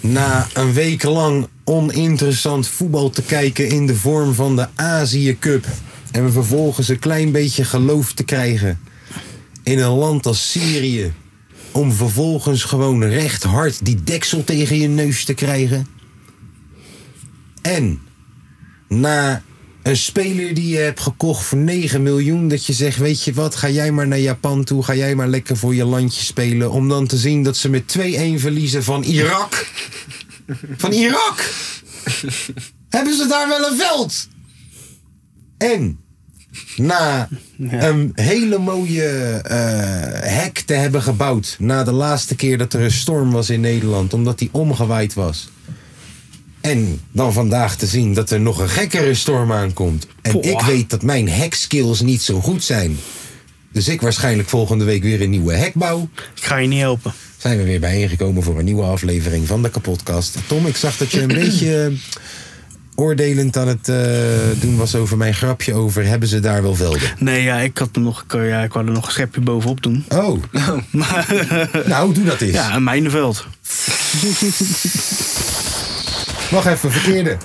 Na een week lang oninteressant voetbal te kijken in de vorm van de Azië Cup. En we vervolgens een klein beetje geloof te krijgen in een land als Syrië. Om vervolgens gewoon recht hard die deksel tegen je neus te krijgen. En na een speler die je hebt gekocht voor 9 miljoen. Dat je zegt, weet je wat, ga jij maar naar Japan toe. Ga jij maar lekker voor je landje spelen. Om dan te zien dat ze met 2-1 verliezen van Irak. Van Irak! Hebben ze daar wel een veld? En na een hele mooie eh, hek te hebben gebouwd. Na de laatste keer dat er een storm was in Nederland. Omdat die omgewaaid was. En dan vandaag te zien dat er nog een gekkere storm aankomt. En ik weet dat mijn hekskills niet zo goed zijn. Dus ik waarschijnlijk volgende week weer een nieuwe hek bouw. Ik ga je niet helpen. Zijn we weer bijeengekomen voor een nieuwe aflevering van de Kapodcast. Tom, ik zag dat je een beetje eh, oordelend aan het eh, doen was over mijn grapje over hebben ze daar wel velden? Nee, ja, ik had hem nog, ik, ja, ik wou er nog een schepje bovenop doen. Oh, Maar nou doe dat eens. ja, een mijnenveld. Wacht even, verkeerde.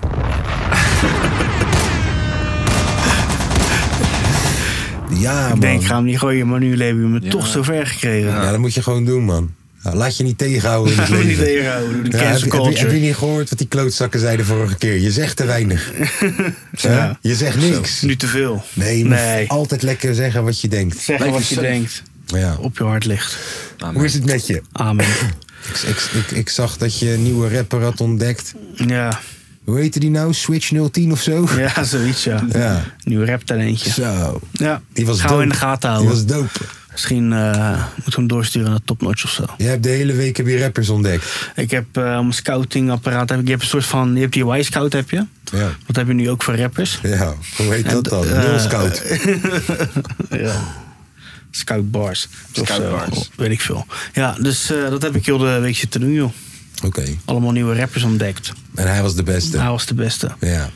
Ja, man. Ik denk, ik ga hem niet gooien, maar nu hebben we me toch zo ver gekregen. Ja, dat moet je gewoon doen, man. Nou, laat je niet tegenhouden in het Laat me niet leven. tegenhouden door de Ja, heb, cancel je- heb je, heb culture. je niet gehoord wat die klootzakken zeiden vorige keer? Je zegt te weinig. Hè? Ja. Je zegt niks. Nu te veel. Nee, je moet nee. altijd lekker zeggen wat je denkt. Zeggen wat je Lekker denkt. Ja. Op je hart ligt. Hoe is het met je? Amen. Ik, ik, ik, ik zag dat je een nieuwe rapper had ontdekt. Ja, Hoe heette die nou? Switch 010 of zo? ja zoiets ja. Ja. Nieuw raptalentje. Zo. Ja, Nou, Die was gaan we dope. in de gaten Die houden. was dope. Misschien eh, moeten we hem doorsturen naar topnotch of zo. Je hebt de hele week heb je rappers ontdekt. Ik heb eh, mijn scoutingapparaat. heb ik- Je hebt een soort van. Je hebt die Y-scout, heb je? Ja. Wat heb je nu ook voor rappers? Ja, hoe heet dat dan? eh, Nul Scout. Ja. Scout bars. of Scout zo. bars. Weet ik veel. Ja, dus eh, dat heb ik heel de week zitten doen, joh. Oké. Allemaal nieuwe rappers ontdekt. En hij was de beste. Hij was de beste. Ja.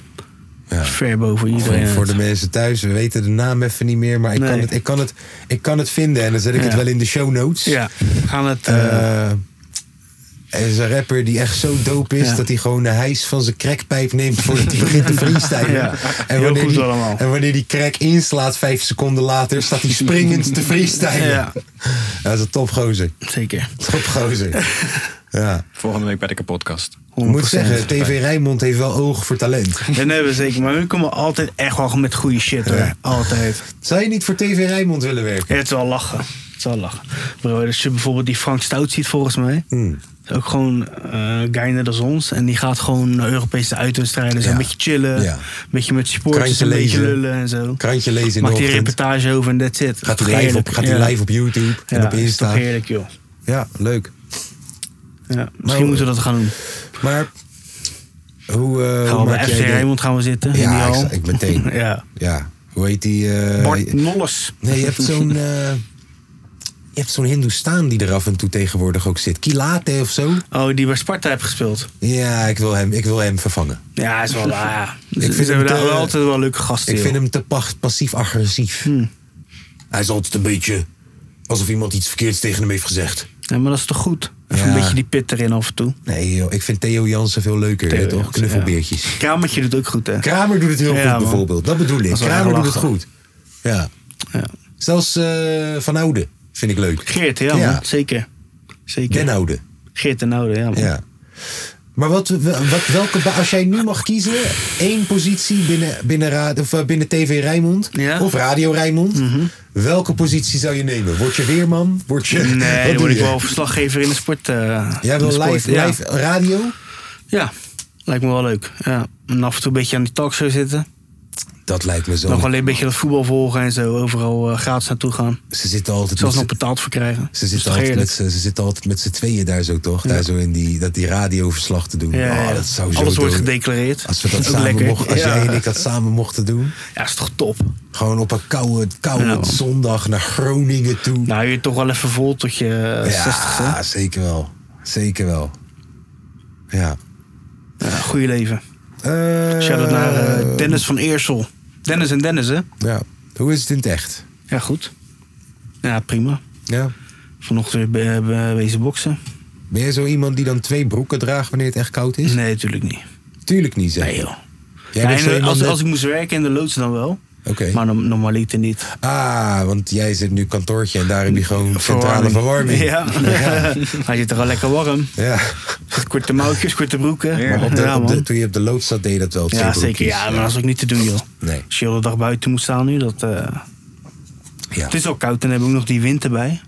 Ja. Ver boven Voor, iedereen. voor de mensen thuis, we weten de naam even niet meer, maar ik, Nee. kan, het, ik, kan, het, ik kan het vinden en dan zet ik het Ja. wel in de show notes. Ja, we gaan het. eh, Eh, er is een rapper die echt zo dope is Ja. dat hij gewoon de hijs van zijn crackpijp neemt voordat hij begint te freestylen. Ja. Heel goed die, allemaal. en wanneer die crack inslaat, vijf seconden later, staat hij springend te freestylen. Ja. Dat is een topgozer. zeker. Topgozer. Ja. Volgende week bij de podcast. Ik moet zeggen, TV Rijnmond heeft wel oog voor talent. En hebben we zeker. Maar we komen altijd echt wel met goede shit hoor. Ja. Altijd. Zou je niet voor TV Rijnmond willen werken? Ja, het is wel lachen. Het is wel lachen. Bro, als je bijvoorbeeld die Frank Stout ziet volgens mij. Hmm. is Ook gewoon eh guy net als ons. En die gaat gewoon naar Europese uitwedstrijden. Zo Ja. een beetje chillen. Ja. Een beetje met supporters. Krantje Een beetje lezen. lullen en zo. Krantje lezen in Maakt de die ochtend. reportage over en that's it. Gaat hij Heerlijk. live op, gaat hij Ja. live op YouTube en Ja, op is toch Insta. heerlijk joh. Ja, leuk. Ja, misschien moeten we dat gaan doen. Maar hoe, eh, hoe Gaan we bij maak FC jij de- Rijnmond gaan we zitten. in die Ja, ik, hal. sta- ik meteen. ja. Ja, hoe heet die? eh, Bart Nolles. nee, je hebt zo'n... eh, je hebt zo'n Hindoestaan die er af en toe tegenwoordig ook zit. Kilate of zo. Oh, die bij Sparta heeft gespeeld. Ja, ik wil hem, ik wil hem vervangen. Ja, is wel waar. Ja. Dus vind ze hebben hem daar te- wel altijd wel leuke gasten. Ik vind joh. hem te pa- passief-agressief. Hmm. Hij is altijd een beetje... Alsof iemand iets verkeerds tegen hem heeft gezegd. Ja, maar dat is toch goed? Even Ja. een beetje die pit erin af en toe. Nee joh, ik vind Theo Jansen veel leuker. Theo hè, toch? Jansen, Knuffelbeertjes. Kramertje doet ook goed, hè? Kramer doet het heel Ja, goed man. bijvoorbeeld. Dat bedoel ik. Dat is wel Kramer erg doet het lachen. goed. Ja. Ja. Zelfs eh, Van Oude vind ik leuk. Geert, ja, Ja. man. Zeker. Zeker. Den Oude. Geert en Oude, ja, man. Ja. Maar wat, wat, welke, ba- als jij nu mag kiezen, één positie binnen, binnen, ra- of, eh, binnen TV Rijnmond Ja. Mhm. of Radio Rijnmond, welke positie zou je nemen? Word je weerman? Word je, Nee, dan doe word ik je? wel verslaggever in de sport. eh, Jij in wil de sport, live, ja. live radio? Ja, lijkt me wel leuk. Ja. En af en toe een beetje aan die talkshow zitten. Dat lijkt me zo. Nog alleen een beetje dat voetbal volgen en zo. Overal eh, gratis naartoe gaan. Ze zitten altijd Zelfs nog met betaald voor krijgen. ze Dus zitten, toch altijd met, eerlijk. z'n- ze zitten altijd met z'n tweeën daar zo, toch? Daar zo in die, dat die radioverslag te doen. Ja, Oh, ja. dat zou zo Alles wordt dood- gedeclareerd. Als, we dat Ook samen lekker. mochten, als ja. jij en ik dat samen mochten doen. Ja, is toch top. Gewoon op een koude, koude Ja, man. zondag naar Groningen toe. Nou, je toch wel even vol tot je eh, 60ste. ja, zeker wel. Zeker wel. Ja. Ja, goeie leven. Eh, Shout-out naar eh, Dennis van Eersel. Dennis en Dennis, hè? Ja. Hoe is het in het echt? Ja, goed. Ja, prima. Ja. Vanochtend weer eh, be- be- wezen boksen. Ben jij zo iemand die dan twee broeken draagt wanneer het echt koud is? Nee, natuurlijk niet. Tuurlijk niet, zeg. Nee, joh. Jij Ja, bent en eh, zo iemand als, dat- als ik moest werken in de loods dan wel. Oké. Maar normaal normaliter niet. Ah, want jij zit nu kantoortje en daar heb je gewoon centrale verwarming. Ja. Hij zit er al lekker warm. Ja. Korte mouwtjes, korte broeken. Ja, Maar op de, op de- man. toen je op de lood zat, deed je dat wel. twee Ja, zeker. broekjes. Ja, maar dat is ook niet te doen, joh. Nee. Als je de hele dag buiten moet staan nu, dat... eh, Ja. Het is al koud en dan hebben we ook nog die wind erbij.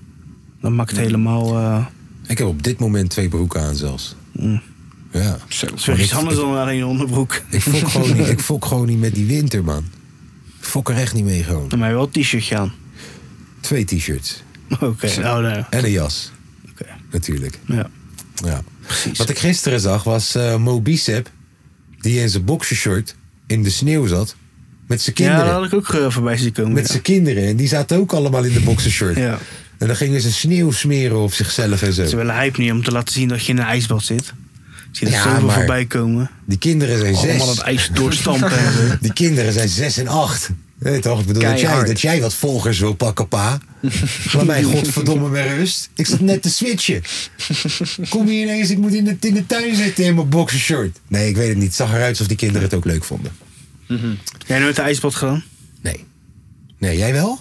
Dat maakt het helemaal... eh, Ik heb op dit moment twee broeken aan zelfs. Mm. Ja. het is weer iets anders dan alleen je onderbroek. Ik fok, gewoon niet, ik fok gewoon niet met die winter, man. Ik fok er echt niet mee gewoon. Dan heb je wel een t-shirtje aan. Twee t-shirts. Oké. Nou, nee. En een jas, Oké. natuurlijk. Ja. Ja. Wat ik gisteren zag was eh Mo Bicep, die in zijn boxershort in de sneeuw zat. Met zijn ja, kinderen. dat had ik ook eh, voorbij zien komen. met ja. zijn kinderen. En die zaten ook allemaal in de boxershort. Ja. En dan gingen ze sneeuw smeren op zichzelf en Ze zo. willen hype niet om te laten zien dat je in een ijsbad zit. Zie je Ja, dat zoveel maar- voorbij komen. Die kinderen zijn Allemaal dat zes. ijs doorstampen en zo. Die kinderen zijn zes en acht. Nee, toch? Ik bedoel, dat jij, Keihard. dat jij wat volgers wil pakken, pa. Laat mij godverdomme met rust. Ik zat net te switchen. Kom hier ineens, ik moet in de, in de tuin zitten in mijn boxershort. Nee, ik weet het niet. Het zag eruit alsof die kinderen het ook leuk vonden. Jij nooit een ijsbad gedaan? Nee. Nee, jij wel?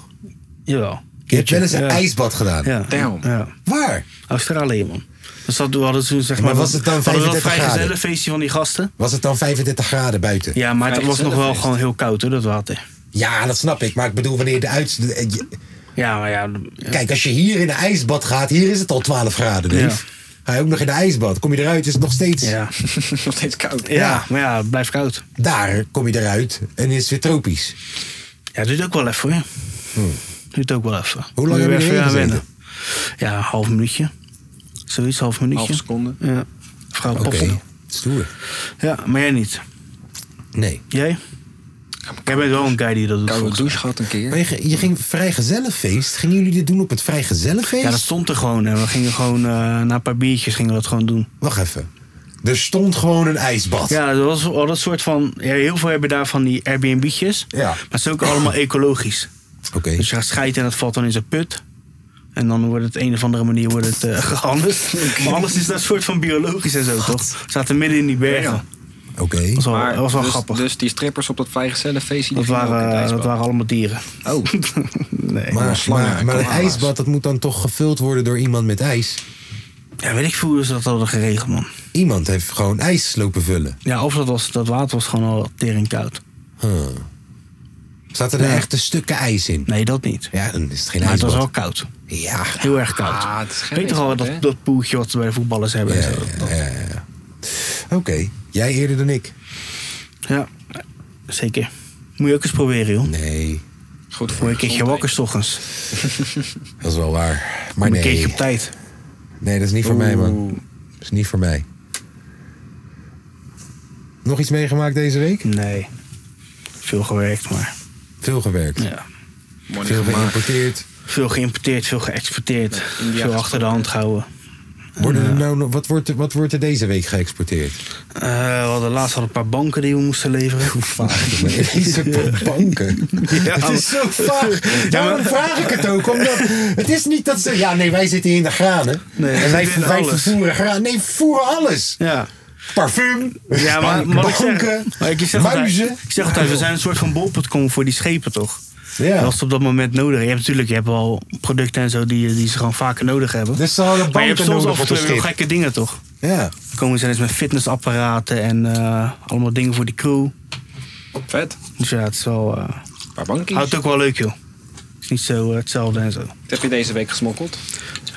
Jawel. Je hebt wel eens een Ja. ijsbad gedaan. Ja. Damn. Ja. Waar? Australië, man. Dus dat, we hadden toen, zeg Maar maar, was het dan hadden we 35 graden? dat feestje van die gasten? Was het dan 35 graden buiten? Ja, maar het Vrij was nog wel gezellenfeest. gewoon heel koud, hoor, dat water. Ja, dat snap ik. Maar ik bedoel, wanneer de uit... de- je- Ja, maar ja. d- Kijk, als je hier in een ijsbad gaat, hier is het al 12 graden, neef. Ga je ook nog in de ijsbad. Kom je eruit, is het nog steeds... Ja, Nog steeds koud. ja, maar ja, het blijft koud. Daar kom je eruit en is het weer tropisch. Ja, het duurt ook wel even, hoor. Duurt ook wel even. Hmm. Hoe lang Moet hebben weer jullie even aan erin wennen. Ja, een half minuutje. Zoiets, half minuutje. Half seconde. Ja. Vrouw Oké, poppen. stoer. Ja, maar jij niet. Nee. Jij? Jij bent wel een guy die dat doet. Koude volgens mij. douche gehad een keer. Maar je, ge- je ging vrijgezellenfeest. Gingen jullie dit doen op het vrijgezellenfeest? Ja, dat stond er gewoon. En we gingen gewoon, eh, na een paar biertjes gingen we dat gewoon doen. Wacht even. Er stond gewoon een ijsbad. Ja, dat was al dat soort van... Ja, heel veel hebben daar van die Airbnb'tjes. Ja. Maar het is ook allemaal ecologisch. Oké. Dus je gaat scheiden en dat valt dan in zijn put. En dan wordt het een of andere manier wordt het, eh, gehandeld. Maar alles is dat soort van biologisch en zo, toch? We zaten midden in die bergen. Ja. Oké. Dat was wel, Maar dat was wel dus, grappig. Dus die strippers op dat vrijgezellenfeestje... die dat, gingen ook in het waren, dat ijsbad. waren allemaal dieren. Oh, Nee. Maar, slangen, maar, maar een koala's. ijsbad, dat moet dan toch gevuld worden door iemand met ijs? Ja, weet ik veel hoe ze dat hadden geregeld, man. Iemand heeft gewoon ijs lopen vullen. Ja, of dat, was, dat water was gewoon al tering koud. Huh. Zaten er echte stukken ijs in? Nee, dat niet. Ja, dan is het geen Maar het ijsbad. was wel koud. Ja. Heel erg koud. Ah, het is geen weet je toch al ijsbad, dat, hè? dat poeltje wat ze bij de voetballers hebben? Ja, en ja, zo? Dat- ja, ja, ja. Oké, jij eerder dan ik. ja, zeker. Moet je ook eens proberen, joh. Nee, goed voor Word je een je keertje gezondheid. wakker 's ochtends. dat is wel waar. Maar Een keertje nee, op tijd. nee dat is niet voor mij, man. Dat is niet voor mij. Nog iets meegemaakt deze week? Nee. Veel gewerkt, maar. Veel gewerkt, Ja. Mooi veel gemaakt. geïmporteerd. Veel geïmporteerd, veel geëxporteerd. India veel achter de hand gehouden. Worden er nou, nog- wat, wordt er, wat wordt er deze week geëxporteerd? Eh, we hadden laatst al een paar banken die we moesten leveren. Hoe Vaag, jongen. Deze banken. het is zo vaag. Daarom vraag ik het ook. Omdat het is niet dat ze... Ja, nee, wij zitten in de granen. Nee, en we wij, willen wij alles. vervoeren granen. Nee, we vervoeren alles. Ja. Parfum. Ja, maar, maar ik zeg, banken, maar ik zeg muizen. altijd, ik zeg altijd, we zijn een soort van bol.com voor die schepen, toch? Ja. Dat is op dat moment nodig. Je hebt natuurlijk je hebt wel producten en zo die, die ze gewoon vaker nodig hebben. Dus ze hadden maar je hebt banken soms nodig af en op toe het wel schip. gekke dingen, toch? Ja. Dan komen ze eens met fitnessapparaten en eh, allemaal dingen voor die crew. Vet. Dus ja, het is wel... eh, Een paar bankjes. houdt het ook wel leuk, joh. Het is niet zo eh, hetzelfde en zo. Wat heb je deze week gesmokkeld?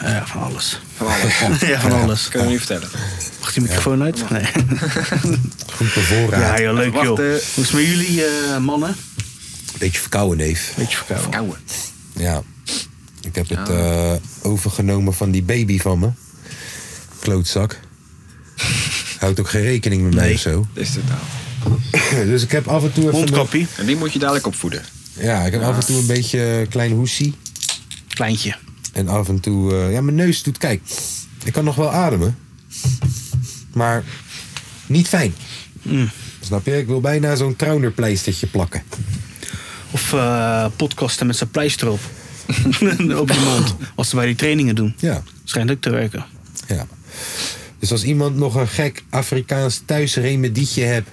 Ja, ja, van alles. Van alles. Ja, van alles. Kun je niet vertellen. Mag die microfoon uit? Nee. Goed bevoorraad. Ja, joh, leuk Wacht, joh. eh. Hoe is het met jullie eh, mannen? Beetje verkouden, Dave. Beetje verkouden. Kouwen. Ja. Ik heb het eh, overgenomen van die baby van me. Klootzak. Houdt ook geen rekening met mij Nee. of zo. Is dit nou? Dus ik heb af en toe even... Mondkapje. En die moet je dadelijk opvoeden. Ja, ik heb af en toe een beetje eh, klein hoesie. Kleintje. En af en toe... eh, ja, mijn neus doet... Kijk, ik kan nog wel ademen. Maar niet fijn. Mm. Snap je? Ik wil bijna zo'n trouwnerpleistertje plakken. Of eh, podcasten met zijn pleister op. op je mond. Als ze bij die trainingen doen. Ja, Schijnt ook te werken. ja. Dus als iemand nog een gek Afrikaans thuisremedietje hebt...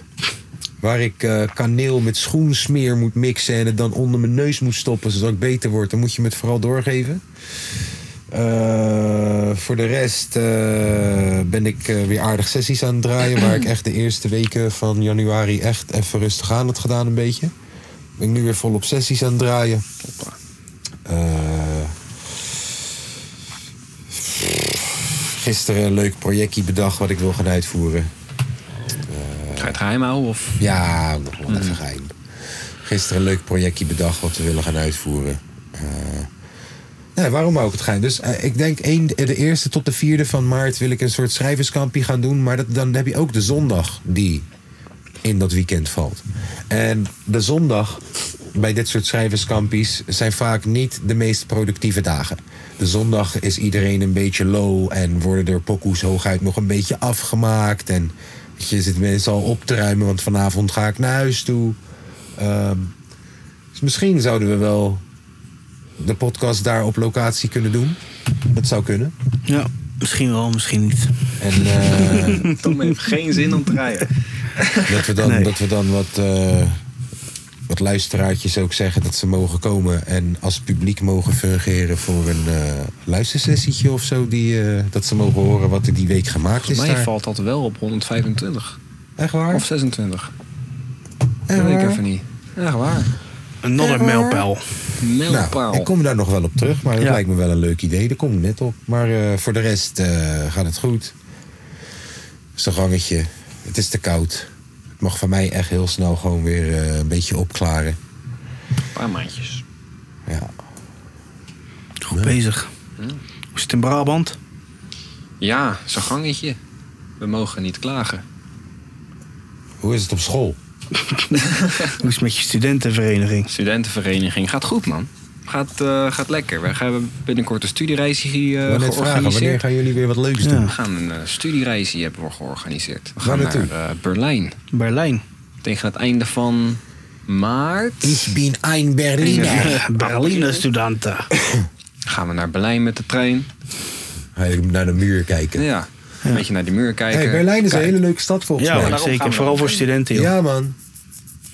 waar ik eh, kaneel met schoensmeer moet mixen... en het dan onder mijn neus moet stoppen zodat ik beter word... dan moet je me het vooral doorgeven. Eh, voor de rest eh, ben ik eh, weer aardig sessies aan het draaien... waar ik echt de eerste weken van januari echt even rustig aan had gedaan een beetje. Ben ik nu weer volop sessies aan het draaien. Eh, gisteren een leuk projectje bedacht wat ik wil gaan uitvoeren. Ga je het geheim houden of? Ja, nog wel even geheim. Gisteren een leuk projectje bedacht wat we willen gaan uitvoeren. Eh, nee, waarom ook het geheim? Dus eh, ik denk één, de eerste tot de vierde van maart wil ik een soort schrijverskampje gaan doen. Maar dat, dan heb je ook de zondag die in dat weekend valt. En de zondag bij dit soort schrijverskampies zijn vaak niet de meest productieve dagen. De zondag is iedereen een beetje low en worden er pokoes hooguit nog een beetje afgemaakt. En weet je zit mensen al op te ruimen, want vanavond ga ik naar huis toe. Ehm, dus misschien zouden we wel de podcast daar op locatie kunnen doen. Dat zou kunnen. Ja, misschien wel, misschien niet. En eh, Tom heeft geen zin om te rijden. Dat we dan, Nee. dat we dan wat, eh, wat luisteraartjes ook zeggen dat ze mogen komen. En als publiek mogen fungeren voor een eh luistersessietje of zo. Die, eh, dat ze mogen horen wat er die week gemaakt is Volgens mij daar. valt dat wel op 125 Echt waar? of 26. Echt Dat weet ik waar? even niet. Echt waar. Een andere mijlpaal. Mijlpaal. Nou, ik kom daar nog wel op terug, maar dat Ja. lijkt me wel een leuk idee. Daar kom ik net op. Maar eh, voor de rest eh, gaat het goed. Het is een gangetje. Het is te koud. Het mag van mij echt heel snel gewoon weer eh, een beetje opklaren. Een paar maandjes. Ja. Goed bezig. Hoe is het in Brabant? Ja, zo'n gangetje. We mogen niet klagen. Hoe is het op school? Hoe is het met je studentenvereniging? Studentenvereniging gaat goed, man. Gaat, eh, gaat lekker. We hebben binnenkort een studiereisje Ik eh, wou net vragen, wanneer georganiseerd. gaan jullie weer wat leuks Ja. doen? We gaan een eh, studiereisje hebben we georganiseerd. We Waar gaan naar naartoe? eh, Berlijn. Berlijn. Tegen het einde van maart Ik ben een Berliner. Berliner studenten. gaan we naar Berlijn met de trein. Hij moet naar de muur kijken. Ja, een beetje naar die muur kijken. Hey, Berlijn is een Kijk, hele leuke stad volgens Ja, mij. daarom gaan zeker. we Vooral ook. voor studenten, joh. Ja, man.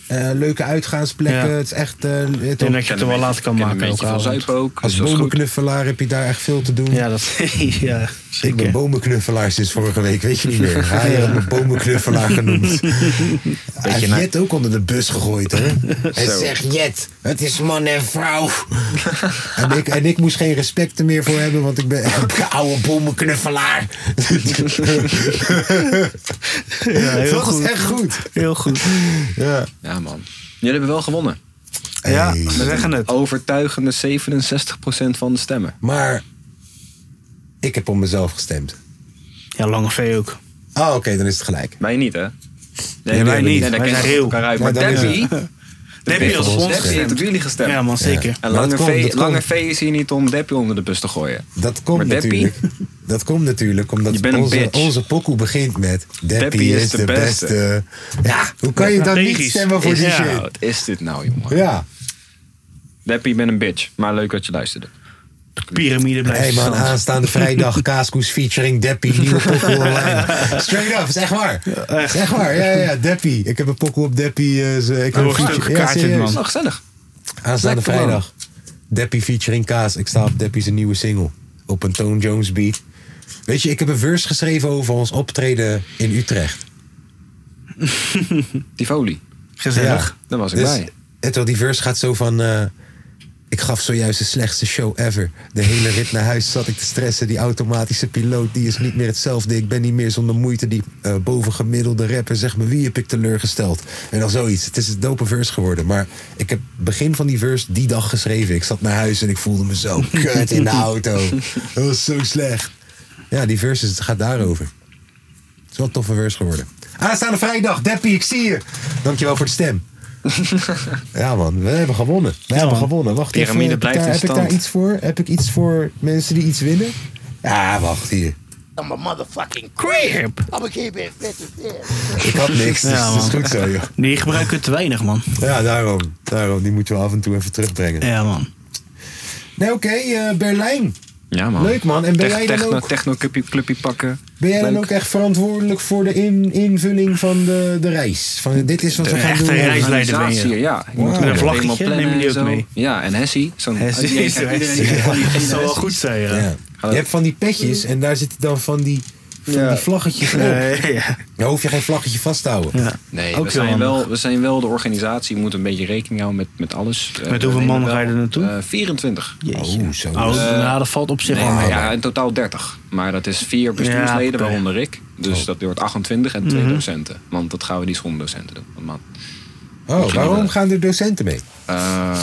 Eh, leuke uitgaansplekken. Ja. Het is echt... eh, Ik het denk dat je het er wel laat kan en maken. Een elke beetje van avond. zuipen ook. als dus dat is goed. bomenknuffelaar heb je daar echt veel te doen. Ja, dat, ja ik ben zeker. bomenknuffelaar sinds vorige week, weet je niet meer. Hij heeft me bomenknuffelaar genoemd. Hij heeft naar- Jet ook onder de bus gegooid, hoor. Hij zegt, Jet, het is man en vrouw. en, ik, en ik moest geen respect er meer voor hebben, want ik ben een oude bomenknuffelaar. Ja, heel Dat goed. is echt goed. Heel goed. Ja. Ja, man. Jullie hebben wel gewonnen. Ja, Hey. ze zeggen het. Overtuigende 67% van de stemmen. Maar ik heb op mezelf gestemd. Ja, Lange V ook. Ah, oké, dan is het gelijk. Wij niet, hè? Nee, wij nee, niet. nee, daar Wij kennen zijn we heel. elkaar uit. Ja, Maar dat is Debbie, Debbie als ons Debbie heeft op gestemd. jullie gestemd. Ja, man, zeker. En Maar Lange, dat komt, v, dat Lange komt. V is hier niet om Debbie onder de bus te gooien. Dat komt Maar Deppie? natuurlijk. Dat komt natuurlijk omdat Je bent een onze, bitch. onze pokoe begint met... Deppie is, de beste. Ja, hoe kan je dan niet Logisch. stemmen voor Is- die ja. shit? Wat is dit nou, jongen? Ja. Debbie, ben een bitch. Maar leuk dat je luisterde. Pyramide blijft hey man, stand. aanstaande vrijdag Kaaskoes featuring Deppie, nieuwe pokoe online. Straight up, is echt waar. Is echt waar, ja, ja, Deppie. Ik heb een pokoe op Deppie. eh, ze- ik heb een wordt feature- ook ja, gekaartend, serieus. man. Nou, gezellig. Aanstaande Lekker, man. vrijdag. Deppie featuring Kaas. Ik sta op Deppie's nieuwe single. Op een Tone Jones beat. Weet je, ik heb een verse geschreven over ons optreden in Utrecht. Tivoli. Gezellig. Daar was ik bij. Dus Het wel, die verse gaat zo van... eh, ik Ik gaf zojuist de slechtste show ever. De hele rit naar huis zat ik te stressen. Die automatische piloot die is niet meer hetzelfde. Ik ben niet meer zonder moeite die eh, bovengemiddelde rapper. Zeg me, wie heb ik teleurgesteld? En dan zoiets. Het is een dope verse geworden. Maar ik heb begin van die verse die dag geschreven. Ik zat naar huis en ik voelde me zo kut in de auto. Dat was zo slecht. Ja, die verse is- het gaat daarover. Het is wel een toffe verse geworden. Aanstaande vrijdag, Deppie, ik zie je. Dankjewel voor de stem. ja man, we hebben gewonnen. We hebben gewonnen. Wacht even, Pyramide heb ik blijft daar- in Heb ik daar stand. iets voor? Heb ik iets voor mensen die iets winnen? Ja, wacht hier. I'm a motherfucking Crap! I'm gonna keep it 50 Ik had niks, dus Ja, het is man. goed zo joh. Die gebruiken het te weinig, man. Ja, daarom. Daarom, die moeten we af en toe even terugbrengen. Ja, man. Nee, oké, eh, Berlijn. Ja, man. Leuk, man. En ben Tech- jij dan techno, ook- techno clubje, clubje pakken. Ben jij dan Leuk. ook echt verantwoordelijk voor de in, invulling van de, de reis? Van, dit is wat De we gaan echte doen. reis. Reisleider ben je. Organisatie, Ja, ik Met moet een een vlaggetje, vlaggetje neem je die ook mee? Ja, en Hessie. Zo'n Hessie. iedereen krijgt- iedereen krijgt van die- Het iedereen zou wel Hessie. goed zijn, ja. Ja. Je hebt van die petjes en daar zitten dan van die, van die vlaggetjes op. Eh, ja. Dan hoef je geen vlaggetje vast te houden. Ja. Nee, Ook we heel zijn, handig. wel, we zijn wel de organisatie. Je moet een beetje rekening houden met, met alles. Eh, Met hoeveel we man nemen ga je wel, er naartoe? eh, 24. Oh, zo. Oh, ja, dat valt op zich Nee, wel mee. ja, in totaal 30. Maar dat is vier bestuursleden, Ja, Oh. Mhm. waaronder ik. Dus dat wordt 28 en twee docenten. Want dat gaan we die schoondocenten doen. Want man, Oh, waarom gaan er docenten mee? eh,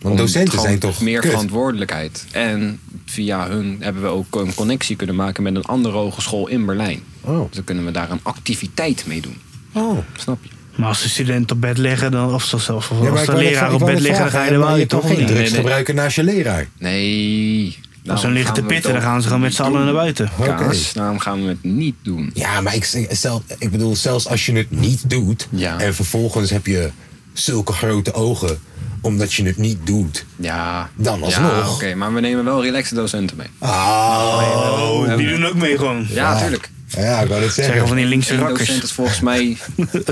Want om docenten gewoon zijn toch meer kut? verantwoordelijkheid. En via hun hebben we ook een connectie kunnen maken met een andere hogeschool in Berlijn. Oh. Dus dan kunnen we daar een activiteit mee doen. Oh. Snap je? Maar als de student op bed liggen, dan, of zo zelfs, of Ja, maar als ik de wou net leraar vragen- op ik wou bed net liggen, dan ga vragen, je er wel maar uit, je kan toch? geen niet? drugs nee. gebruiken naast je leraar. Nee. Als ze daarom liggen te gaan we pitten, het dan gaan ze gewoon met z'n allen naar buiten. Oké. Kaas, daarom gaan we het niet doen. Ja, maar ik, zelf, ik bedoel, zelfs als je het niet doet... Ja. en vervolgens heb je zulke grote ogen omdat je het niet doet. Ja. Dan Ja, alsnog. oké, maar we nemen wel relaxte docenten mee. Oh. Oh, die doen ook mee gewoon. Ja, tuurlijk. Ja, ik wou het Zeggen zeggen. van die linkse Eén docent rakkers. is volgens mij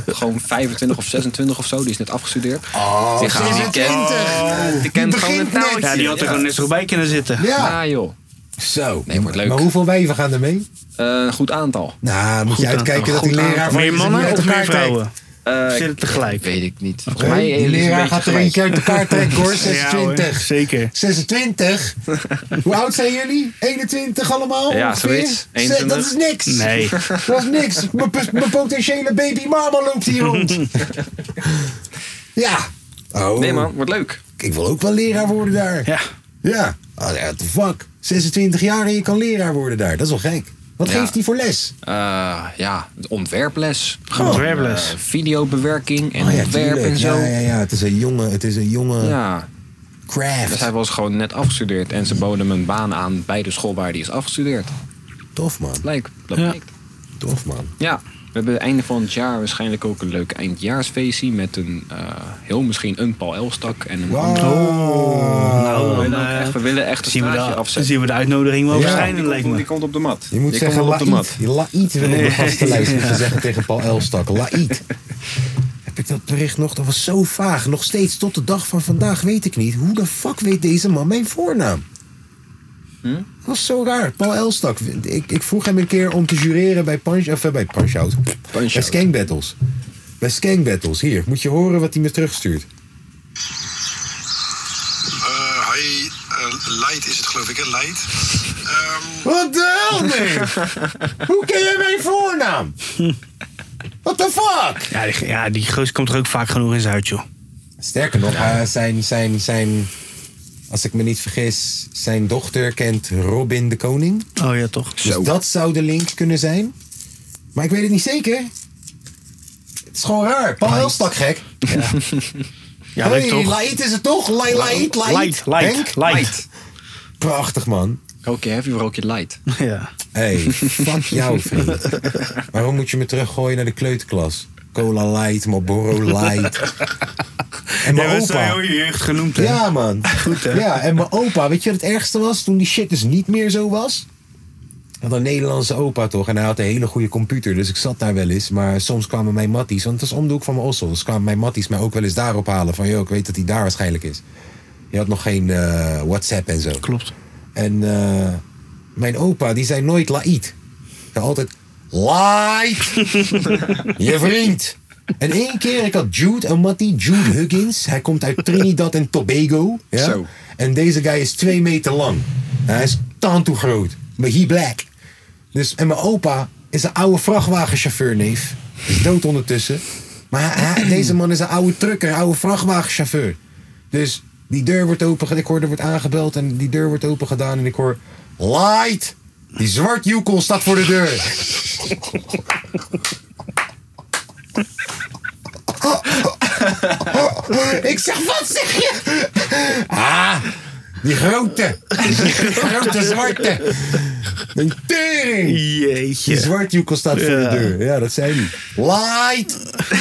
gewoon 25 of 26 of zo. Die is net afgestudeerd. Oh, die, gaan, die kent, 26. die kent Die gewoon begint het touwtje. net. Ja, die had er gewoon net zo bij kunnen zitten. Ja, Ah, joh. zo. Nee, wordt leuk. Maar hoeveel wijven gaan er mee? Eh, goed aantal. Nou, moet je Goed uitkijken dat aantal, die goed leraar aantal. van Meer je ze niet mannen uit of meer elkaar trekt. vrouwen? Eh, Zitten tegelijk. Weet ik niet. Volgens Oké, mij eh, die is het leraar een gaat beetje er eentje uit gelijk. elkaar trekken hoor, Ja, hoor, 26. zeker. 26? Hoe oud zijn jullie? 21 allemaal? Ja, ongeveer? zoiets. Zet, 21. Dat is niks. Nee. Dat is niks. Mijn pos- Mijn potentiële baby mama loopt hier rond. ja. Oh, Nee man, wordt leuk. Ik wil ook wel leraar worden daar. Ja. Ja. Oh, ja, what the fuck. 26 jaar en je kan leraar worden daar. Dat is wel gek. Wat Ja. geeft hij voor les? Eh, ja, ontwerples. Gewoon ontwerples. Eh, videobewerking en Oh ja, ontwerp tuurlijk. en zo. Ja, ja, ja. Het is een jonge, het is een jonge ja. Dus craft. hij was gewoon net afgestudeerd en ze boden hem een baan aan bij de school waar hij is afgestudeerd. Tof man. Lijkt, dat Ja. blijkt. Tof man. Ja, we hebben het einde van het jaar waarschijnlijk ook een leuk eindjaarsfeestje met een eh, heel misschien een Paul Elstak en een Wow. Oh, andere. Nou, We dan, willen ook eh, echt- we willen echt een zien we, staartje de, afzetten. zien we de uitnodiging wel Ja. verschijnen, lijkt me. komt op de mat. Je moet Die zeggen komt op de Laït. mat. Je Laït wil op de gastenlijst moeten zeggen tegen Paul Elstak. Laït. Heb ik dat bericht nog? Dat was zo vaag. Nog steeds tot de dag van vandaag weet ik niet. Hoe de fuck weet deze man mijn voornaam? Hm? Dat was zo raar. Paul Elstak. Ik, ik vroeg hem een keer om te jureren bij Punch... Of eh, bij Punch-Out. Punch-Out. bij Skank Battles. Bij Skank Battles. Hier, moet je horen wat hij me terugstuurt. Eh, hi, eh, Light is het geloof ik, hè? Light. Ehm, Wat de hel, nee? Hoe ken jij mijn voornaam? What the fuck? Ja, die, ja, die geus komt er ook vaak genoeg in Zuid, joh. Sterker nog, eh, zijn, zijn, zijn, als ik me niet vergis, zijn dochter kent Robin de Koning. Oh ja, toch? Dus dat zou de link kunnen zijn. Maar ik weet het niet zeker. Het is gewoon raar. Paul Elstak gek. Ja, leuk hey, toch? Laït is het toch? Lai- Laït, Laït, Light, light, Henk? light. Prachtig, man. Rook eh, je heavy of rook je light? Ja. Hey, fuck jou, vriend. Waarom moet je me teruggooien naar de kleuterklas? Cola Light, Marlboro Light. En Ja, mijn we opa. zijn heel je jeugd genoemd, hè? Ja, man. Goed, hè? Ja, en mijn opa, weet je wat het ergste was? Toen die shit dus niet meer zo was. Had een Nederlandse opa toch? En hij had een hele goede computer, dus ik zat daar wel eens. Maar soms kwamen mijn matties, want het was om de hoek van mijn ossel. Dus kwamen mijn matties mij ook wel eens daarop halen. Van, joh, ik weet dat hij daar waarschijnlijk is. Je had nog geen eh, WhatsApp en zo. Klopt. En eh, mijn opa, die zei nooit laït. Hij zei altijd, laït, je vriend. En één keer, ik had Jude en Matty, Jude Huggins. Hij komt uit Trinidad en Tobago. Ja? Zo. En deze guy is twee meter lang. Hij is taan toe groot. Maar he black. Dus, en mijn opa is een oude vrachtwagenchauffeurneef. Is dood ondertussen. Maar hij- hij- deze man is een oude trucker, een oude vrachtwagenchauffeur. Dus die deur wordt opengedaan. Ik hoor er wordt aangebeld en die deur wordt opengedaan. En ik hoor, light! Die zwart joekel staat voor de deur. Ik zeg, wat zeg je? Ah, die grote. Die grote zwarte. Een tering. Die Jeetje. zwarte joekel staat voor Ja. de deur. Ja, dat zei hij. Light.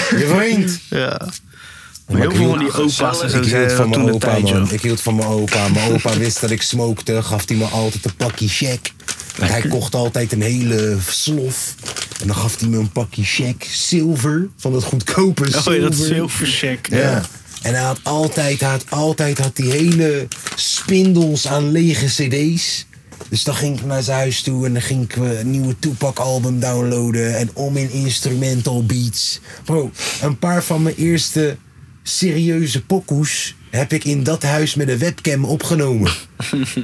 Je vriend. Ja. Maar heel veel van die opa's en zo Ik hield zeiden van dat mijn toen de opa, tijd, joh. man. Ik hield van mijn opa. Mijn opa wist dat ik smokte. Gaf hij me altijd een pakje check. Want hij kocht altijd een hele slof. En dan gaf hij me een pakje check. Zilver. Van dat goedkope Oh ja, zilver. dat zilvercheck. Ja. Ja. En hij had altijd, hij had altijd had die hele spindels aan lege cd's. Dus dan ging ik naar zijn huis toe en dan ging ik eh, een nieuwe Tupac album downloaden. En om in instrumental beats. Bro, een paar van mijn eerste serieuze pokoes heb ik in dat huis met een webcam opgenomen.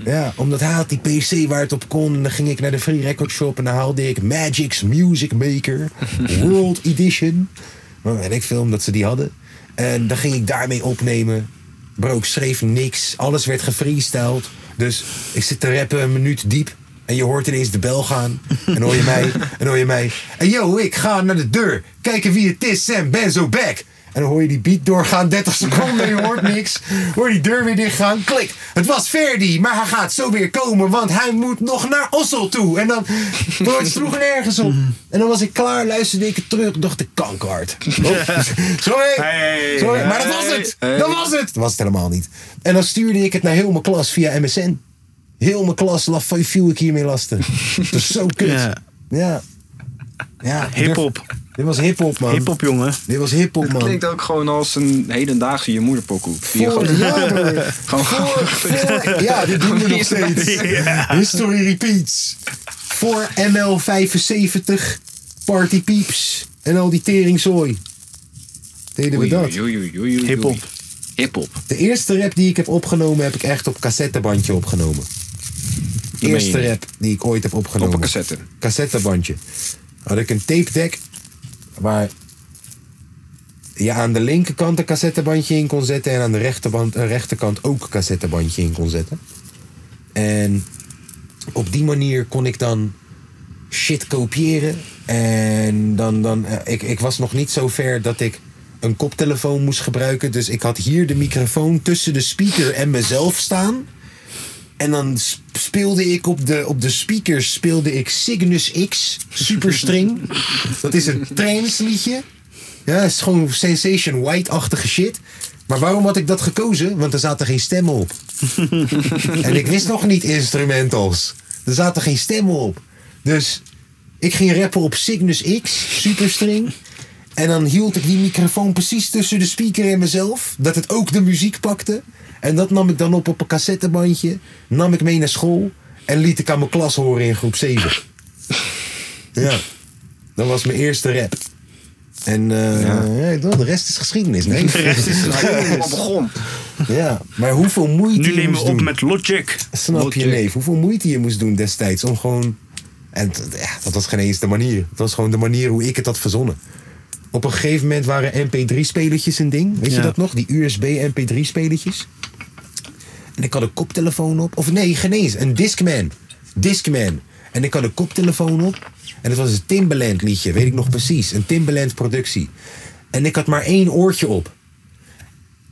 ja, omdat hij had die PC waar het op kon. En dan ging ik naar de Free Record Shop en dan haalde ik Magic's Music Maker World Edition. Maar weet ik film dat ze die hadden. En dan ging ik daarmee opnemen. Bro, ik schreef niks. Alles werd gefreestyled. Dus ik zit te rappen een minuut diep. En je hoort ineens de bel gaan. En hoor je mij. En hoor je mij. En yo, ik ga naar de deur. Kijken wie het is. Sam Benzo back. En dan hoor je die beat doorgaan. 30 seconden. Je hoort niks. Hoor die deur weer dichtgaan. Klik. Het was Verdi. Maar hij gaat zo weer komen. Want hij moet nog naar Ossel toe. En dan. Bro, het sloeg nergens op. En dan was ik klaar. Luisterde ik het terug. Dacht ik kankerhard. Oh, sorry. Hey. sorry. Maar dat was het. Dat was het. Dat was het helemaal niet. En dan stuurde ik het naar heel mijn klas via MSN. Heel mijn klas laf- viel ik hiermee lasten. Dat is zo kut. Ja. Ja. ja. Hip-hop. Dit was hip-hop, man. Hip-hop, jongen. Dit was hip-hop, man. Klinkt ook gewoon als een hedendaagse je moederpokoe. Die je Voor- gewoon- ja, broer. Gewoon- Voor- voor- ja, dit doen we nog steeds. History repeats. Voor ML75, Party Peeps en al die teringzooi. Deden we Oei, dat. oei, oei, oei, oei. Hip-hop. Hip-hop. De eerste rap die ik heb opgenomen, heb ik echt op cassettebandje opgenomen. De meen je eerste niet. rap die ik ooit heb opgenomen. Op een cassette. Nou, Cassettebandje. Had ik een tape deck waar je aan de linkerkant een cassettebandje in kon zetten en aan de rechterband, eh, rechterkant ook een cassettebandje in kon zetten. En op die manier kon ik dan shit kopiëren. En dan, dan eh, ik, ik was nog niet zo ver dat ik een koptelefoon moest gebruiken. Dus ik had hier de microfoon tussen de speaker en mezelf staan. En dan sp- speelde ik op de, op de speakers speelde ik Cygnus X, Superstring. dat is een trance-liedje. Ja, het is gewoon Sensation White-achtige shit. Maar waarom had ik dat gekozen? Want er zaten geen stemmen op. en ik wist nog niet instrumentals. Er zaten geen stemmen op. Dus ik ging rappen op Cygnus X, Superstring. En dan hield ik die microfoon precies tussen de speaker en mezelf. Dat het ook de muziek pakte. En dat nam ik dan op op een cassettebandje. Nam ik mee naar school. En liet ik aan mijn klas horen in groep 7. ja. Dat was mijn eerste rap. En eh, ja, de rest is geschiedenis. Nee, De rest is gelijk. ja, maar hoeveel moeite Nu je nemen we moest op doen. met Logic. Snap je, neef? Hoeveel moeite je moest doen destijds om gewoon... En t- ja, dat was geen eens de manier. Dat was gewoon de manier hoe ik het had verzonnen. Op een gegeven moment waren mp3-spelertjes een ding. Weet Ja. je dat nog? Die USB mp3-spelertjes. En ik had een koptelefoon op. Of nee, geen eens. Een Discman. Discman. En ik had een koptelefoon op. En het was een Timbaland liedje. Weet ik nog precies. Een Timbaland productie. En ik had maar één oortje op.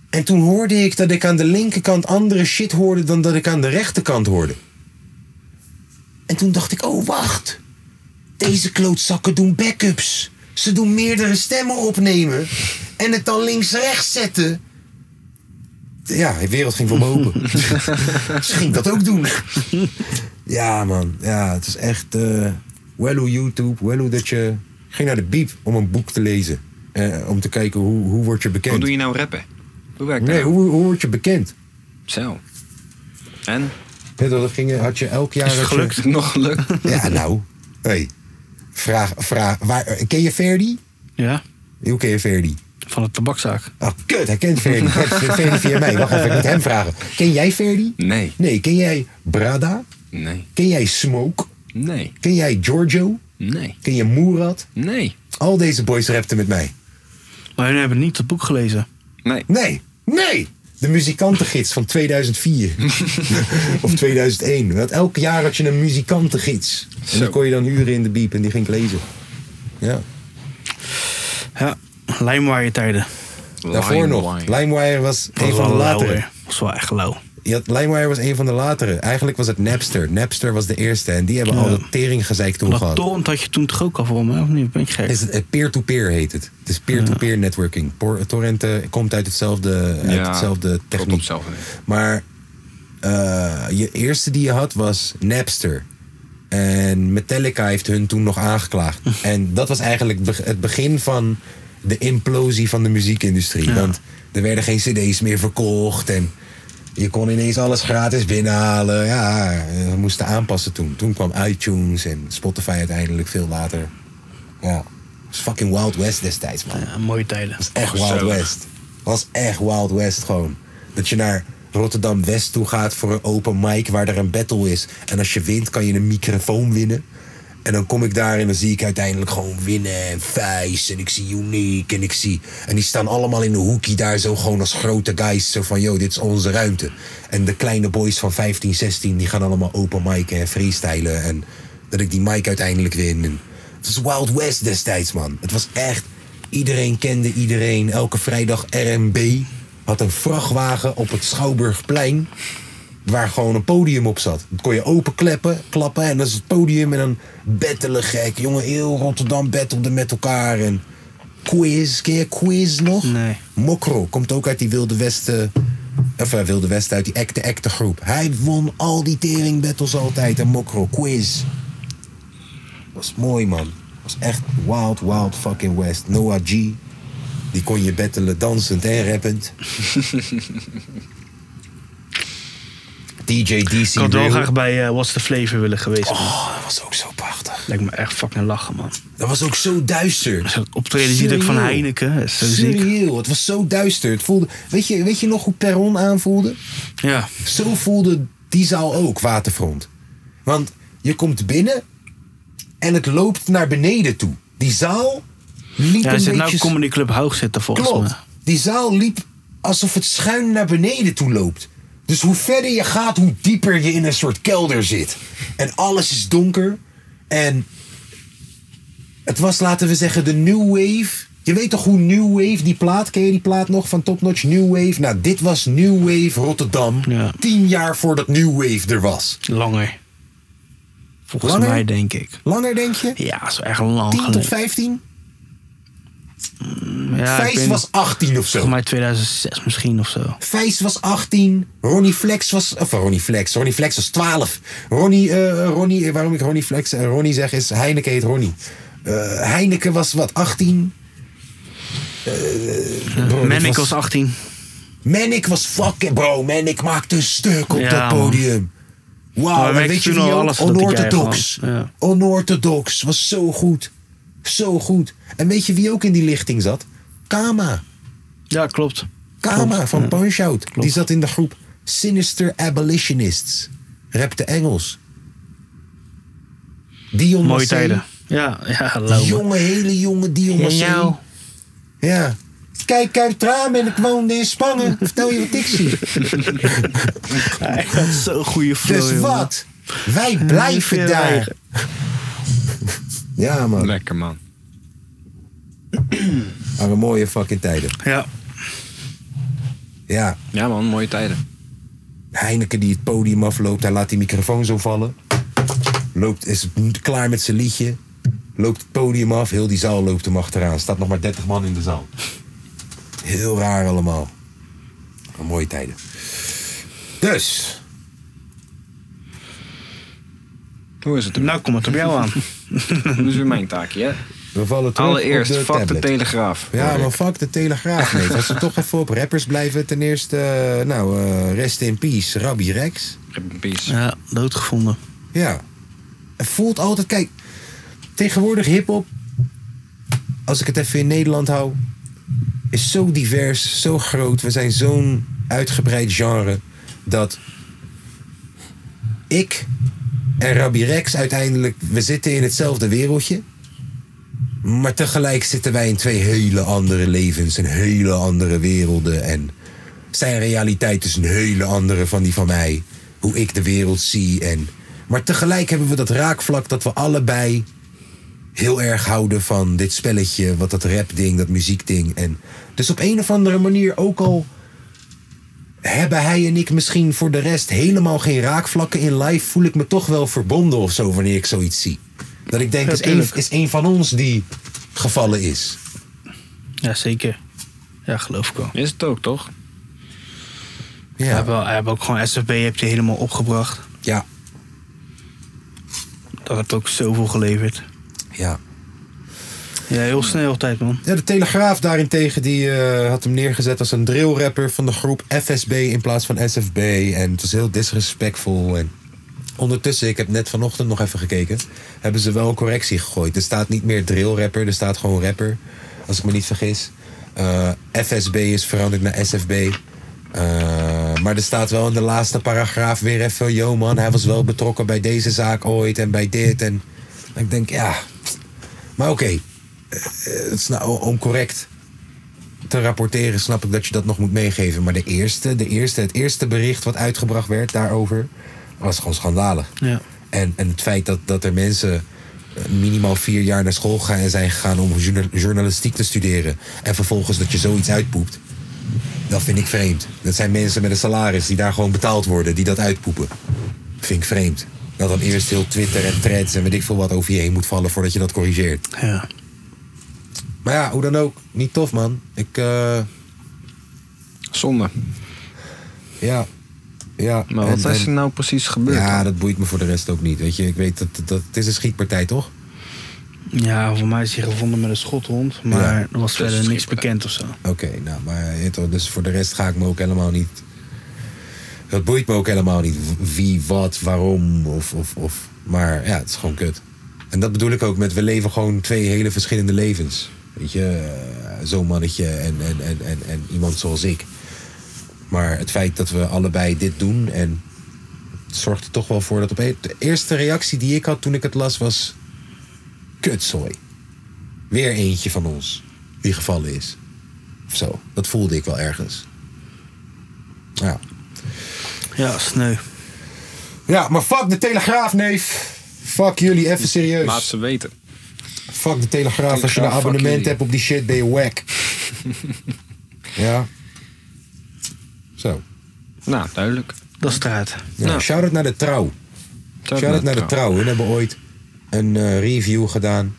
En toen hoorde ik dat ik aan de linkerkant andere shit hoorde dan dat ik aan de rechterkant hoorde. En toen dacht ik, oh wacht. Deze klootzakken doen backups. Ze doen meerdere stemmen opnemen. En het dan links-rechts zetten. Ja, de wereld ging voor me open. Ze ging dat ook doen. ja man, ja, het is echt... eh wello YouTube, wello dat je... Ik ging naar de biep om een boek te lezen. Eh, om te kijken hoe, hoe word je bekend. Hoe doe je nou rappen? Hoe werkt Nee, dat? hoe, hoe word je bekend? Zo. En? Hè, dat ging, had je elk jaar... Is het had je- gelukt? Nog gelukt? Ja, nou. Hey. Vraag, vraag. Waar, ken je Verdi? Ja. Hoe ken je Verdi? Van de tabakzaak. Oh, kut, hij kent Verdi. Hij kent Verdi via mij. Wacht even, ik moet hem vragen. Ken jij Verdi? Nee, Nee. Ken jij Brada? nee, Ken jij Smoke? nee, Ken jij Giorgio? nee, Ken je Moerad? nee, Al deze boys rapten met mij. Maar hun hebben niet het boek gelezen. nee. Nee, nee! De muzikantengids van 2004. of 2001. Want elk jaar had je een muzikantengids. En die Zo. kon je dan huren in de biep en die ging ik lezen. Ja. Ja, lijmwaaien tijden. Daarvoor nog. Limewire. LimeWire was Dat een was van de wel lauw, latere. hè. Dat was wel echt lauw. Je had, LimeWire was een van de latere. Eigenlijk was het Napster. Napster was de eerste. En die hebben al de teringgezeik toen Dat gehad. torrent had je toen toch ook al voor me, of niet? Ben ik gek? Is het eh, peer-to-peer heet het. Het is peer-to-peer networking. Por- Torrent eh, komt uit hetzelfde, uit Ja, hetzelfde Tot techniek. op hetzelfde. Maar eh, je eerste die je had was Napster. En Metallica heeft hun toen nog aangeklaagd. en dat was eigenlijk be- het begin van de implosie van de muziekindustrie. Want er werden geen cd's meer verkocht. En je kon ineens alles gratis binnenhalen. Ja, we moesten aanpassen toen. Toen kwam iTunes en Spotify uiteindelijk veel later. Ja, het was fucking Wild West destijds, man Ja, mooie tijden. was echt Wild West. was echt Wild West gewoon. Dat je naar Rotterdam West toe gaat voor een open mic waar er een battle is. En als je wint, kan je een microfoon winnen. En dan kom ik daar en dan zie ik uiteindelijk gewoon winnen en vijs. En ik zie Unique en ik zie... En die staan allemaal in een hoekie daar zo gewoon als grote guys. Zo van, yo, dit is onze ruimte. En de kleine boys van 15, 16, die gaan allemaal open mic en freestylen. En dat ik die mic uiteindelijk win. En het was Wild West destijds, man. Het was echt... Iedereen kende iedereen. Elke vrijdag RMB had een vrachtwagen op het Schouwburgplein. Waar gewoon een podium op zat. Dat kon je open kleppen, klappen en dat is het podium. En dan bettelen gek. Jongen, heel Rotterdam battelde met elkaar. En quiz, ken je quiz nog? Nee. Mokro komt ook uit die Wilde Westen. Of eh, Wilde Westen, uit die acte acte groep. Hij won al die tering battles altijd. En Mokro, quiz. Was mooi, man. Was echt wild, wild fucking west. Noah G. Die kon je battelen dansend en rappend. DJ DC Ik had wel Real. graag bij eh, What's the Flavor willen geweest. man. Oh, dat was ook zo prachtig. Lijkt me echt fucking lachen, man. Dat was ook zo duister. Het optreden ziet ook van Serieel. Heineken. Dat is zo ziek. Serieel, het was zo duister. Het voelde, weet, je, weet je nog hoe Perron aanvoelde? Ja. Zo voelde die zaal ook, Waterfront. Want je komt binnen en het loopt naar beneden toe. Die zaal liep Ja, een hij zit beetje... nou Comedy Club Hoog zitten volgens Klopt. me. Die zaal liep alsof het schuin naar beneden toe loopt. Dus hoe verder je gaat, hoe dieper je in een soort kelder zit. En alles is donker. En het was, laten we zeggen, de New Wave. Je weet toch hoe New Wave, die plaat, ken je die plaat nog van Top Notch? New Wave. Nou, dit was New Wave Rotterdam. Ja. Tien jaar voordat New Wave er was. Langer. Volgens Langer? mij denk ik. Langer, denk je? Ja, dat is echt lang 10 tot geleden. 15? Ja, ik Vijs ben- was 18 of zo. Volgens mij 2006 misschien of zo. Vijs was 18. Ronnie Flex was. Of Ronnie Flex. Ronnie Flex was 12. Ronnie. eh, Ronnie eh, waarom ik Ronnie Flex en Ronnie zeg is. Heineken heet Ronnie. Eh, Heineken was wat? 18. Bro, dit was- Manic was 18. Manic was fucking. Bro, Manic maakte een stuk op Ja, dat man. podium. Maar Wauw, en Manic weet je toen wie al ook? alles dat die guy Onorthodox. gewoon, ja. Onorthodox. Was zo goed. Zo goed. En weet je wie ook in die lichting zat? Kama. Ja, klopt. Kama Klopt, van ja. Punch Out. Die zat in de groep Sinister Abolitionists. Rapte Engels. Dion Mooie Massé. tijden. Ja, ja, lauw. man. Jonge, hele jonge Dion Massé. jou. Ja. Kijk uit het raam en ik woonde in Spangen. Vertel je wat ik zie. Hij had zo'n goede flow, Dus jongen. wat? Wij blijven Veel daar. eigen. Ja man, Lekker man. waren mooie fucking tijden. Ja, Ja, Ja man, mooie tijden. Heineken die het podium afloopt, hij laat die microfoon zo vallen. Loopt, is klaar met zijn liedje. Loopt het podium af, heel die zaal loopt hem achteraan. Staat nog maar 30 man in de zaal. Heel raar allemaal. Maar mooie tijden. Dus, Hoe is het er? nou kom het op jou aan. dat is weer mijn taakje hè. we vallen terug Allereerst, op de fuck de tablet. Telegraaf. ja, hoor maar ik. fuck de Telegraaf. Nee, als we toch even op rappers blijven. Ten eerste, eh, nou, eh, rest in peace, Rabbi Rex. Rip in peace. Ja, doodgevonden. Ja. Het voelt altijd, kijk, tegenwoordig hip-hop. als ik het even in Nederland hou, is zo divers, zo groot. We zijn zo'n uitgebreid genre dat ik en Rabbi Rex uiteindelijk, we zitten in hetzelfde wereldje. Maar tegelijk zitten wij in twee hele andere levens en hele andere werelden. En zijn realiteit is een hele andere van die van mij. Hoe ik de wereld zie. En, maar tegelijk hebben we dat raakvlak dat we allebei heel erg houden van dit spelletje. Wat dat rap-ding, dat muziekding. En dus op een of andere manier, ook al hebben hij en ik misschien voor de rest helemaal geen raakvlakken in live, voel ik me toch wel verbonden of zo wanneer ik zoiets zie. Dat ik denk, Ja, is, één, tuurlijk. is één van ons die gevallen is. Ja, zeker. Ja, geloof ik wel. Is het ook, toch? Hij Ja. heeft wel- hij heeft ook gewoon SFB heb je helemaal opgebracht. Ja. Dat heeft ook zoveel geleverd. Ja. Ja, heel snel altijd, man. Ja, de Telegraaf daarentegen die, eh, had hem neergezet als een drillrapper van de groep FSB in plaats van SFB. En het was heel disrespectful. En ondertussen, ik heb net vanochtend nog even gekeken, hebben ze wel een correctie gegooid. Er staat niet meer drillrapper, er staat gewoon rapper, als ik me niet vergis. Eh, FSB is veranderd naar SFB. Eh, maar er staat wel in de laatste paragraaf weer even, yo man, hij was wel betrokken bij deze zaak ooit en bij dit. En ik denk, ja, maar oké, eh, het is nou om correct te rapporteren, snap ik dat je dat nog moet meegeven. Maar de eerste, de eerste, het eerste bericht wat uitgebracht werd daarover, was gewoon schandalig. Ja. En, en het feit dat, dat er mensen eh, minimaal vier jaar naar school gaan en zijn gegaan om journa- journalistiek te studeren. En vervolgens dat je zoiets uitpoept. Dat vind ik vreemd. Dat zijn mensen met een salaris die daar gewoon betaald worden, die dat uitpoepen. Vind ik vreemd. Dat dan eerst heel Twitter en threads en weet ik veel wat over je heen moet vallen voordat je dat corrigeert. Ja. Maar ja, hoe dan ook, niet tof man. Ik, eh, Zonde. ja, ja. Maar wat En- is er en- nou precies gebeurd? Ja, dat boeit me voor de rest ook niet. Weet je, ik weet dat, dat, dat- het is een schietpartij toch? ja, voor mij is hij gevonden met een schothond. Maar Ja. er was verder niks schipper. bekend of zo. Oké, nou, maar je weet toch, dus voor de rest ga ik me ook helemaal niet. Dat boeit me ook helemaal niet. Wie, wat, waarom, of, of, of. Maar ja, het is gewoon kut. En dat bedoel ik ook met, we leven gewoon twee hele verschillende levens. Weet je, eh, zo'n mannetje en, en, en, en, en iemand zoals ik. Maar het feit dat we allebei dit doen en het zorgt er toch wel voor dat op een- de eerste reactie die ik had toen ik het las was, kutzooi. Weer eentje van ons die gevallen is. Of zo. Dat voelde ik wel ergens. Ja. Ja, sneu. Ja, maar fuck de Telegraaf, neef. Fuck jullie, even serieus. Laat ze weten. Fuck de Telegraaf. Als je een Telegraaf, fuck abonnement jullie. hebt op die shit, ben je wack. ja. Zo. Nou, duidelijk. Dat is straat. Ja. Nou. Shout-out naar de Trouw. Shout-out naar de Trouw. Hun hebben ooit een eh, review gedaan.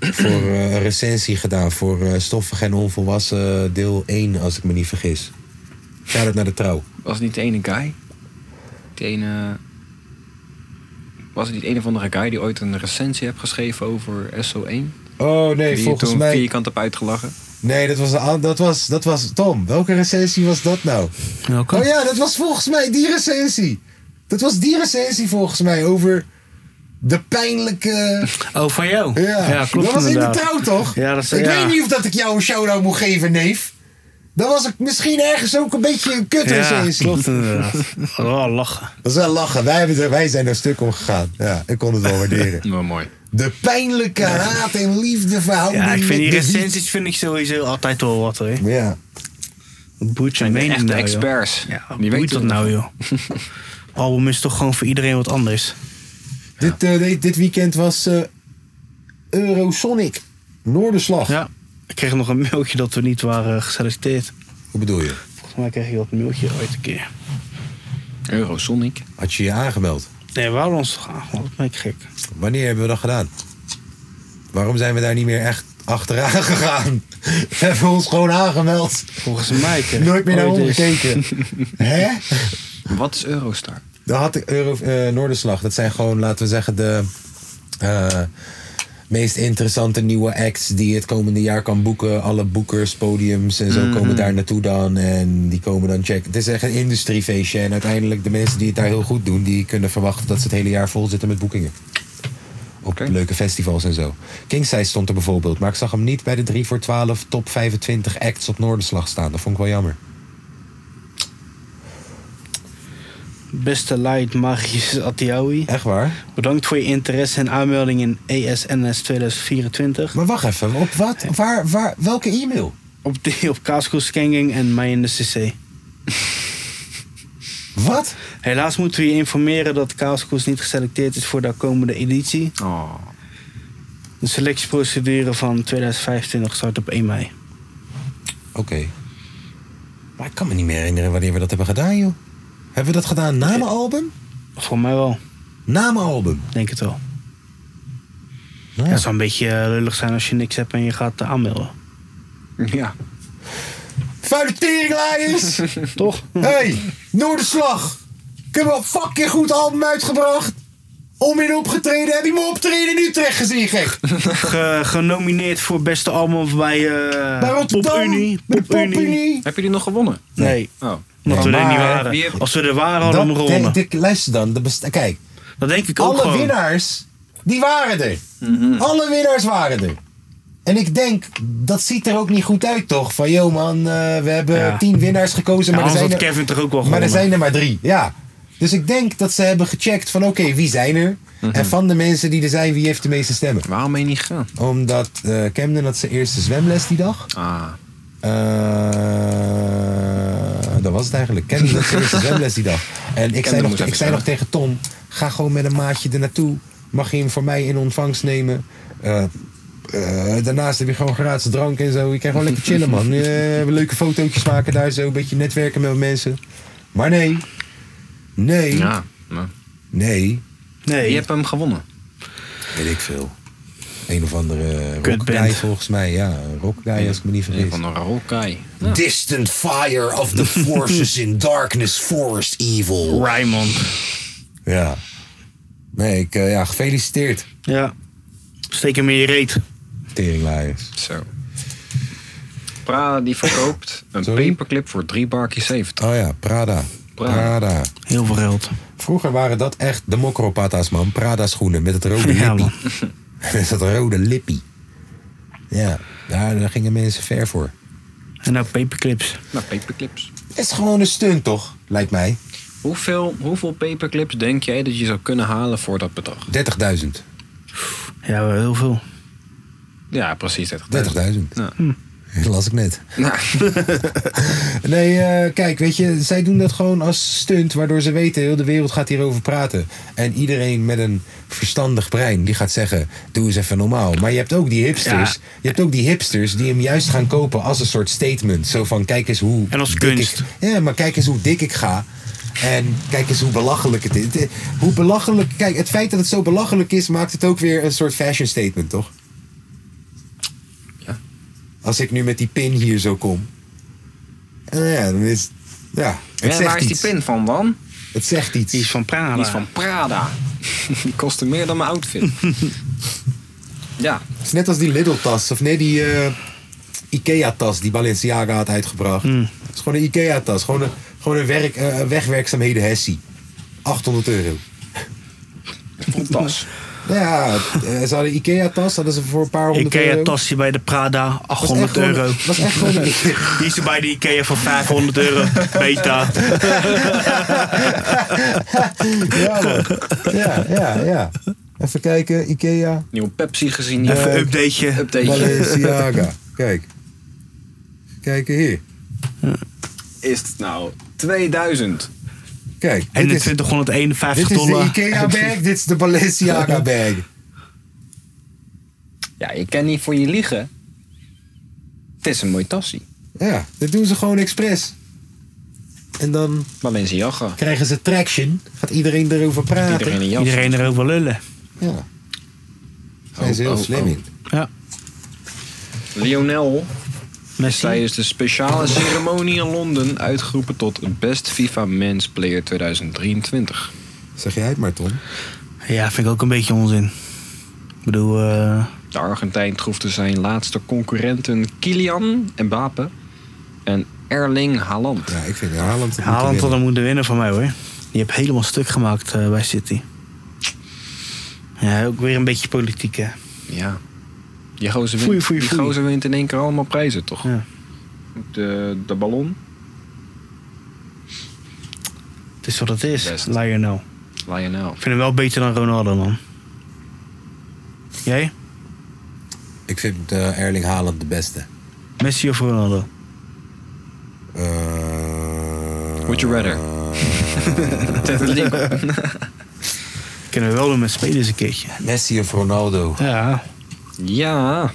Voor eh, een recensie gedaan. Voor eh, Stoffig en Onvolwassen eh, deel 1, als ik me niet vergis. Shout-out naar de Trouw. Was niet de ene guy? Die ene... Was het niet een of andere guy die ooit een recensie heeft geschreven over SO1? Oh nee, die je volgens toen mij... vierkant heb uitgelachen. Nee, dat was, de an- dat, was, dat was Tom. Welke recensie was dat nou? Welke? Oh ja, dat was volgens mij die recensie. Dat was die recensie volgens mij over de pijnlijke. Oh, van jou? Ja, klopt Dat was inderdaad. in de trouw toch? Ja, dat is- ik ja. weet niet of dat ik jou een shout-out moet geven, neef. Dan was ik misschien ergens ook een beetje een kut Ja, recensie. klopt inderdaad. Oh, lachen. Dat is wel lachen. Wij, hebben er- wij zijn er stuk om gegaan. Ja, ik kon het wel waarderen. Nou, mooi. De pijnlijke haat en liefde verhouding. Ja, ik vind die met de liefde. recensies vind ik sowieso altijd wel wat, hoor. Ja. Boeit je Zijn de mening echte nou, joh. experts. Ja, wat die boeit weten dat nou, joh? Album is toch gewoon voor iedereen wat anders. Dit, eh, dit, dit weekend was eh, Eurosonic. Noorderslag. Ja. Ik kreeg nog een mailtje dat we niet waren geselecteerd. Hoe bedoel je? Volgens mij kreeg je dat mailtje ooit een keer. Eurosonic. Had je je aangemeld? Nee, waarom ons toch aan? Dat ben ik gek. Wanneer hebben we dat gedaan? Waarom zijn we daar niet meer echt achteraan gegaan? We hebben ons gewoon aangemeld. Volgens mij kreeg ik Nooit meer naar ooit onder eens- gekeken. Hè? Wat is Eurostar? Dan had ik Euro, eh, Noorderslag. Dat zijn gewoon, laten we zeggen, de eh, meest interessante nieuwe acts die het komende jaar kan boeken. Alle boekers, podiums en zo komen daar naartoe dan. En die komen dan checken. Het is echt een industriefeestje. En uiteindelijk de mensen die het daar heel goed doen, die kunnen verwachten dat ze het hele jaar vol zitten met boekingen. op Oké. leuke festivals en zo. Kingside stond er bijvoorbeeld, maar ik zag hem niet bij de 3 voor 12 top 25 acts op Noorderslag staan. Dat vond ik wel jammer. Beste Light Magius Atiawi. Echt waar? Bedankt voor je interesse en aanmelding in ESNS 2024. Maar wacht even, op wat? Waar, waar, welke e-mail? Op, de- op Kaaskoe Skenging en mij in de CC. Wat? Helaas moeten we je informeren dat Kaaskoes niet geselecteerd is voor de komende editie. Oh. De selectieprocedure van 2025 start op 1 mei. Oké. Maar ik kan me niet meer herinneren wanneer we dat hebben gedaan, joh. Hebben we dat gedaan na mijn album? Voor mij wel, Na mijn album. denk het wel. Nou, Ja. ja. Het zou een beetje eh, lullig zijn als je niks hebt en je gaat eh, aanmelden. Ja. Vuile teringlaaiers! Toch? hey, Noorderslag! Ik heb wel fucking goed album uitgebracht. Om in opgetreden heb je mijn optreden in Utrecht gezien, gek. Ge- genomineerd voor beste album bij, eh, Bij Rotterdam. Pop Unie. bij de Pop Unie. Pop-Unie. Heb je die nog gewonnen? Nee, Oh. omdat we er maar niet wie heeft- waren. Als we er waren, hadden we hem Dat- gewonnen. kijk, luister dan. de best- kijk, Dat denk ik ook alle gewoon. Mhm. winnaars, die waren er. Alle winnaars waren er. En ik denk, dat ziet er ook niet goed uit, toch? Van, joh man, eh, we hebben Ja. tien winnaars gekozen, maar, Ja, er anders zijn had er, Kevin toch ook wel maar er gewonnen. zijn er maar drie. Ja. Dus ik denk dat ze hebben gecheckt van, oké, wie zijn er? Mhm. En van de mensen die er zijn, wie heeft de meeste stemmen? Waarom ben je niet gegaan? Omdat eh Camden had zijn eerste zwemles die dag. Ah. Eh, dat was het eigenlijk. Camden had zijn eerste zwemles die dag. En ik zei, moest nog, even ik zei nog zwemmen. tegen Tom, ga gewoon met een maatje er naartoe. Mag je hem voor mij in ontvangst nemen? Eh, eh, daarnaast heb je gewoon gratis drank en zo. Je kan gewoon lekker chillen, man. Eh, leuke fotootjes maken daar zo. Een beetje netwerken met mensen. Maar nee. Nee. Ja. nou. Nee. Nee, Je hebt hem gewonnen. Weet ik veel. Een of andere rockguy Kutband. volgens mij. Ja, rockguy als ik me niet Een vergis. van de Rokai. Ja. Distant fire of the forces in darkness, forest evil. Raymond. Ja. Nee, ik, eh, ja, gefeliciteerd, Ja. Steek hem in je reet. teringlaaiers. Zo. Pra die verkoopt een Sorry? paperclip voor drie barkjes 70. Oh ja, Prada. Prada. Prada. Heel veel geld. Vroeger waren dat echt de mokropata's, man. Prada schoenen met het rode Ja, lippie. man. met dat rode lippie. Ja, daar, daar gingen mensen ver voor. En nou paperclips. Nou, paperclips. Het is gewoon een stunt, toch? Lijkt mij. Hoeveel, hoeveel paperclips denk jij dat je zou kunnen halen voor dat bedrag? 30.000. Ja, wel heel veel. Ja, precies. 30.000. 30.000. Ja. Dat Hm. las ik net. Nou, Nee, eh, kijk, weet je, zij doen dat gewoon als stunt, waardoor ze weten, heel de wereld gaat hierover praten. En iedereen met een verstandig brein, die gaat zeggen, doe eens even normaal. Maar je hebt ook die hipsters, Ja. je hebt ook die hipsters die hem juist gaan kopen als een soort statement. Zo van, kijk eens hoe... En als dik kunst. Ik, ja, maar kijk eens hoe dik ik ga. En kijk eens hoe belachelijk het is. Het- eh, Hoe belachelijk... Kijk, het feit dat het zo belachelijk is, maakt het ook weer een soort fashion statement, toch? Ja. Als ik nu met die pin hier zo kom. Eh, ja, dan is. Ja, het ja, zegt waar is die iets. pin van, Wan? Het zegt iets. Die is van Prada. Die is van Prada. Die kostte meer dan mijn outfit. ja, Het is net als die Lidl-tas. Of nee, die eh, Ikea-tas die Balenciaga had uitgebracht. Hmm. Het is gewoon een Ikea-tas. Gewoon een, gewoon een werk, eh, wegwerkzaamheden hessie. 800 euro. fantastisch. Nou Ja, eh, ze hadden Ikea-tas. Hadden ze voor een paar honderd euro. Ikea tasje bij de Prada, Was echt 800 gewoon- euro. Was echt gewoon een- Die is er bij de Ikea voor 500 euro. Beta. ja, man. ja, ja, ja. Even kijken, Ikea. Nieuwe Pepsi gezien. hier. Even een updateje. Update. Balenciaga. Kijk. Kijken hier. Is het nou 2000? Kijk. En dit de is- 2051 Dit is de dollar. Ikea-bag, dit is de Balenciaga-bag. Ja, je kan niet voor je liegen. Het is een mooi tassie. Ja, dit doen ze gewoon expres. En dan Balenciaga. krijgen ze traction. Gaat iedereen erover praten. Iedereen in jas. Iedereen erover lullen. Ja. Zijn ze Oh, heel oh, slim oh. in. Ja, Lionel Messi. tijdens de speciale ceremonie in Londen uitgeroepen tot Best FIFA Men's Player 2023. Zeg jij het maar, Tom. Ja, vind ik ook een beetje onzin. Ik bedoel, eh, De Argentijn troefde zijn laatste concurrenten Kylian Mbappe en Erling Haaland. Ja, ik vind Haaland het Haaland had moeten hem moeten winnen van mij hoor. Die heb helemaal stuk gemaakt eh, bij City. Ja, ook weer een beetje politiek, hè. Ja. Die gozer Foei, wint, foei, die foei. gozer wint in één keer allemaal prijzen, toch? Ja. De, de ballon. Het is wat het is, Best. Lionel. Lionel. Ik vind hem wel beter dan Ronaldo, man. Jij? Ik vind eh, Erling Haaland de beste. Messi of Ronaldo? Eh, Would you rather? Zet een link op. Kunnen we wel doen met spelers een keertje. Messi of Ronaldo? Ja. Ja.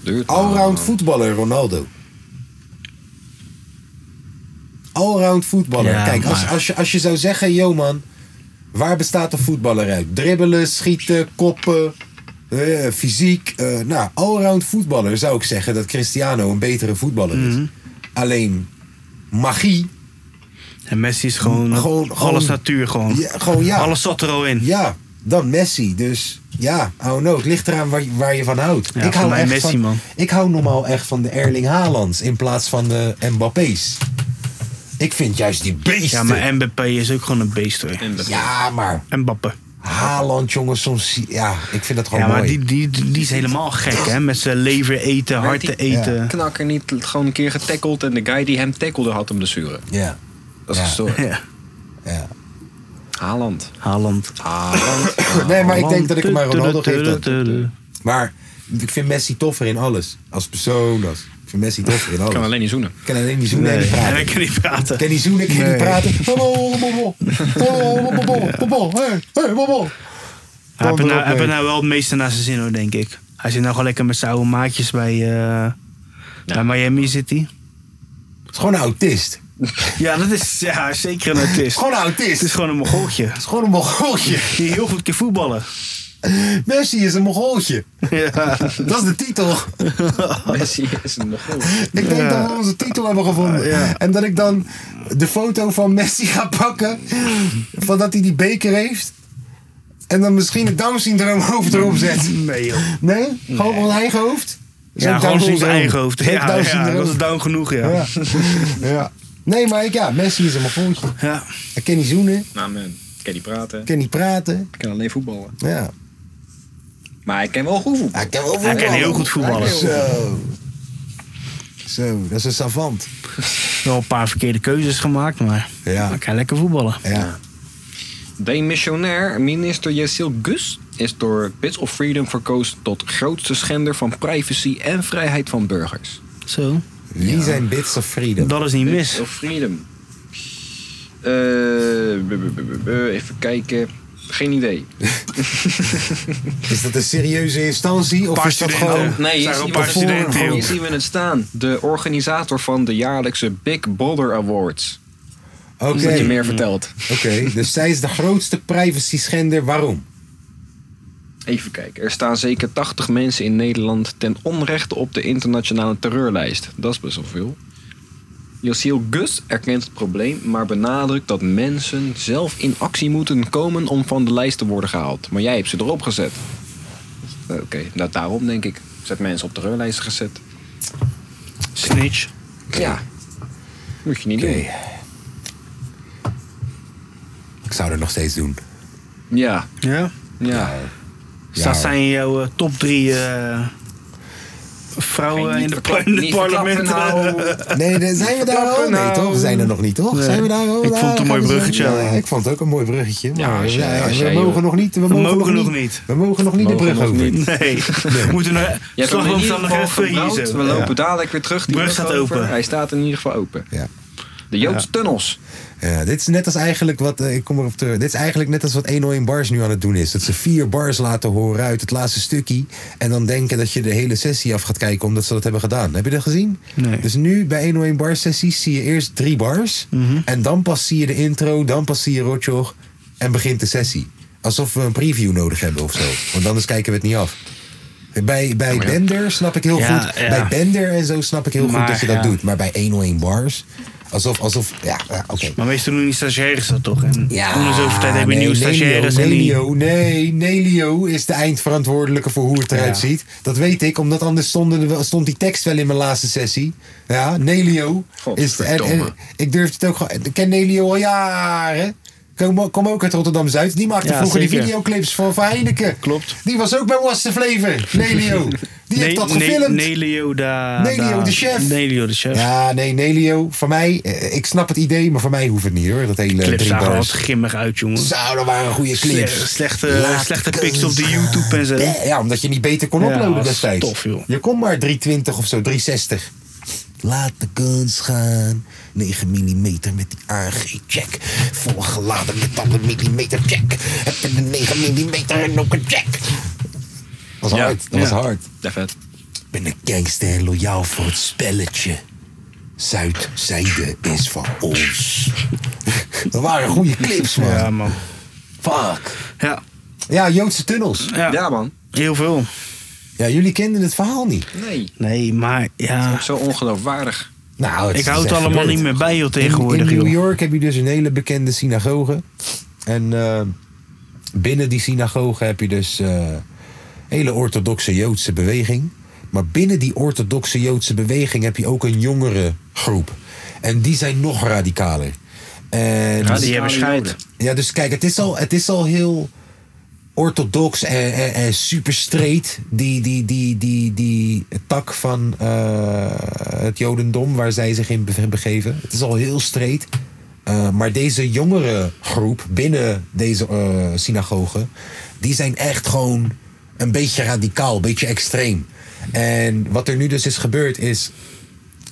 Duurt Allround voetballer, Ronaldo. Allround voetballer. Ja, Kijk, als, maar- als, je, als je zou zeggen, yo man, waar bestaat een voetballer uit? Dribbelen, schieten, koppen, eh, fysiek. eh, nou, allround voetballer zou ik zeggen dat Cristiano een betere voetballer is. Mhm. Alleen magie, En Messi is gewoon, Gewoon- alles gewoon- natuur gewoon. ja, gewoon ja. Alles zat er al in. Ja, dan Messi. Dus ja, I don't know. Het ligt eraan waar, waar je van houdt. Ja, voor mij Messi, van, man. Ik hou normaal echt van de Erling Haalands in plaats van de Mbappé's. Ik vind juist die beesten. Ja, maar Mbappé is ook gewoon een beest hoor. Mbappé. Ja, maar Mbappé. Haaland, jongens, soms... Ja, ik vind dat gewoon Ja, maar Oh, mooi. die, die, die is helemaal gek hè. Met zijn lever eten, Werd harten die- eten. Knakker niet gewoon een keer getackeld en de guy die hem tackelde had hem blessure. Ja, Dat is Ja. gestoord. Ja. ja. Haaland. Haaland. Haaland. Nee, maar Ah, ik denk dat ik hem aan maar Ronaldo geef. dan. Maar ik vind Messi toffer in alles. Als persoon, als... Ik vind Messi toffer in alles. kan alleen niet zoenen. Ik kan alleen niet zoenen en Nee, niet praten. hij kan niet praten. Ik ken die zoen, ik ken Nee. die praten. Bobo, bobo, bobo, bobo, bobo, hey, hey, bobo. Hij heeft Kom er erop, nou, hij heeft er nee. nou wel het meeste naar zijn zin hoor, denk ik. Hij zit nou gewoon lekker met zijn oude maatjes bij, eh, bij Miami City. Het is gewoon een autist. Ja, dat is ja, zeker een Het autist. is gewoon een autist. Het is gewoon een mogooltje. Het is gewoon een mongooltje. Die heel goed kan voetballen. Messi is een mongooltje. Ja. Dat is de titel. Messi is een nog Ik denk dat we onze titel hebben gevonden. Ja. En dat ik dan de foto van Messi ga pakken. Van dat hij die beker heeft. En dan misschien het Down-syndroom hoofd erop zet. Nee joh. Nee? Gewoon ons eigen hoofd? Ja, gewoon in zijn eigen hoofd. Ja, Zo'n ja, Down-syndroom. dat is down genoeg ja. Ja. Ja, ja. Nee, maar ik, ja, Messi is een mongooltje. Hij kan niet zoenen, Nou man, ik kan niet praten. kan niet praten. Ik kan alleen voetballen. Ja. Maar ik kan wel goed voetballen. Hij kan wel hij kan heel goed voetballen. Zo. Zo, dat is een savant. Wel een paar verkeerde keuzes gemaakt, maar Ja. hij kan lekker voetballen. Ja. Demissionair minister Yesil Gus is door Bits of Freedom verkozen tot grootste schender van privacy en vrijheid van burgers. Zo. Wie zijn Bits of Freedom? Dat is niet mis. Bits of Freedom. Eh, bu- bu- bu- bu- bu- even kijken. Geen idee. Is dat een serieuze instantie? Of Paar is dat studenten. gewoon... Nee, Zijn er hier zien, een we paar het- studenten, joh? hier zien we het staan. De organisator van de jaarlijkse Big Brother Awards. Oké, Mm. Is Dat je meer vertelt. oké. dus zij is de grootste privacy schender. Waarom? Even kijken. Er staan zeker 80 mensen in Nederland ten onrechte op de internationale terreurlijst. Dat is best wel veel. Yasiel Gus erkent het probleem, maar benadrukt dat mensen zelf in actie moeten komen om van de lijst te worden gehaald. Maar jij hebt ze erop gezet. Eh, Oké, nou daarom denk ik. Zet mensen op terreurlijsten gezet. Snitch. Ja. Moet je niet Oké. Ik zou dat nog steeds doen. doen. Ja, Ja. ja. Dus dat zijn jouw eh, top drie eh, vrouwen Geen- eh, in niet de, verklap- par- in eh, de niet verklappen parlementen. nou. Nee, nee, zijn we daar al? Nee, toch? Zijn er nog niet, toch? Zijn we daar al? Ik vond het een mooi bruggetje. Ja, ik vond het ook een mooi bruggetje. Maar Ja, als jij- ja, als we jij, mogen joh. nog niet. We mogen, nog niet. We mogen nog niet de Mogen brug nog over. niet. Nee, we moeten naar Je hebt hem in slagboom ieder van de geval Greffel hier gebouwd. zo. We lopen dadelijk weer terug. Die Brug staat over. open. Hij staat in ieder geval open. Ja. De Joodse tunnels. Ja, dit is net als eigenlijk wat, eh, ik kom erop terug. Dit is eigenlijk net als wat 101 Bars nu aan het doen is. Dat ze vier bars laten horen uit het laatste stukkie. En dan denken dat je de hele sessie af gaat kijken omdat ze dat hebben gedaan. Heb je dat gezien? Nee. Dus nu bij 101 Bars sessies zie je eerst drie bars. Mhm. En dan pas zie je de intro, dan pas zie je Rotjoch. En begint de sessie. Alsof we een preview nodig hebben of zo. Want anders kijken we het niet af. Bij, bij Bender snap ik heel Ja, goed. ja. Bij Bender en zo snap ik heel Maar, goed dat je dat ja. doet. Maar bij 101 Bars Alsof, alsof, ja, ja, oké. Maar meestal doen die stagiaires dat toch? En Ja, om de zoveel tijd heb je nee, nieuwe Nelio, stagiaires. en die... Nelio, nee, Nelio is de eindverantwoordelijke voor hoe het eruit Ja. ziet. Dat weet ik, omdat anders stonden er wel- stond die tekst wel in mijn laatste sessie. Ja, Nelio is. En, en- Godverdomme. ik durf het ook gewoon. Ik ken Nelio al jaren. Kom, kom ook uit Rotterdam Zuid. Die maakte Ja, vroeger die zeker. videoclips van Van Heineken. Klopt. Die was ook bij Was the Flavor. Nelio. Die heeft dat Ne- gefilmd. Nelio, da, Nelio, da- de chef. Nelio, de chef. ja, nee, Nelio. Voor mij, eh, ik snap het idee, maar voor mij hoeft het niet hoor. Dat hele Clips drie zagen er bars. wat grimmig uit, jongen. Zo, dat waren goede Slechte, clips. slechte, Laat slechte ik pics op de eens YouTube en zo. gaan. Ja, omdat je niet beter kon Ja, uploaden dat is destijds. tof, joh. Je kon maar 320 of zo, 360. Laat de guns gaan. 9 mm met die AG check. Volgeladen met alle millimeter check. Heb je een 9 mm en ook een check. Dat was Ja, hard, dat ja. was hard. Ja, vet. Ik ben een gangster en loyaal voor het spelletje. Zuidzijde is van ons. dat waren goede clips, man. Ja, man. Fuck. Ja, Ja, Joodse tunnels. ja. Ja, man. heel veel. Ja, jullie kenden het verhaal niet. Nee. Nee, maar ja. Zo ongeloofwaardig. Nou, Ik hou het allemaal niet meer bij, joh, In, tegenwoordig, in New joh. York heb je dus een hele bekende synagoge. En eh, binnen die synagoge heb je dus eh hele orthodoxe Joodse beweging. Maar binnen die orthodoxe Joodse beweging heb je ook een jongere groep. En die zijn nog radicaler. En Ja, die hebben scheid. ja, dus kijk, het is al, het is al heel orthodox en, en, en super straight. Die, die, die, die, die tak van eh, het Jodendom waar zij zich in be- begeven. Het is al heel straight. Eh, maar deze jongere groep binnen deze eh synagoge, die zijn echt gewoon een beetje radicaal, een beetje extreem. En wat er nu dus is gebeurd is,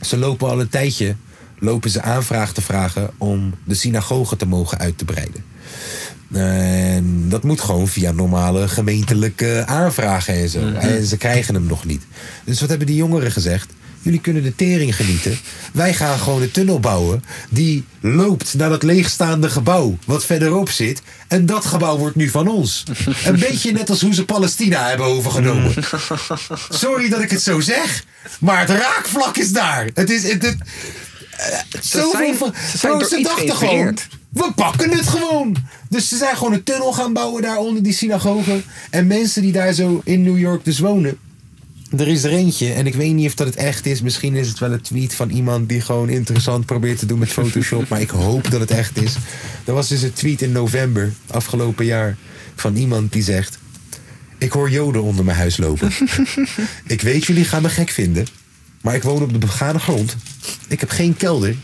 ze lopen al een tijdje lopen ze aanvraag te vragen om de synagoge te mogen uit te breiden. En dat moet gewoon via normale gemeentelijke aanvragen en zo. En ze krijgen hem nog niet. Dus wat hebben die jongeren gezegd? Jullie kunnen de tering genieten. Wij gaan gewoon een tunnel bouwen. Die loopt naar dat leegstaande gebouw wat verderop zit. En dat gebouw wordt nu van ons. Een beetje net als hoe ze Palestina hebben overgenomen. Sorry dat ik het zo zeg. Maar het raakvlak is daar. Het is. Het, het, ze zijn- van, ze zijn Bro, door ze iets dachten gewoon, geïnspireerd. we pakken het gewoon. Dus ze zijn gewoon een tunnel gaan bouwen daar onder die synagoge. En mensen die daar zo in New York dus wonen. Er is er eentje, en ik weet niet of dat het echt is. Misschien is het wel een tweet van iemand die gewoon interessant probeert te doen met Photoshop. maar ik hoop dat het echt is. Er was dus een tweet in november, afgelopen jaar, van iemand die zegt... Ik hoor joden onder mijn huis lopen. ik weet, jullie gaan me gek vinden. Maar ik woon op de begane grond. Ik heb geen kelder.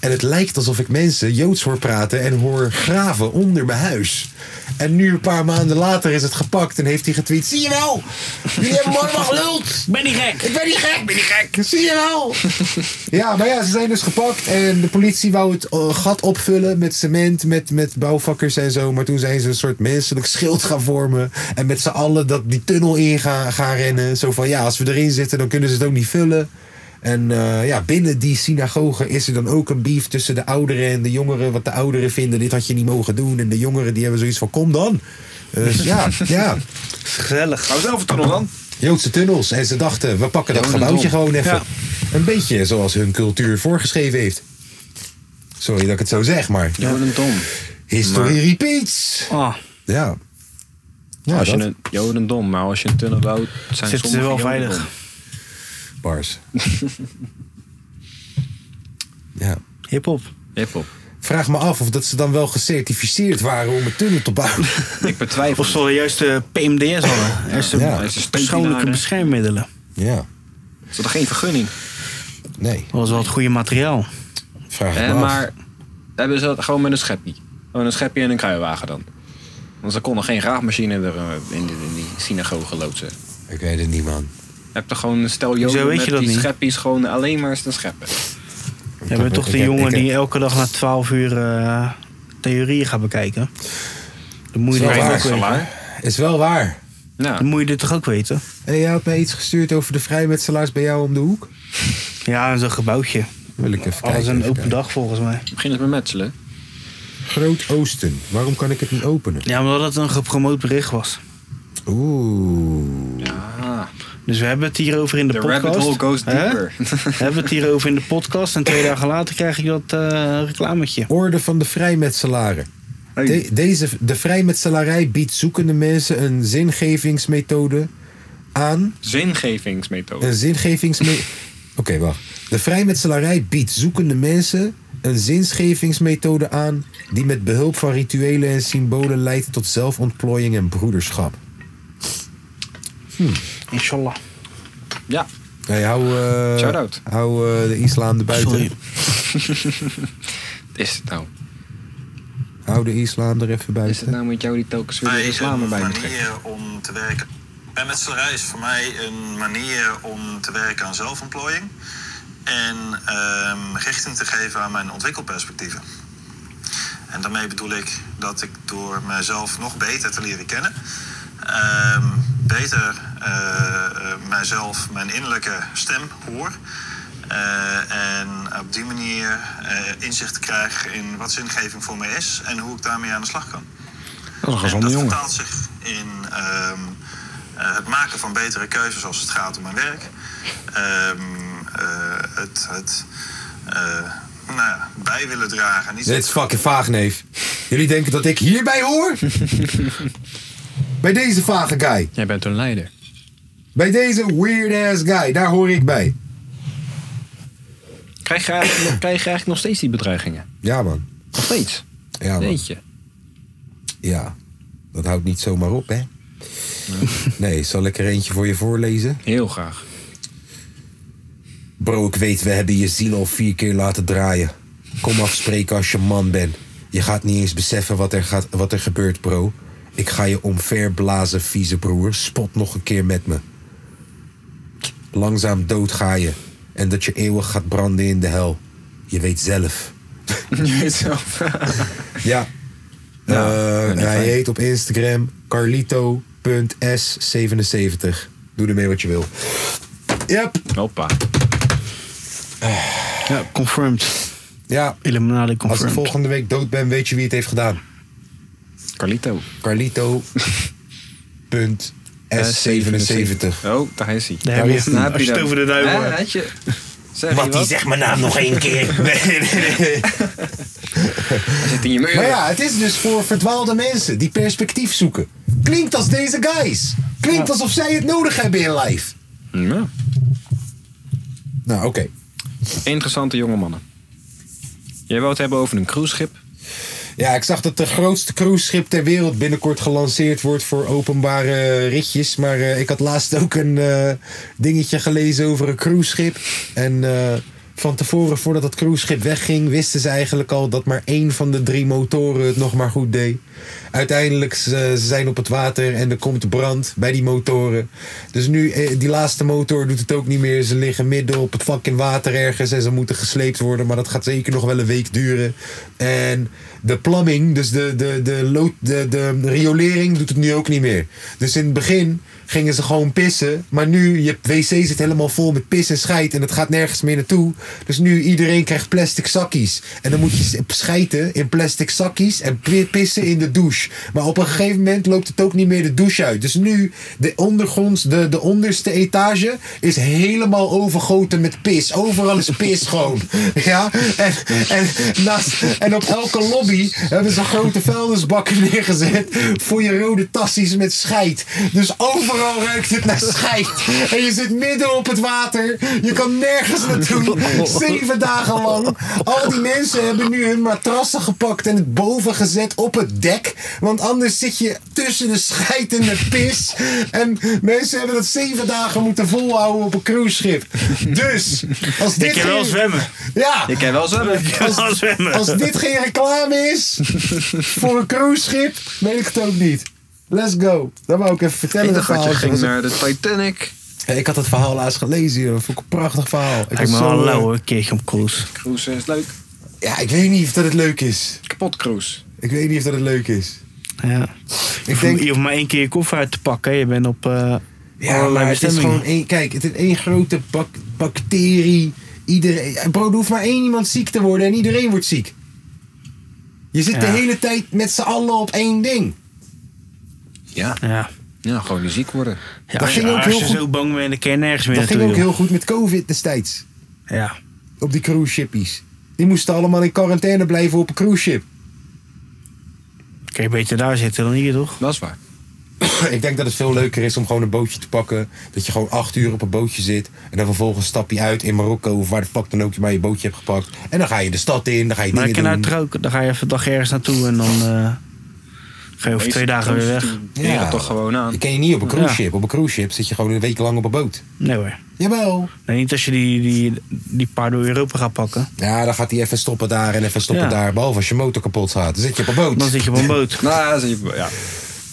En het lijkt alsof ik mensen joods hoor praten en hoor graven onder mijn huis. En nu, een paar maanden later, is het gepakt en heeft hij getweet: Zie je wel? Jullie hebben me allemaal geluld. Ben niet gek. Ik ben niet gek, ik ben niet gek. Zie je wel? ja, maar ja, ze zijn dus gepakt. En de politie wou het eh, gat opvullen met cement, met, met bouwvakkers en zo. Maar toen zijn ze een soort menselijk schild gaan vormen. En met z'n allen dat, die tunnel in gaan, gaan rennen. Zo van, ja, als we erin zitten, dan kunnen ze het ook niet vullen. En eh, ja, binnen die synagoge is er dan ook een beef tussen de ouderen en de jongeren. Wat de ouderen vinden, dit had je niet mogen doen. En de jongeren die hebben zoiets van, kom dan. Dus ja, ja. Gezellig. Gaan we zelf een tunnel dan? Joodse tunnels. En ze dachten, we pakken dat Jodendom. gebouwtje gewoon even. Ja. Een beetje zoals hun cultuur voorgeschreven heeft. Sorry dat ik het zo zeg, maar Jodendom. history repeats. Ah, Ja. Ja, als je dat. een Jodendom, maar als je een tunnel bouwt, zijn Zitten ze sommige wel Jodendom. veilig. Bars. ja. hip-hop. Hip-hop. Vraag me af of dat ze dan wel gecertificeerd waren om een tunnel te bouwen. Ik betwijfel. Of ze hadden juist de PMDS hadden. Juist de Ja. Juist persoonlijke de steekpilaren. beschermmiddelen. ja. Ze hadden geen vergunning. Nee. Dat was wel het goede materiaal. Vraag Hè, me af. Eh, maar hebben ze dat gewoon met een scheppie. Gewoon een scheppie en een kruiwagen dan. Want ze konden geen graafmachine er eh, in die, in die synagoge loodsen. Ik weet het niet, man. Heb er gewoon een stel joden Zo weet met je dat die niet. scheppies gewoon alleen maar te scheppen. We hebben toch de ik heb- jongen ik heb- die elke dag na 12 uur eh, theorieën gaat bekijken. Dan moet, je Is wel dit toch waar, ook is wel weten. Is wel waar. dan Nou, moet je dit toch ook weten? Hey, jij had mij iets gestuurd over de vrijmetselaars bij jou om de hoek. Ja, en zo'n gebouwtje. Wil ik even Alles kijken. een even open kijken. dag volgens mij. begin eens met metselen. Groot-Oosten. Waarom kan ik het niet openen? Ja, omdat het een gepromoot bericht was. Oeh. Ah, Dus we hebben het hierover in de The podcast. rabbit hole goes Hè? deeper. We hebben het hierover in de podcast. En twee dagen later krijg ik dat eh, reclametje. Orde van de vrijmetselaren. Hey. De, deze, de vrijmetselarij biedt zoekende mensen een zingevingsmethode aan. Zingevingsmethode. Een zingevingsmethode. Oké, wacht. De vrijmetselarij biedt zoekende mensen een zinsgevingsmethode aan. die met behulp van rituelen en symbolen leidt tot zelfontplooiing en broederschap. Inshallah. Ja, Hey, hou eh, Shout-out. hou eh, de islam erbuiten. Sorry. is het nou? Hou de islam er even Is het buiten. nou met jou die telkens weer de Wij zijn reclame een bij me trekt? manier om te werken. Vrijmetselarij is voor mij een manier om te werken aan zelfontplooiing. En ehm, richting te geven aan mijn ontwikkelperspectieven. En daarmee bedoel ik dat ik door mijzelf nog beter te leren kennen, ehm, beter eh, eh, mijzelf, mijn innerlijke stem hoor. Eh, en op die manier eh, inzicht krijg in wat zingeving voor mij is en hoe ik daarmee aan de slag kan. Dat is een En dat gezonde jongen. vertaalt zich in ehm, eh, het maken van betere keuzes als het gaat om mijn werk. Ehm, eh, het het eh, nou ja, bij willen dragen. en Niet Dit is fucking vaag, neef. Jullie denken dat ik hierbij hoor? bij deze vage guy. Jij bent een leider. Bij deze weird ass guy. Daar hoor ik bij. Krijg je eigenlijk, nog- krijg je eigenlijk nog steeds die bedreigingen? Ja, man. Nog steeds? Ja, man. Jeetje. Ja. Dat houdt niet zomaar op, hè? Nee, zal ik er eentje voor je voorlezen? Heel graag. Bro, ik weet, we hebben je ziel al vier keer laten draaien. Kom afspreken als je man bent. Je gaat niet eens beseffen wat er, gaat, wat er gebeurt, bro. Ik ga je omverblazen, vieze broer. Spot nog een keer met me. Langzaam dood ga je. En dat je eeuwig gaat branden in de hel. Je weet zelf. Je weet zelf. Ja. Eh, hij heet op Instagram carlito.s77. Doe ermee wat je wil. Yep. Hoppa. Ja, confirmed. Ja. Illuminati Als ik confirmed. volgende week dood ben, weet je wie het heeft gedaan. Carlito. Carlito. punt S77. Oh, daar is hij. Daar heb je is hem. Als je het over de duivel Hè, hebt. had je- Zeg je Wat die wat? zegt mijn naam nog één keer. Nee, nee, nee. Hij zit in je muur. Maar ja, het is dus voor verdwaalde mensen die perspectief zoeken. Klinkt als deze guys. Klinkt alsof zij het nodig hebben in life. Ja. Nou, oké. Interessante jonge mannen. Jij wou het hebben over een cruiseschip. Ja, ik zag dat de grootste cruiseschip ter wereld binnenkort gelanceerd wordt voor openbare eh, ritjes. Maar eh, ik had laatst ook een eh, dingetje gelezen over een cruiseschip. En eh, van tevoren, voordat dat cruiseschip wegging, wisten ze eigenlijk al dat maar één van de drie motoren het nog maar goed deed. Uiteindelijk eh, ze zijn op het water en er komt brand bij die motoren. Dus nu, eh, die laatste motor doet het ook niet meer. Ze liggen midden op het fucking water ergens en ze moeten gesleept worden. Maar dat gaat zeker nog wel een week duren. En de plumbing, dus de, de, de, lood, de, de riolering, doet het nu ook niet meer. Dus in het begin gingen ze gewoon pissen. Maar nu, je wc zit helemaal vol met pis en scheid. En het gaat nergens meer naartoe. Dus nu, iedereen krijgt plastic zakkies. En dan moet je s- schijten in plastic zakkies. En pi- pissen in de douche. Maar op een gegeven moment loopt het ook niet meer de douche uit. Dus nu, de ondergronds, de, de onderste etage is helemaal overgoten met pis. Overal is pis gewoon. Ja? En, en, naast, en op elke lobby hebben ze grote vuilnisbakken neergezet voor je rode tassies met scheid. Dus overal ruikt het naar scheid. En je zit midden op het water. Je kan nergens naartoe. Zeven dagen lang. Al die mensen hebben nu hun matrassen gepakt en het boven gezet op het dek. Want anders zit je tussen de scheid en de pis. En mensen hebben dat zeven dagen moeten volhouden op een cruiseschip. Dus, als dit Ik kan wel geen- zwemmen. Ja, Ik heb wel zwemmen. Ik kan wel zwemmen. als dit geen reclame is voor een cruiseschip, weet ik het ook niet. Let's go. Dat wou ik even vertellen. Ik dat dacht dat je verhaal. ging naar de Titanic. Hey, Ik had het verhaal laatst gelezen, joh. Dat vond ik een prachtig verhaal. Ik Kijk was maar, zo, hallo eh, hoor, keer op cruise. Cruise is leuk. Ja, ik weet niet of dat het leuk is. Kapot cruise. Ik weet niet of dat het leuk is. Ja. Ik Denk... denk, Je hoeft maar één keer je koffer uit te pakken. hè. Je bent op eh ja, maar allerlei het is bestemmingen. gewoon één, kijk, het is één grote bak- bacterie. Iedereen, en bro, er hoeft maar één iemand ziek te worden en iedereen wordt ziek. Je zit Ja. de hele tijd met z'n allen op één ding. Ja. Ja, gewoon ziek worden. Ja, Dat als je, ging ook als heel je goed. zo bang bent, dan ken je nergens meer Dat ging naartoe, ook heel goed met COVID destijds. joh. Ja. Op die cruise shippies. Die moesten allemaal in quarantaine blijven op een cruise ship. Kun je beter daar zitten dan hier, toch? Dat is waar. Ik denk dat het veel leuker is om gewoon een bootje te pakken. Dat je gewoon acht uur op een bootje zit. En dan vervolgens stap je uit in Marokko of waar de fuck dan ook je maar je bootje hebt gepakt. En dan ga je de stad in, dan ga je Maar ik dingen ken doen. uit roken. Dan ga je even een dag ergens naartoe en dan eh, ga je over twee dagen weer weg. Ja, toch gewoon aan. Je ken je niet op een cruise Ja. ship. Op een cruise ship zit je gewoon een week lang op een boot. Nee hoor. Jawel. Nee, niet als je die, die, die paar door Europa gaat pakken. Ja, dan gaat hij even stoppen daar en even stoppen Ja. daar. Behalve als je motor kapot gaat. Dan zit je op een boot. Dan zit je op een boot. Nou, dat is- ja.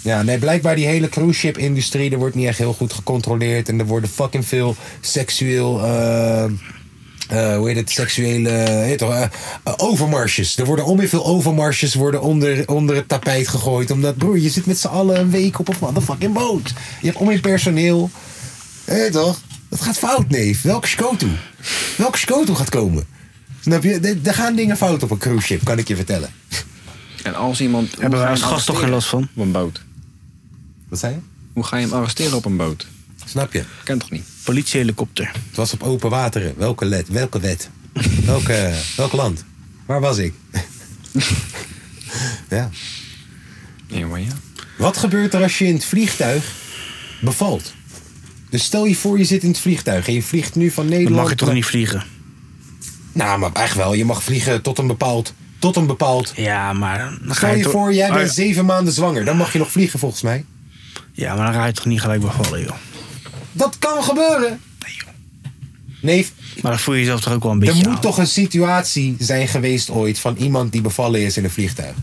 Ja, nee, blijkbaar die hele cruise ship industrie, er wordt niet echt heel goed gecontroleerd. En er worden fucking veel seksueel, eh, eh, hoe heet het, seksuele, heet toch, eh, eh, overmarsjes. Er worden onweer veel overmarsjes worden onder, onder het tapijt gegooid. Omdat, broer, je zit met z'n allen een week op een motherfucking boot. Je hebt onweer personeel. Hé toch? Dat gaat fout, neef. Welke scoto? Welke scoto gaat komen? Snap je? Er- Er gaan dingen fout op een cruise ship, kan ik je vertellen. En als iemand... hoe Hebben wij ga je als hem gast toch geen arresteren last van? Op een boot. Wat zei je? Hoe ga je hem arresteren op een boot? Snap je? Ken toch niet? Politiehelikopter. Het was op open wateren. Welke, let, welke wet? Welke, welk land? Waar was ik? ja. Nee, maar ja. Wat gebeurt er als je in het vliegtuig bevalt? Dus stel je voor, je zit in het vliegtuig en je vliegt nu van Dan Nederland. mag je toch naar- niet vliegen? Nou, maar echt wel. Je mag vliegen tot een bepaald. Tot een bepaald. Ja, maar dan ga Stel je, je toch- voor, jij Ah, bent zeven maanden zwanger. Dan mag je nog vliegen volgens mij. Ja, maar dan ga je toch niet gelijk bevallen, joh. Dat kan gebeuren. Neef, Maar dan voel je jezelf toch ook wel een er beetje moet aan. toch een situatie zijn geweest ooit van iemand die bevallen is in een vliegtuig.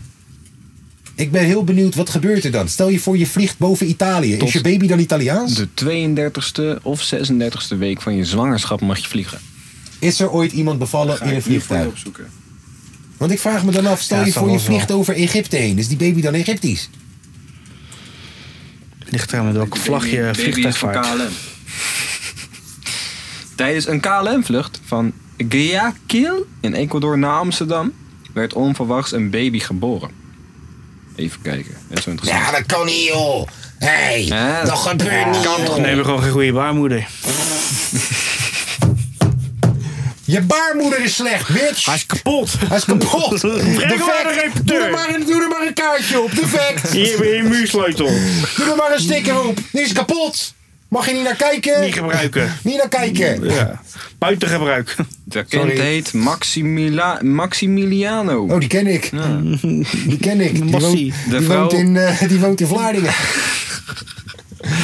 Ik ben heel benieuwd, wat gebeurt er dan? Stel je voor, je vliegt boven Italië. Is Tot- je baby dan Italiaans? De 32e of 36e week van je zwangerschap mag je vliegen. Is er ooit iemand bevallen in een vliegtuig? opzoeken. Want ik vraag me dan af, stel Ja, je het zal voor, je wel vliegt over Egypte heen. Is die baby dan Egyptisch? Ligt eraan met welke vlag je vliegtuig vaart. KLM. Tijdens een KLM-vlucht van Guayaquil in Ecuador naar Amsterdam werd onverwachts een baby geboren. Even kijken. Dat is zo interessant. Ja, dat kan niet, joh. Hé, hey, Ja, dat gebeurt niet, joh. Nee, we hebben gewoon geen goede baarmoeder. Je baarmoeder is slecht, bitch. Hij is kapot. Hij is kapot. Breng maar Defect. een Doe er repeteur. maar een, doe er maar een kaartje op. Defect. Hier heb je een muursleutel. Doe er maar een sticker op. Die is kapot. Mag je niet naar kijken? Niet gebruiken. Niet naar kijken. Ja. Buiten gebruik. De kind Sorry. heet Maximila Maximiliano. Oh, die ken ik. Die ken ik. Die woont, Massie. die De vrouw- woont, in, eh, die woont in Vlaardingen.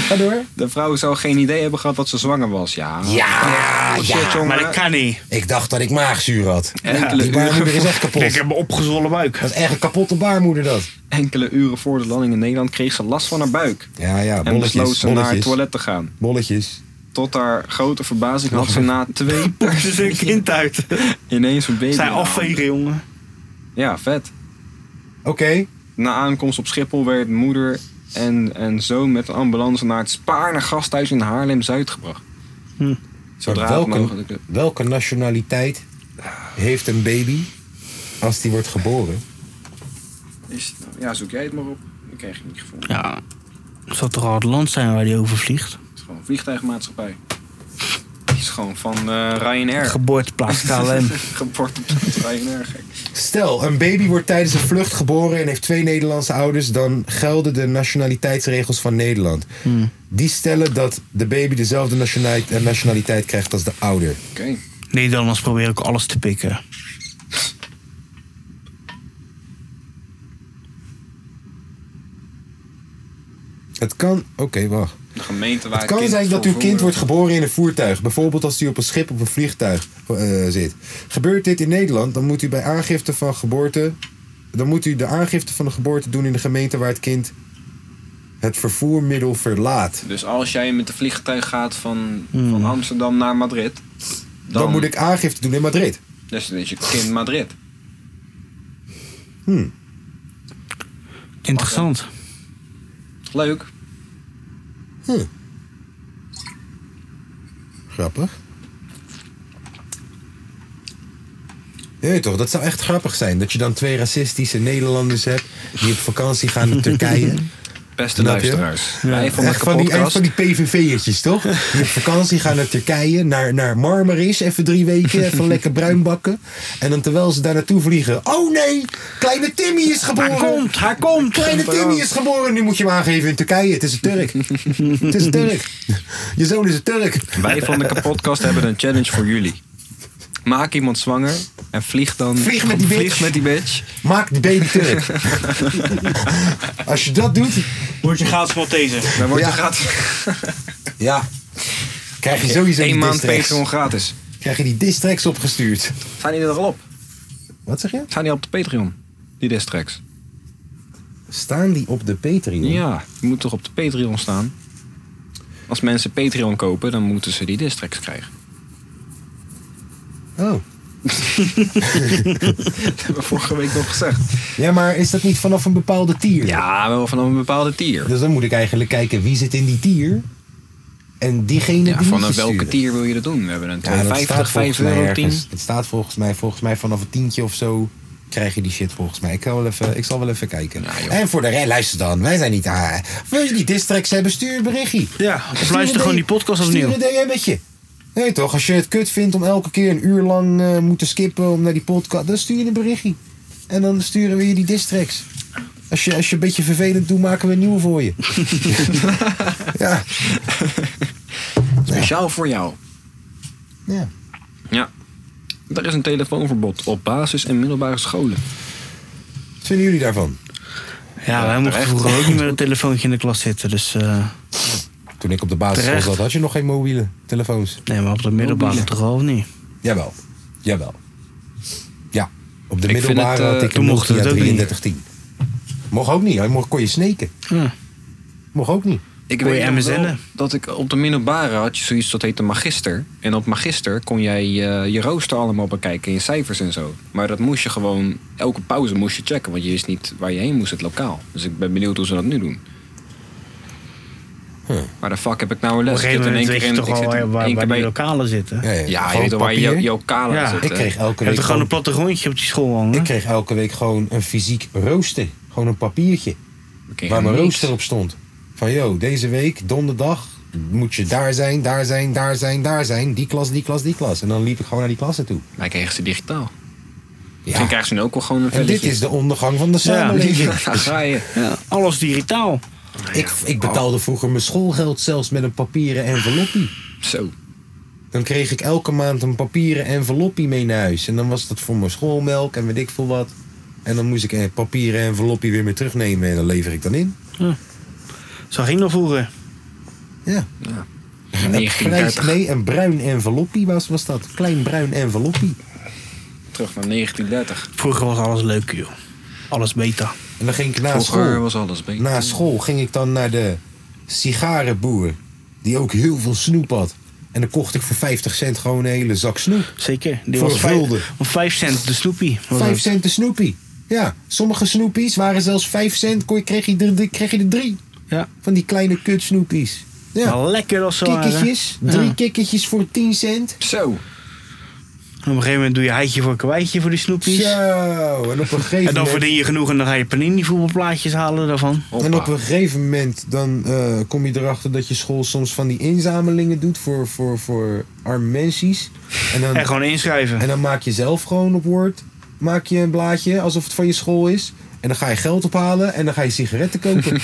Ga door. De vrouw zou geen idee hebben gehad dat ze zwanger was. Ja. Oh, Ja, Shit, jongen. Maar dat kan niet. Ik dacht dat ik maagzuur had. Enkele Die baarmoeder is uren- echt kapot. Ik heb een opgezwollen buik. Dat is echt een kapotte baarmoeder, dat. Enkele uren voor de landing in Nederland kreeg ze last van haar buik. Ja, ja, En besloot bolletjes, ze naar het bolletjes. toilet te gaan. Bolletjes. Tot haar grote verbazing had ze na twee Er is een kind uit. ineens een baby. Zijn afvegen, jongen. Ja, vet. Oké. Na aankomst op Schiphol werd moeder en, en zoon met de ambulance naar het Spaarne gasthuis in Haarlem-Zuid gebracht. Maar Zodra het welke, mogelijk is. welke nationaliteit heeft een baby als die wordt geboren? Is, ja, zoek jij het maar op. Ik krijg het niet gevonden. Ja. Het zal toch al het land zijn waar die over vliegt? Het is gewoon een vliegtuigmaatschappij. Het is gewoon van eh, Ryanair. Geboorteplaats KLM. Geboorteplaats Ryanair, gek. Stel, een baby wordt tijdens een vlucht geboren en heeft twee Nederlandse ouders, dan gelden de nationaliteitsregels van Nederland. Die stellen dat de baby dezelfde nationaliteit, eh, nationaliteit krijgt als de ouder. Oké. Nederlanders proberen ook alles te pikken. Het kan. Oké, wacht. De gemeente waar Het kan zijn dat uw kind wordt geboren in een voertuig. Bijvoorbeeld als u op een schip of een vliegtuig eh, zit. Gebeurt dit in Nederland, dan moet u bij aangifte van geboorte. Dan moet u de aangifte van de geboorte doen in de gemeente waar het kind het vervoermiddel verlaat. Dus als jij met de vliegtuig gaat van, van Amsterdam naar Madrid... Dan, moet ik aangifte doen in Madrid. Dus dan is je kind Madrid. Interessant. Leuk. Grappig. Nee toch, dat zou echt grappig zijn. Dat je dan twee racistische Nederlanders hebt die op vakantie gaan naar Turkije. Beste Snap je? luisteraars. Wij van de Echt van die, echt podcast. van die PVV'ertjes, toch? Die op vakantie gaan naar Turkije, naar, naar Marmaris, even drie weken, even lekker bruin bakken. En dan terwijl ze daar naartoe vliegen, oh nee, kleine Timmy is geboren. Hij komt, hij komt. Kleine Timmy is geboren, nu moet je hem aangeven in Turkije. Het is een Turk. Het is een Turk. Je zoon is een Turk. Wij van de podcast hebben een challenge voor jullie. Maak iemand zwanger en vlieg dan. Vlieg met die bitch. Vlieg met die bitch. Maak die baby Turk. Als je dat doet, Word je gratis Malteser. Dan word je Ja. gratis. ja, krijg je sowieso Eén die maand distracts. Patreon gratis. Krijg je die distracts opgestuurd. Zijn die er al op? Wat zeg je? Zijn die al op de Patreon? Die distracts. Staan die op de Patreon? Ja, je moet toch op de Patreon staan? Als mensen Patreon kopen, dan moeten ze die distracts krijgen. Oh. Dat hebben we vorige week nog gezegd. Ja, maar is dat niet vanaf een bepaalde tier? Ja, wel vanaf een bepaalde tier. Dus dan moet ik eigenlijk kijken wie zit in die tier. En diegene Ja, die moet vanaf je welke sturen. tier wil je dat doen? We hebben een Ja, dat 2,50, staat 5 volgens mij euro, 10. ergens. Het staat volgens mij, volgens mij vanaf een tientje of zo krijg je die shit volgens mij. Ik, kan wel even, ik zal wel even kijken. Ja, joh. en voor de rest, luister dan. Wij zijn niet... Ah, wil je die distracts hebben, stuur een berichtje. Ja, of luister gewoon die podcast opnieuw. opnieuw. Stuur een DM'tje. Nee toch, als je het kut vindt om elke keer een uur lang eh, moeten skippen om naar die podcast... Dan stuur je een berichtje. En dan sturen we je die distracts. Als je, als je een beetje vervelend doet, maken we een nieuwe voor je. ja, Speciaal voor jou. ja. Ja. Er is een telefoonverbod op basis- en middelbare scholen. Wat vinden jullie daarvan? Ja, wij mochten terecht. vroeger ook niet met een telefoontje in de klas zitten. Dus eh, Toen ik op de basisschool Terecht. zat, had je nog geen mobiele telefoons. nee, maar op de middelbare toch al of niet? Jawel. Jawel. Ja. Op de Ik vind middelbare het, eh, had ik een toen mocht Nokia het ook niet. 3310. Mocht ook niet. Hij mocht, kon je sneken. Ja. Mocht ook niet. Ik Kon je nog wel MSN'en? dat ik op de middelbare had je zoiets dat heette magister. En op magister kon jij eh, je rooster allemaal bekijken in cijfers en zo. Maar dat moest je gewoon, elke pauze moest je checken. Want je wist niet waar je heen moest, het lokaal. Dus ik ben benieuwd hoe ze dat nu doen. Maar de fuck heb ik nou een Op een les? Ik gegeven zit in één moment weet je keer in, toch ik al zit in waar, waar één keer die bij... lokalen zitten. Ja, ja. Ja, je Gewoon weet toch waar je papier. je lokale Ja, zit, Ik hè? kreeg elke Je hebt week er gewoon gewoon, een plattegrondje op die school Hm? hangen. ik kreeg elke week gewoon een fysiek rooster. Gewoon een papiertje. Ik kreeg waar mijn niks. rooster op stond. Van yo, deze week, donderdag, moet je daar zijn, daar zijn, daar zijn, daar zijn. Die klas, die klas, die klas. En dan liep ik gewoon naar die klassen toe. Wij kregen ze Ja. digitaal. Misschien krijgen ze nu ook wel gewoon een En dit velletje. is de ondergang van de samenleving. Daar ga je. Ja, alles digitaal. Ik, ik betaalde vroeger mijn schoolgeld zelfs met een papieren enveloppie. Zo. Dan kreeg ik elke maand een papieren enveloppie mee naar huis. En dan was dat voor mijn schoolmelk en weet ik veel wat. En dan moest ik een papieren enveloppie weer mee terugnemen en dan lever ik dan in. Zo ging dat vroeger. Ja. Een, grijs, 1930. nee, een bruin enveloppie was, was dat. Klein bruin enveloppie. Terug naar 1930. Vroeger was alles leuk, joh. Alles beta. En dan ging ik na Vroeger school, was alles beter. na school ging ik dan naar de sigarenboer. Die ook heel veel snoep had. En dan kocht ik voor 50 cent gewoon een hele zak snoep. Zeker. Die Voor was een gulden. vijf, of vijf cent de snoepie. was Vijf het. cent de snoepie. Ja, sommige snoepies waren zelfs 5 cent. Kon je, kreeg, je er, kreeg je er drie. Ja. Van die kleine kut snoepies. Ja. Maar lekker als ze waren. Kikkertjes. Ja. Drie kikkertjes voor 10 cent. Zo. En op een gegeven moment doe je heitje voor kwijtje voor die snoepies. Zo. En op een gegeven En dan moment... verdien je genoeg en dan ga je panini voetbalplaatjes halen daarvan. Hoppa. En op eh, een gegeven moment dan eh, kom je erachter dat je school soms van die inzamelingen doet voor, voor, voor arme mensies. En dan, En gewoon inschrijven. en dan maak je zelf gewoon op Word maak je een blaadje alsof het van je school is. En dan ga je geld ophalen en dan ga je sigaretten kopen.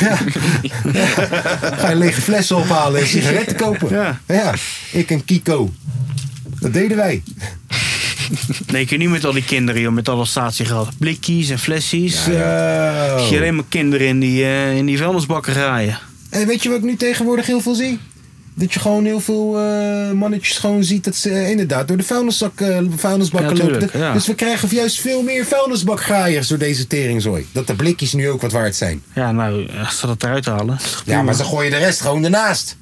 ja. Ga je lege flessen ophalen en sigaretten kopen. Ja. ja, ik en Kiko. Dat deden wij. Nee, je kunt niet met al die kinderen, joh, met al dat statiegeld. Blikjes en flesjes. Ja, Zo. je alleen maar kinderen in die, eh, in die vuilnisbakken graaien. En weet je wat ik nu tegenwoordig heel veel zie? Dat je gewoon heel veel eh, mannetjes gewoon ziet dat ze eh, inderdaad door de vuilniszak, eh, vuilnisbakken Ja, lopen. tuurlijk, Dat- ja. Dus we krijgen juist veel meer vuilnisbakgraaiers door deze teringzooi. Dat de blikjes nu ook wat waard zijn. Ja, nou, als ze dat eruit halen. is toch Ja, prima. maar ze gooien de rest gewoon ernaast.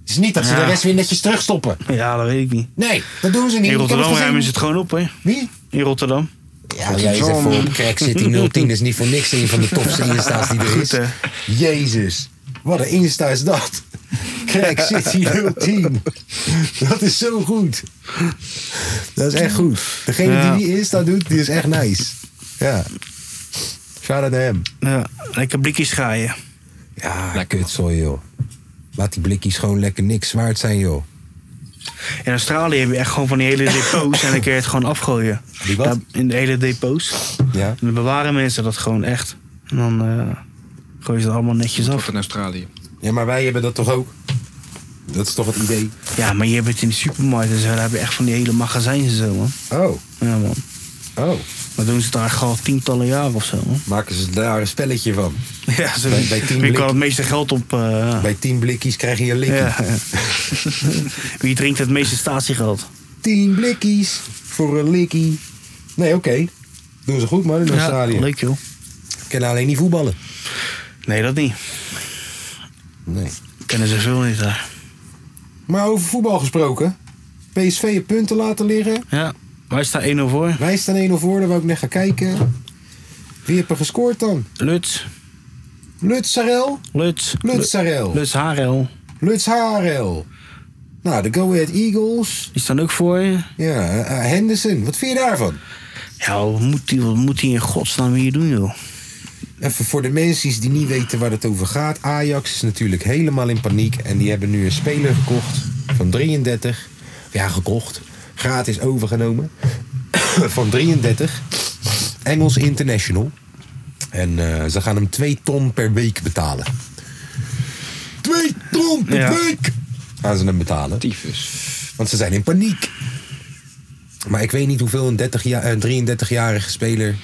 Het is niet dat ze Ja. de rest weer netjes terugstoppen. Ja, dat weet ik niet. Nee, dat doen ze niet. In Ik heb Rotterdam gezien. ruimen ze het gewoon op, hè? Wie? In Rotterdam. Ja, jij zegt voor op crack zit die 010. is niet voor niks een van de tofste insta's die er Goed, is. hè? Jezus, wat een insta is dat. Crack City 010. Dat is zo goed. Dat is echt goed. Degene Ja. die die insta doet, die is echt nice. Ja. Shout out naar hem. Ja, lekker blikjes graaien. Ja, kutzooi, joh. Laat die blikjes gewoon lekker niks waard zijn, joh. In Australië heb je echt gewoon van die hele depots en dan kun je het gewoon afgooien. Die wat? Daar- in de hele depots. Ja. En dan bewaren mensen dat gewoon echt. En dan eh gooien ze het allemaal netjes af. in Australië. Ja, maar wij hebben dat toch ook? Dat is toch het idee? Ja, maar je hebt het in de supermarkt en zo. Daar heb je echt van die hele magazijns en zo, man. Oh, Ja, man. oh. Dat doen ze daar echt al tientallen jaren of zo, man. Maken ze daar een spelletje van. Ja, zo. Bij- bij tien Wie blik- kan het meeste geld op... eh, Bij tien blikjes krijg je een likkie. ja. Wie drinkt het meeste statiegeld? Tien blikjes voor een likkie. Nee, oké. Doen ze goed, man, in Australië. Ja, leuk, joh. Kennen alleen niet voetballen. Nee, dat niet. Nee. Kennen ze veel niet daar. Maar over voetbal gesproken. PSV je punten laten liggen. Ja, wij staan 1-0 voor. Wij staan 1-0 voor, daar wou ik net gaan kijken. Wie heeft er gescoord dan? Lutz, Lutzarel? Lutz, Lutzarel. Lutz Harel. Lutz Harel. Nou, de Go Ahead Eagles. Die staan ook voor je. Ja, eh, Henderson. Wat vind je daarvan? Ja, wat moet die, wat moet die in godsnaam hier doen, joh? Even voor de mensen die niet weten waar het over gaat. Ajax is natuurlijk helemaal in paniek. En die hebben nu een speler gekocht van 33. Ja, gekocht. Gratis overgenomen. van 33. Engels International. En eh, ze gaan hem 2 ton per week betalen. 2 ton per Ja. week! Gaan ze hem betalen. Tyfus. Want ze zijn in paniek. Maar ik weet niet hoeveel een, 30 ja- een 33-jarige speler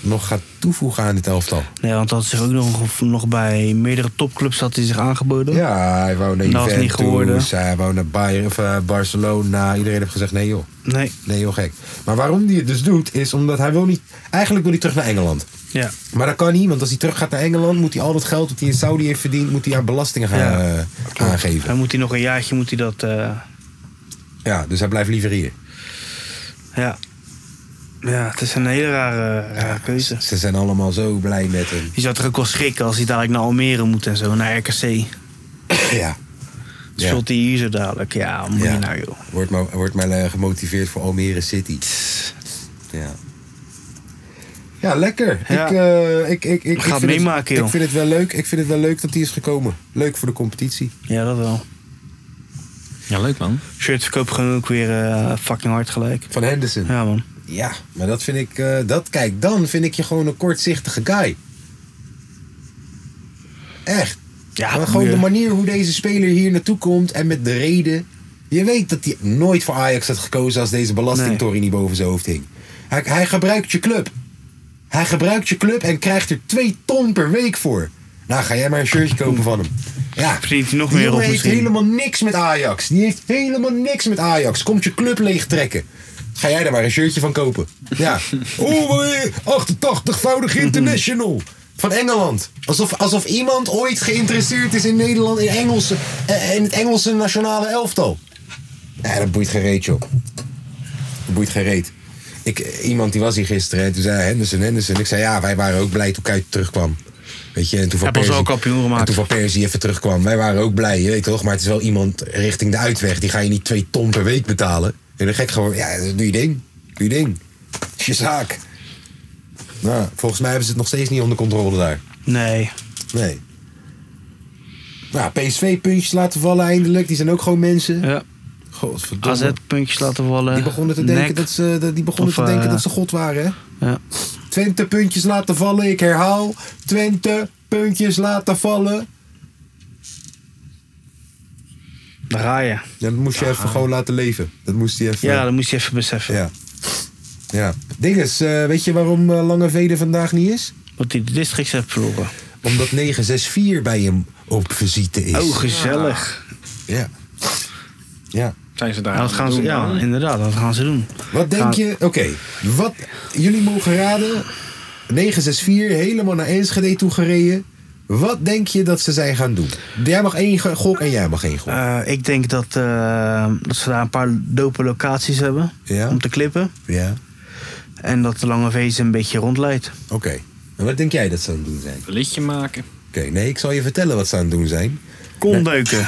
nog gaat toevoegen aan dit elftal. Nee, want dat is er ook nog, nog bij meerdere topclubs had hij zich aangeboden. Ja, hij wou naar Dat is niet geworden. Juventus, hij wou naar Bayern, of, eh, Barcelona. Iedereen heeft gezegd, nee joh, Nee, nee joh gek. Maar waarom hij het dus doet, is omdat hij wil niet... Eigenlijk wil hij terug naar Engeland. ja. Maar dat kan niet, want als hij terug gaat naar Engeland... moet hij al dat geld dat hij in Saudi heeft verdiend... moet hij aan belastingen gaan Ja. eh, aangeven. Hij moet hij nog een jaartje, moet hij dat... eh, Ja, dus hij blijft liever hier. ja. ja, het is een hele rare, rare keuze. Ze zijn allemaal zo blij met hem. Je zou toch ook wel schrikken als hij dadelijk naar Almere moet en zo, naar RKC. Ja, Ja. Zult hij hier zo dadelijk? Ja, wat moet Ja. je nou, joh? Wordt maar, wordt maar eh, gemotiveerd voor Almere City. Ja. Ja, lekker. Ja. Ik, eh, ik, ik, ik, Ga het ik vind meemaken, het, joh. Ik vind het wel leuk. Ik vind het wel leuk dat hij is gekomen. Leuk voor de competitie. Ja, dat wel. Ja, leuk man. Shirt verkoop gewoon ook weer eh, fucking hard gelijk. Van Henderson. Ja, Ja, man. maar dat vind ik. eh, dat, kijk, dan vind ik je gewoon een kortzichtige guy. Echt. Ja, maar gewoon moet de je- manier hoe deze speler hier naartoe komt en met de reden. Je weet dat hij nooit voor Ajax had gekozen als deze belastingtory niet boven zijn hoofd hing. Hij, hij gebruikt je club. Hij gebruikt je club en krijgt er twee ton per week voor. Nou, ga jij maar een shirtje kopen van hem. Ja. Verdient hij nog Die meer jongen op heeft misschien? helemaal niks met Ajax. Die heeft helemaal niks met Ajax. Komt je club leegtrekken. Ga jij daar maar een shirtje van kopen. Ja. Oh, 88-voudig international. Van Engeland. Alsof, alsof iemand ooit geïnteresseerd is in Nederland, in, Engelse, eh, in het Engelse nationale elftal. Ja, dat boeit geen reet, joh. Dat boeit geen reet. Ik, eh, iemand die was hier gisteren, hè, toen zei hij, Henderson, Henderson. Ik zei ja, wij waren ook blij toen Kuyt terugkwam. Weet je, en toen van Hebben ons Persie- wel kampioen gemaakt. en toen van Persie even terugkwam. Wij waren ook blij, je weet toch? Maar het is wel iemand richting de uitweg. Die ga je niet twee ton per week betalen. En dan gek gewoon, ja, doe je ding. Doe je ding. Is je zaak. Nou, volgens mij hebben ze het nog steeds niet onder controle daar. Nee. Nee. Nou, PSV-puntjes laten vallen eindelijk. Die zijn ook gewoon mensen. Ja. Godverdomme. AZ-puntjes laten vallen. Die begonnen te denken, Eh, Nek. dat ze, dat- die begonnen Of, te denken eh, dat ze God waren. Hè? Ja. Twente puntjes laten vallen, ik herhaal. Twente puntjes laten vallen. Daar ga je. Ja, dat moest je even gewoon laten leven. Dat moest hij even. Ja, dat moest je even beseffen. ja. ja. Ding is, eh, weet je waarom eh, Lange Vede vandaag niet is? Want die de districts heeft verloren. Omdat 964 bij hem op visite is. Oh, gezellig. ja. Ja. Zijn ze daar? Ja, dat gaan ze, doen, ja man? inderdaad, dat gaan ze doen. Wat denk Gaan- je? Oké, wat jullie mogen raden. 964 helemaal naar Enschede toe gereden. Wat denk je dat ze zijn gaan doen? Jij mag één ge- gok en jij mag één gok. Eh, ik denk dat, eh, dat ze daar een paar dope locaties hebben Ja. om te klippen. Ja. En dat de lange vees een beetje rondleidt. Oké. En wat denk jij dat ze aan het doen zijn? Oké, Een liedje maken. nee, ik zal je vertellen wat ze aan het doen zijn. Kondeuken.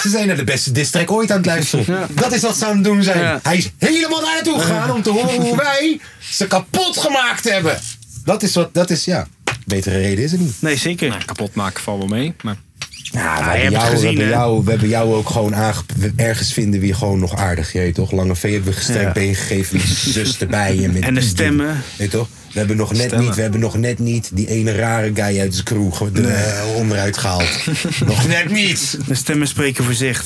Ze zijn naar de beste district ooit aan het luisteren. Dat is wat ze aan het doen zijn. Hij is helemaal daar naartoe gegaan om te horen hoe wij ze kapot gemaakt hebben. Dat is wat, dat is ja. Betere reden is er niet. Nee, zeker. kapot maken valt wel mee. Maar Ja, we, Ah, je hebben hebt het jou, we, gezien, hebben hè? jou, we hebben jou ook gewoon aange... we- Ergens vinden we je gewoon nog aardig. Je weet toch? Lange V hebben we gestrekt Ja. been gegeven. met Zus erbij. En, met En de die- stemmen. Weet je toch? We hebben nog net Stemmen. niet, we hebben nog net niet die ene rare guy uit zijn crew ge- eh, onderuit gehaald. nog net niet. De stemmen spreken voor zich.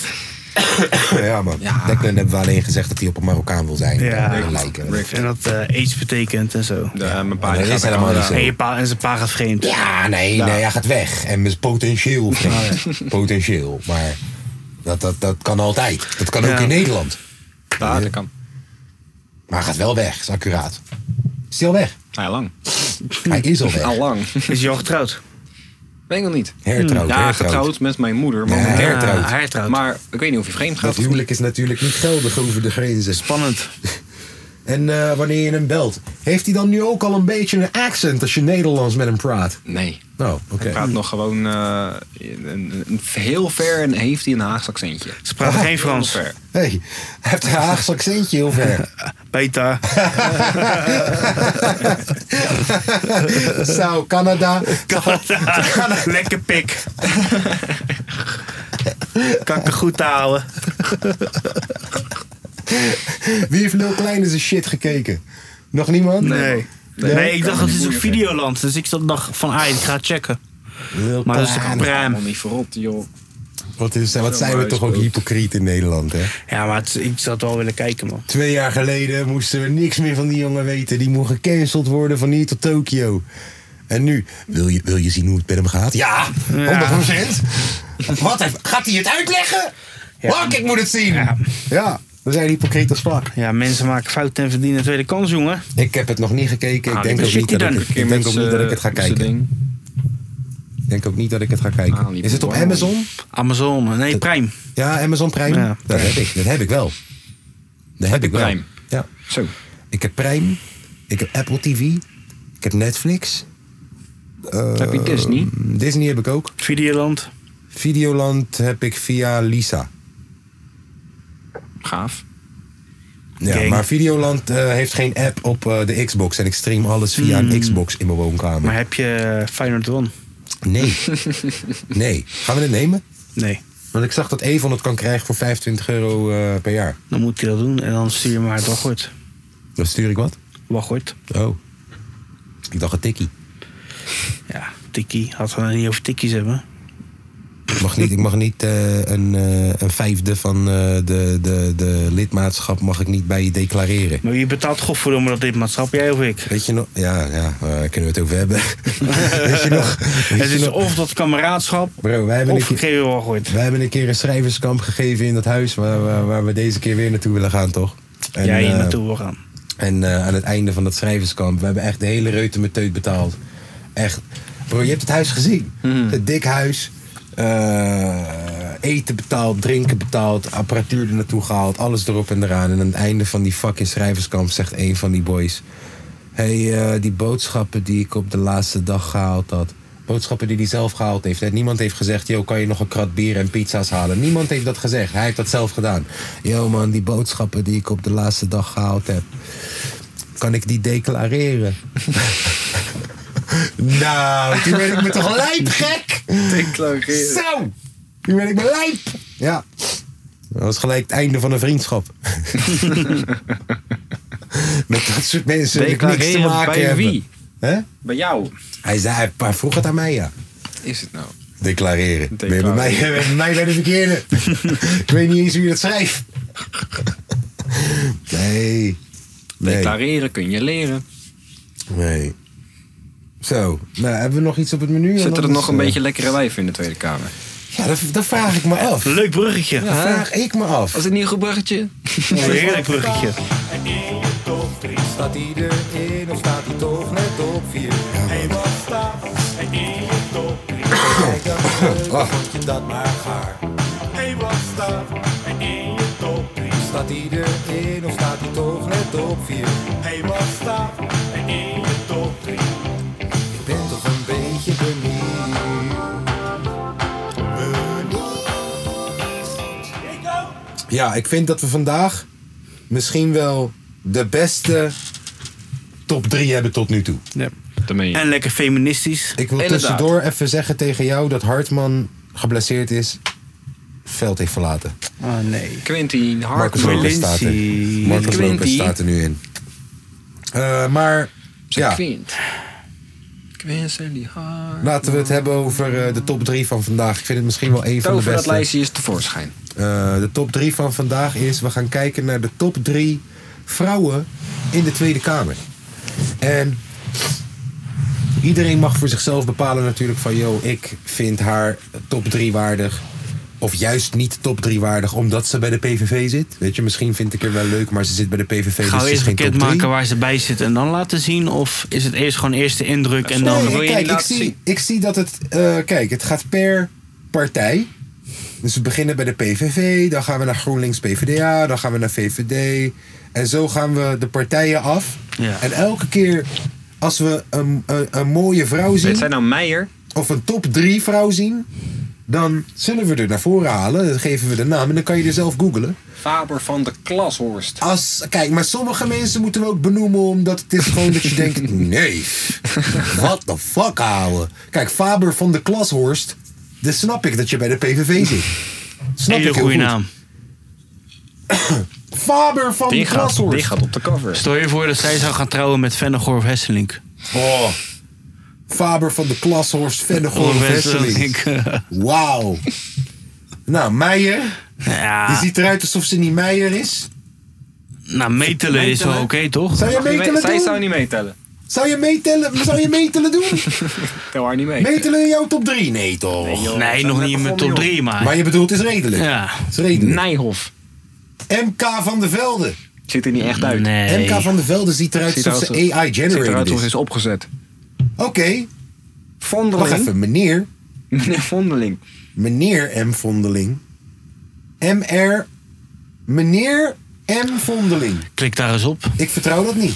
Ja man. Declan hebben we alleen gezegd dat hij op een Marokkaan wil zijn. Ja. En lijken. En dat eh aids betekent en zo. ja, mijn pa Maar die dat gaat is naar helemaal niet Canada. zo. En, je pa, en zijn pa gaat vreemd. Ja, nee, Nou. nee, hij gaat weg. En met Oh, potentieel. vreemd. Potentieel. Maar dat, dat, dat kan altijd. Dat kan ook Ja. in Nederland. Ja, dat kan. Maar hij gaat wel weg, is accuraat. Is hij al weg? Hij Nou lang. Hij is al weg. Al lang. Is hij Hm. al getrouwd? Weet ik nog niet. Hertrouwd, Ja, hertrouwd. getrouwd met mijn moeder. Nee, momenteel. hertrouwd. Ah, hertrouwd. Maar ik weet niet of hij vreemd gaat. Dat of niet. huwelijk is natuurlijk niet geldig over de grenzen. Spannend. En eh, wanneer je hem belt, heeft hij dan nu ook al een beetje een accent als je Nederlands met hem praat? Nee. Nou, oké. Hij praat nog gewoon eh, een- een- heel ver en heeft hij een Haags accentje. Ze praten geen Frans. Heel ver. Hey, hij heeft een Haagse accentje heel ver. Beta. Zou Canada. Lekker pik. kan ik er goed houden. Wie heeft Lil Kleine zijn shit gekeken? Nog niemand? Nee. Nee, ik dacht dat het is op Videoland. Dus ik zat dacht van, ah, ik ga checken. Lil Maar dat is Kleine. een pruim. Helemaal niet verrot, joh. Wat, is, wat zijn we toch ook hypocriet in Nederland, hè? Ja, maar het- ik zou het wel willen kijken, man. Twee jaar geleden moesten we niks meer van die jongen weten. Die moest gecanceld worden van hier tot Tokio. En nu, wil je, wil je zien hoe het met hem gaat? Ja, 100%. Wat, heeft- gaat hij het uitleggen? Fuck, ik moet het zien. Ja, we zijn hypocriet als vlak. Ja, mensen maken fouten en verdienen een tweede kans, jongen. Ik heb het nog niet gekeken. Ik Ah, denk daar ook zit niet hij dat ik dan. het- ik denk ook niet eh, dat ik eh, het ga kijken. Ik denk ook niet dat ik het ga Ah, kijken. die Is het op wow. Amazon? Amazon, nee, Prime. Ja, Amazon Prime. Ja. Dat heb ik. Dat heb ik wel. Dat heb ik wel. Prime? Ja. Zo. Ik heb Prime. Ik heb Apple TV. Ik heb Netflix. Eh, Heb je Disney? Mm, Disney heb ik ook. Videoland. Videoland heb ik via Lisa. Gaaf. Ja, Gang. maar Videoland eh, heeft geen app op eh, de Xbox. En ik stream alles via een Xbox in mijn woonkamer. Hmm. Maar heb je Feyenoord One? Nee. nee. Gaan we het nemen? Nee. Want ik zag dat Evon het kan krijgen voor 25 euro eh, per jaar. Dan moet hij dat doen en dan stuur je maar het wachtwoord. Dan stuur ik wat? Wachtwoord. Oh. Ik dacht een tikkie. Ja, Tikkie. Had we het niet over tikkies hebben. Ik mag niet, ik mag niet eh, een, eh, een vijfde van eh, de, de, de lidmaatschap mag ik niet bij je declareren. Maar wie betaalt godverdomme dat dit maatschappij, jij of ik? Weet je nog? Ja, ja eh, kunnen we het over hebben. weet je nog? Weet Het je is nog? of dat kameraadschap, Bro, wij hebben, een of keer, gegeven wachtwoord. wij hebben een keer een schrijverskamp gegeven in dat huis waar, waar, waar we deze keer weer naartoe willen gaan, toch? En, Jij hier eh, naartoe wil gaan. En eh, aan het einde van dat schrijverskamp, we hebben echt de hele reutemeteut betaald. Echt. Bro, je hebt het huis gezien. Het dik huis. Eh, eten betaald, drinken betaald, apparatuur er naartoe gehaald, alles erop en eraan. En aan het einde van die fucking schrijverskamp zegt een van die boys... hey, eh, die boodschappen die ik op de laatste dag gehaald had... Boodschappen die hij zelf gehaald heeft. Hè? Niemand heeft gezegd, yo, kan je nog een krat bier en pizza's halen? Niemand heeft dat gezegd. Hij heeft dat zelf gedaan. Yo man, die boodschappen die ik op de laatste dag gehaald heb kan ik die declareren? nou, toen werd ik me toch lijp gek? Declareren. Zo! Toen werd ik me lijp! Ja. Dat was gelijk het einde van een vriendschap. Met dat soort mensen wil ik niks te Declareren maken bij hebben. wie? Hè? Bij jou Hij, zei, hij- hij vroeg het aan mij, ja. is het nou. Declareren. Ben je bij Declareren. mij, ben je bij mij bij de verkeerde. ik weet niet eens hoe je dat schrijft. nee. nee. Declareren kun je leren. Nee. Zo, nou, hebben we nog iets op het menu? Zitten er Anders, nog een eh, beetje lekkere wijven in de Tweede Kamer? Ja, dat, dat vraag ik me af. Leuk bruggetje. Dat vraag ik me af. Was het niet een goed bruggetje? Heerlijk bruggetje. Staat hij erin of staat hij toch net op vier? Hé, wat staat hij in je top drie? Kijk dat Ah. terug, dan vond je dat maar gaar. Hé, wat staat hij in je top drie? Staat hij erin of staat hij toch net op vier? Hé, wat staat hij in je top drie? Ik ben toch een beetje benieuwd. Benieuwd. Ja, ik vind dat we vandaag misschien wel de beste top 3 hebben tot nu toe. Ja. En lekker feministisch. Ik wil tussendoor even zeggen tegen jou dat Hartman geblesseerd is, veld heeft verlaten. Ah, nee. Quentin Marcus Lopez staat er. Marcus Lopez staat er nu in. Eh, maar ja, Quint. Quint en die haar. laten we het hebben over eh, de top 3 van vandaag. Ik vind het misschien wel een van de Tover dat beste. lijstje is tevoorschijn. Eh, de top 3 van vandaag is: we gaan kijken naar de top 3 vrouwen in de Tweede Kamer. En iedereen mag voor zichzelf bepalen, natuurlijk, van yo, ik vind haar top 3 waardig. Of juist niet top 3 waardig, omdat ze bij de PVV zit. Weet je, misschien vind ik haar wel leuk, maar ze zit bij de PVV. Gaan dus we ze is eerst geen top bekend 3. maken waar ze bij zit en dan laten zien? Of is het eerst gewoon eerste indruk en dan... Nee, kijk, ik zie, ik zie dat het. eh, kijk, het gaat per partij. Dus we beginnen bij de PVV, dan gaan we naar GroenLinks PVDA, dan gaan we naar VVD. En zo gaan we de partijen af. Ja. En elke keer als we een, een, een mooie vrouw zien. Het zijn nou Meijer. Of een top 3 vrouw zien. Dan zullen we er naar voren halen. Dan geven we de naam en dan kan je er zelf googlen. Faber van de Klashorst. Als, kijk, maar sommige mensen moeten we ook benoemen, omdat het is gewoon dat je denkt: nee, what the fuck, ouwe. Kijk, Faber van de Klashorst, dan snap ik dat je bij de PVV zit. Snap Hele ik heel goede goed. naam. Faber van de Klashorst. op de cover. Stel je voor dat zij zou gaan trouwen met Vennegor of Hesselink. Oh. Faber van de Klashorst, Oh, Vennegor Of Wesseling. Wauw. Nou, Meijer, die Ah. Ja, ziet eruit alsof ze niet Meijer is. nou metelen is wel oké, toch? Zou je Mag je mee- meetellen Zij zou doen? niet meetellen. Zou je meetellen, zou je meetellen doen? Tel haar niet mee. Meetellen in jouw top 3? Nee, toch? Nee, zijn nog net niet in mijn begonnen, top 3, Maar maar... je bedoelt, het is redelijk. Ja. Het is redelijk. Nijhoff. MK van de Velde. Ziet er niet echt uit. Nee. MK van de Velde ziet eruit Ziet alsof eruit ze AI Ziet eruit generated als is. is opgezet. Oké, wacht Vondeling. even. Meneer, Meneer Vondeling. meneer M. Vondeling. MR, meneer M. Vondeling. Klik daar eens op. Ik vertrouw dat niet.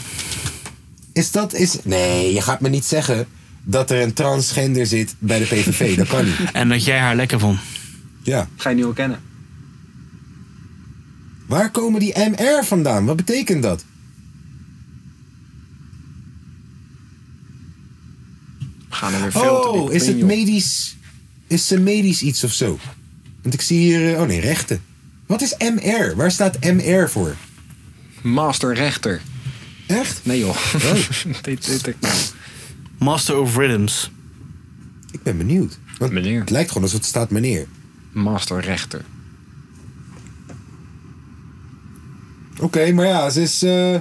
Is dat, is... Nee, je gaat me niet zeggen dat er een transgender zit bij de PVV. Dat kan niet. En dat jij haar lekker vond. Ja. Ga je nu al kennen. Waar komen die MR vandaan? Wat betekent dat? We gaan er weer veel te diep Oh, op is in, het joh. medisch? Is ze medisch iets of zo? Want ik zie hier. eh, Oh nee, rechten. Wat is MR? Waar staat MR voor? Master rechter. Echt? Nee joh. Oh, dit, dit, dit. Master of Rhythms. ik ben benieuwd. Want Meneer. Het lijkt gewoon alsof het staat meneer. Master rechter. Oké, maar ja, ze is eh,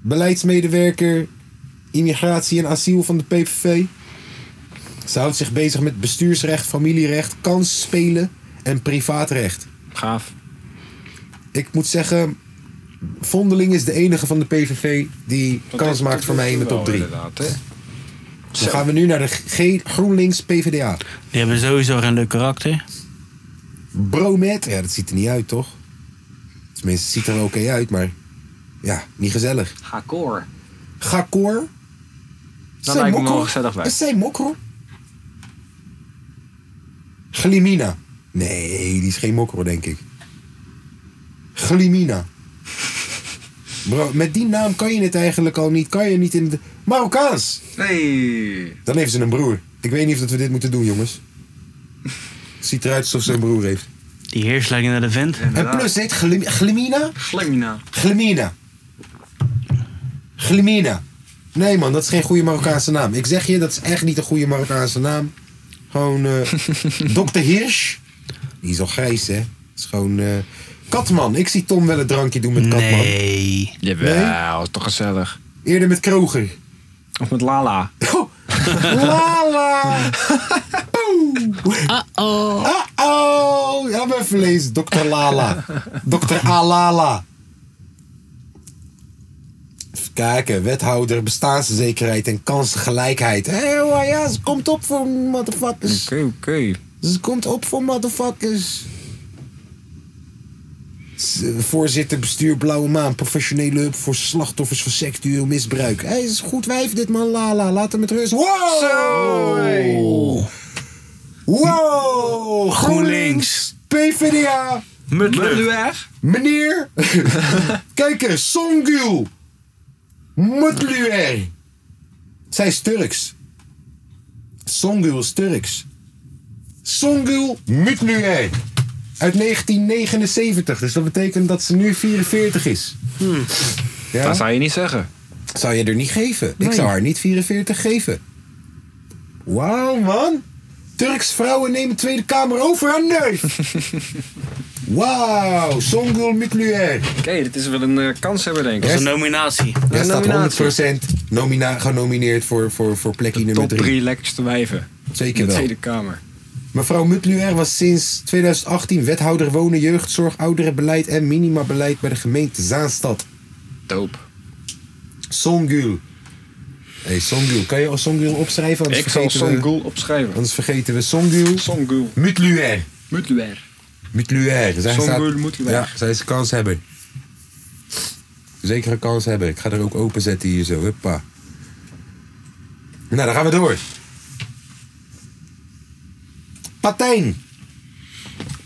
beleidsmedewerker immigratie en asiel van de PVV. Ze houdt zich bezig met bestuursrecht, familierecht, kansspelen en privaatrecht. Gaaf. Ik moet zeggen, Vondeling is de enige van de PVV die Dat kans is- maakt dat voor mij in de top doet hij wel 3. inderdaad, hè. Dan gaan we nu naar de G GroenLinks PVDA. Die hebben sowieso geen leuk karakter. Bromet, ja, dat ziet er niet uit, toch? Tenminste, het ziet er wel oké uit, maar ja, niet gezellig. Gakor. Gakor. Dat lijkt me wel gezellig bij. Is zij mokro? Glimina. Nee, die is geen mokro, denk ik. Glimina. Bro, met die naam kan je het eigenlijk al niet. Kan je niet in de... Marokkaans! Hey. Dan heeft ze een broer. Ik weet niet of dat we dit moeten doen, jongens. Ziet eruit alsof ze een broer heeft. Die heers lijken naar de vent. En plus dit, glim, glimina? Glimina. Glimina. Glimina. Nee man, dat is geen goede Marokkaanse naam. Ik zeg je, dat is echt niet een goede Marokkaanse naam. Gewoon eh Dr. Hirsch. Die is al grijs, hè? Dat is gewoon... eh, Katman. Ik zie Tom wel een drankje doen met Katman. Nee. Jawel, is toch gezellig. Eerder met Kroger. Of met Lala. Oh. Lala! Uh-oh. Uh-oh. Ja, maar even lezen. Dr. Lala. Dr. Alala. Even kijken. Wethouder bestaanszekerheid en kansengelijkheid. Hé, hey, ja, ze komt op voor motherfuckers. Oké, oké. Ze komt op voor motherfuckers. Ze- Voorzitter bestuur Blauwe Maan. Professionele hulp voor slachtoffers van seksueel misbruik. Hij is een goed wijf dit man. Lala, laat hem met rust. Wow! Wow! GroenLinks. PvdA. Mutluer. Meneer, kijk eens, Songül. Mutluer. Zij is Turks. Songül is Turks. Songül Mutluer. Uit 1979, dus dat betekent dat ze nu 44 is. Ja? Dat zou je niet zeggen. Zou je er niet geven? Nee. Ik zou haar niet 44 geven. Wauw, man. Turks vrouwen nemen Tweede Kamer over haar neus. Wauw, Songül Mitluer. Oké, dit is wel een eh, kans hebben, denk ik. Dat is een nominatie. Jij staat 100% nomina genomineerd voor, voor, voor plekje nummer Top 3. drie lekkerste wijven. Zeker In de wel. Tweede Kamer. Mevrouw Mutluer was sinds 2018 wethouder wonen, jeugdzorg, ouderenbeleid en minimabeleid bij de gemeente Zaanstad. Doop. Songül. Hé, hey, Songül. Kan je Songül opschrijven? Ik zal vergeten we- Songul opschrijven. Anders vergeten we Songul. Songul. Mutluer. Mutluer. Mutluer. Zij Songul staat- Mutluer. Ja, zij is een kans hebben. Zeker een kans hebben. Ik ga er ook openzetten hier zo. Huppa. Nou, dan gaan we door. Patijn.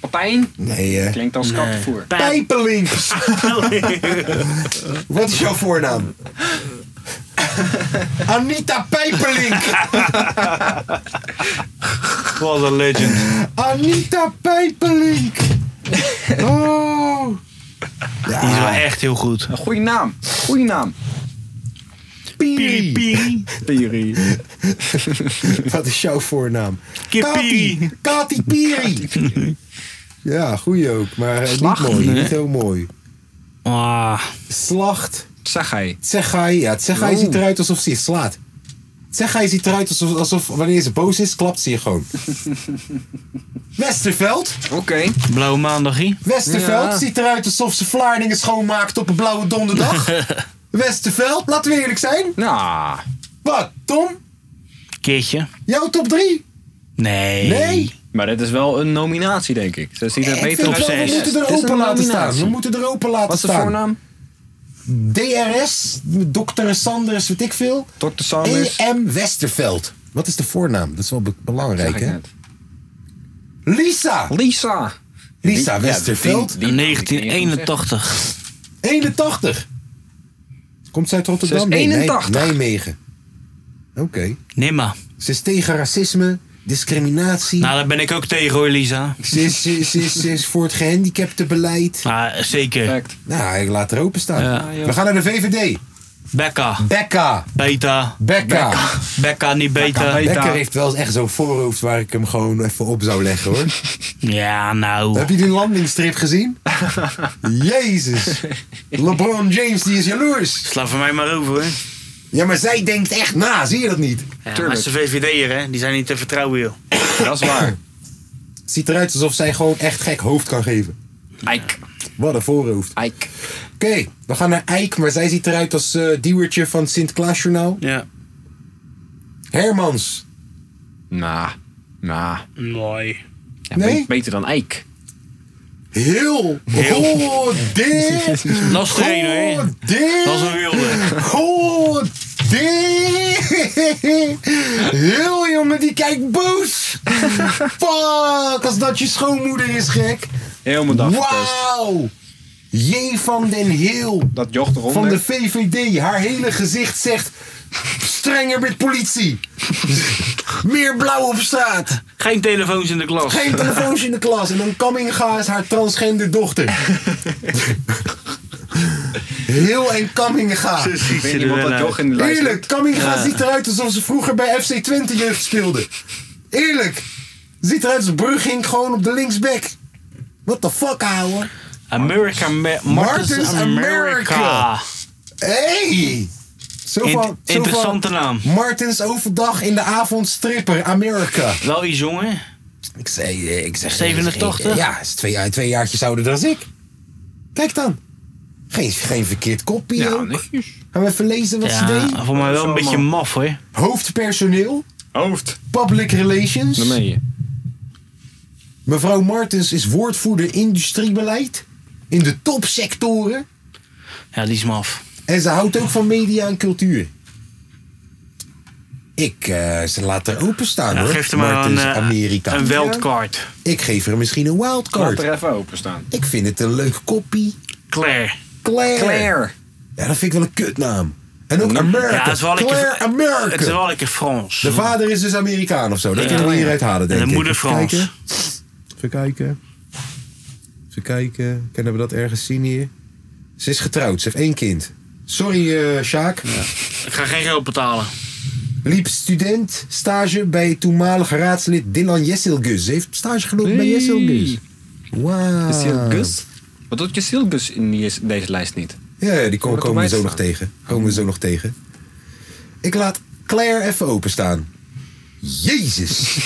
Patijn? Nee, eh, hè. Klinkt als katvoer. Pijpelinks. Wat is jouw voornaam? Anita Pijperlink. Wat een legend. Anita Pijperlink. Oh. Die is wel Ah. echt heel goed. Goeie naam. Goeie naam. Piri. Piri. Piri. Wat is jouw voornaam? Kippiri. Kati. Kati Piri. Ja, goeie ook. Maar eh, Slacht, niet mooi. hè? Niet heel mooi. Ah. Slacht. Tsagai. Tsegai. Ja, Tsegai Oh. ziet eruit alsof ze je slaat. Tsegai ziet eruit alsof, alsof wanneer ze boos is, klapt ze je gewoon. Westerveld. Oké. Blauwe maandagie. Westerveld Ja. ziet eruit alsof ze Vlaardingen schoonmaakt op een blauwe donderdag. Westerveld, laten we eerlijk zijn. Nou. Wat, Tom? Keertje. Jouw top 3? Nee. Maar dit is wel een nominatie, denk ik. Ze ziet er Ik beter vind uit. wel, we moeten er Dit is open een laten staan. nominatie. We moeten er open laten Wat is de staan. voornaam? DRS, dokter Sanders, weet ik veel. Dr. Sanders. E.M. Westerveld. Wat is de voornaam? Dat is wel be- belangrijk, Zeg ik hè? net. Lisa! Lisa! Lisa Westerveld. 1981. 81. Komt zij uit Rotterdam? Ze is Nee, Nij- 81. Nijmegen. Oké. Nimmer. Ze is tegen racisme, discriminatie. Nou, daar ben ik ook tegen hoor, Lisa. Ze is, ze, is- ze is, ze is voor het gehandicaptenbeleid. Ah, zeker. Nou, ik laat er open staan. Ja. We gaan naar de VVD. Becca. Becca. Beta. Becca. Becca, niet Becca, beta. heeft wel eens echt zo'n voorhoofd waar ik hem gewoon even op zou leggen hoor. Ja, nou. Heb je die landingstrip gezien? Jezus. LeBron James die is jaloers. Sla voor mij maar over, hè. Ja, maar zij denkt echt na, zie je dat niet? Ja, maar ze VVD'er, hè. Die zijn niet te vertrouwen, joh. Dat is waar. Ziet eruit alsof zij gewoon echt gek hoofd kan geven. Eik. Wat een voorhoofd. Eik. Oké, we gaan naar Eik, maar zij ziet eruit als eh diewertje van het Sint-Klaasjournaal. Ja. Hermans. Nou. Nou. Mooi. Ja, Nee? be- Beter dan Eik. Heel. Heel. Goddamn. Dat is de ene, hè? Dat is een wilde. Goddamn. Heel jongen, die kijkt boos. Fuck, als dat je schoonmoeder is, gek. Helemaal dag verpest. Wauw. J van den Heel. Dat jocht eronder. Van de VVD. Haar hele gezicht zegt... Strenger met politie. Meer blauw op straat. Geen telefoons in de klas. Geen telefoons in de klas. En dan Kamminga is haar transgender dochter. Heel en Kamminga. Ik weet niet wat dat joch in de lijst Eerlijk, doet. Kamminga ziet eruit alsof ze vroeger bij FC Twente jeugd speelde. Eerlijk. Ziet eruit als Brugging gewoon op de linksback. What the fuck, ouwe? America. Ma- Martens, Martens America. America. Hey! Zo In- van- zo interessante van naam. Martens overdag in de avond stripper, Amerika. Wel iets jongen. Ik zei, eh, ik zeg, 87? Ja, is twee, jaar- twee jaartjes ouder dan ik. Kijk dan. Geen, geen verkeerd kopje. Ja, ook. netjes. Gaan we even lezen wat ze deed? Ja, voor mij wel een beetje maf hoor. Hoofdpersoneel, Hoofd. public relations. Dan meen je. Mevrouw Martens is woordvoerder industriebeleid in de topsectoren. Ja, die is maf. En ze houdt ook van media en cultuur. Ik eh, ze laat er openstaan Ja, hoor. geef er maar het een, is eh, Amerika. een wildcard. Ik geef er misschien een wildcard. Laat er even openstaan. Ik vind het een leuk koppie. Claire. Claire. Claire. Ja, dat vind ik wel een kutnaam. En ook Amerika. Ja, het is wel Claire lekker, Amerika. Het is wel lekker Frans. De vader is dus Amerikaan of zo. Dat Ja. kunnen we hieruit halen, denk En de ik. moeder Even Frans. kijken. Even kijken. Even kijken. Kunnen we dat ergens zien hier? Ze is getrouwd. Ze heeft één kind. Sorry, eh Sjaak. Ik ga geen geld betalen. Liep student stage bij toenmalig raadslid Dylan Jesselgus. Ze heeft stage gelopen bij Jesselgus. Wauw. Jesselgus? Ah. Wat doet Jesselgus in die, deze lijst niet? Ja, die komen, Wordt komen we zo erbij nog tegen. Komen we zo nog tegen. Ik laat Claire even openstaan. Jezus.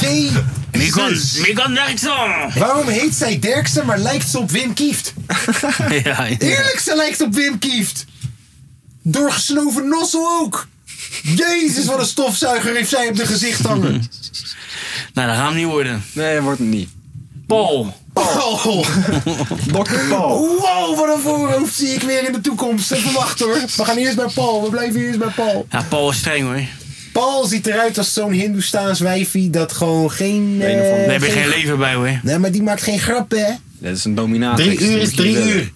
Jee. Mikan, Mikan Derkson. Waarom heet zij Derksen, maar lijkt ze op Wim Kieft? ja, ja. Eerlijk, ze lijkt op Wim Kieft. Doorgesnoven nossel ook. Jezus, wat een stofzuiger heeft zij op de gezicht hangen. Nou, dat gaan we niet worden. Nee, dat wordt het niet. Paul. Paul. Dr. Paul. Oh, Wow, wat een voorhoofd zie ik weer in de toekomst. Even wachten hoor. We gaan eerst bij Paul. We blijven eerst bij Paul. Ja, Paul is streng hoor. Paul ziet eruit als zo'n Hindoestaans wijfie dat gewoon geen... eh, Daar heb je geen leven bij hoor. Nee, maar die maakt geen grappen, hè? Dat is een dominatie. Drie uur is drie uur.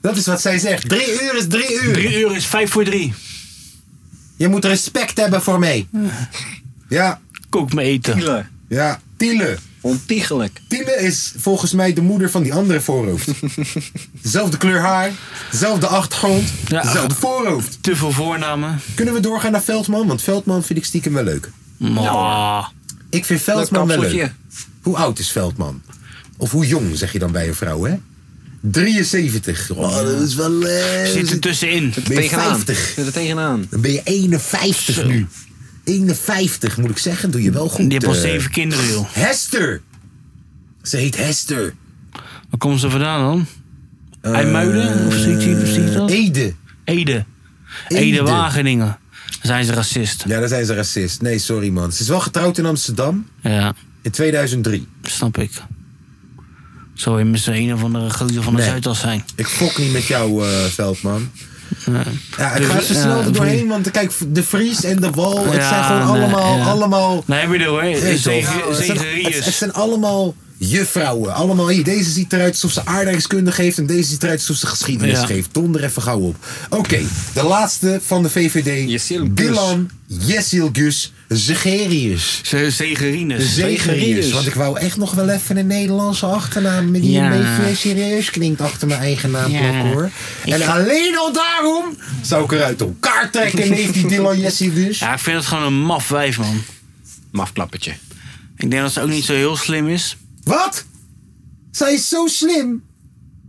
Dat is wat zij zegt. Drie uur is drie uur. Drie uur is vijf voor drie. Je moet respect hebben voor mij. Ja, Kook me eten. Tiele. ja. Tiele. Ontiegelijk. Tiele is volgens mij de moeder van die andere voorhoofd. Zelfde kleur haar, zelfde achtergrond, Ja. zelfde voorhoofd. Te veel voornamen. Kunnen we doorgaan naar Veldman? Want Veldman vind ik stiekem wel leuk. Maar. Ik vind Veldman wel leuk. Hoe oud is Veldman? Of hoe jong zeg je dan bij een vrouw, hè? 73. Oh, dat is wel... eh, Zit er tussenin. ben je Tegenaan. 50. Zit er tegenaan. Dan ben je 51 nu. 51 moet ik zeggen, doe je wel goed. Die heeft al eh. zeven kinderen joh. Hester! Ze heet Hester. Waar komen ze vandaan dan? Eh, IJmuiden? Of zoiets? Of zoiets dat? Ede. Ede. Ede Wageningen. Dan zijn ze racist. Ja, dan zijn ze racist. Nee, sorry man. Ze is wel getrouwd in Amsterdam Ja, in 2003. snap ik. Zou je misschien een of andere gozer van de Nee. Zuidas zijn? Ik fok niet met jou, eh, Veldman. Ja, ik ga Dus, even ja, snel er Vries. doorheen, want kijk, de Vries en de Wal, het Ja, zijn gewoon nee, allemaal, ja. allemaal Nee, ik bedoel hoor. Nee, toch? Zege- Het zijn- Het het Zegeriërs. zijn allemaal juffrouwen. Allemaal, hier, deze ziet eruit alsof ze aardrijkskunde geeft... en deze ziet eruit alsof ze geschiedenis Ja. geeft. Donder even gauw op. Oké, de laatste van de VVD. Yesil Gus. Dylan Jessilgus Zegerius. Ze- Zegerines. Zegerius. Want ik wou echt nog wel even een Nederlandse achternaam... die Ja. een beetje serieus klinkt achter mijn eigen naam plakken, hoor. En alleen al daarom zou ik eruit elkaar trekken... neef die Dylan dus. Jessilgus. Ja, ik vind het gewoon een maf wijf, man. Mafklappertje. Ik denk dat ze ook niet zo heel slim is. Wat? Zij is zo slim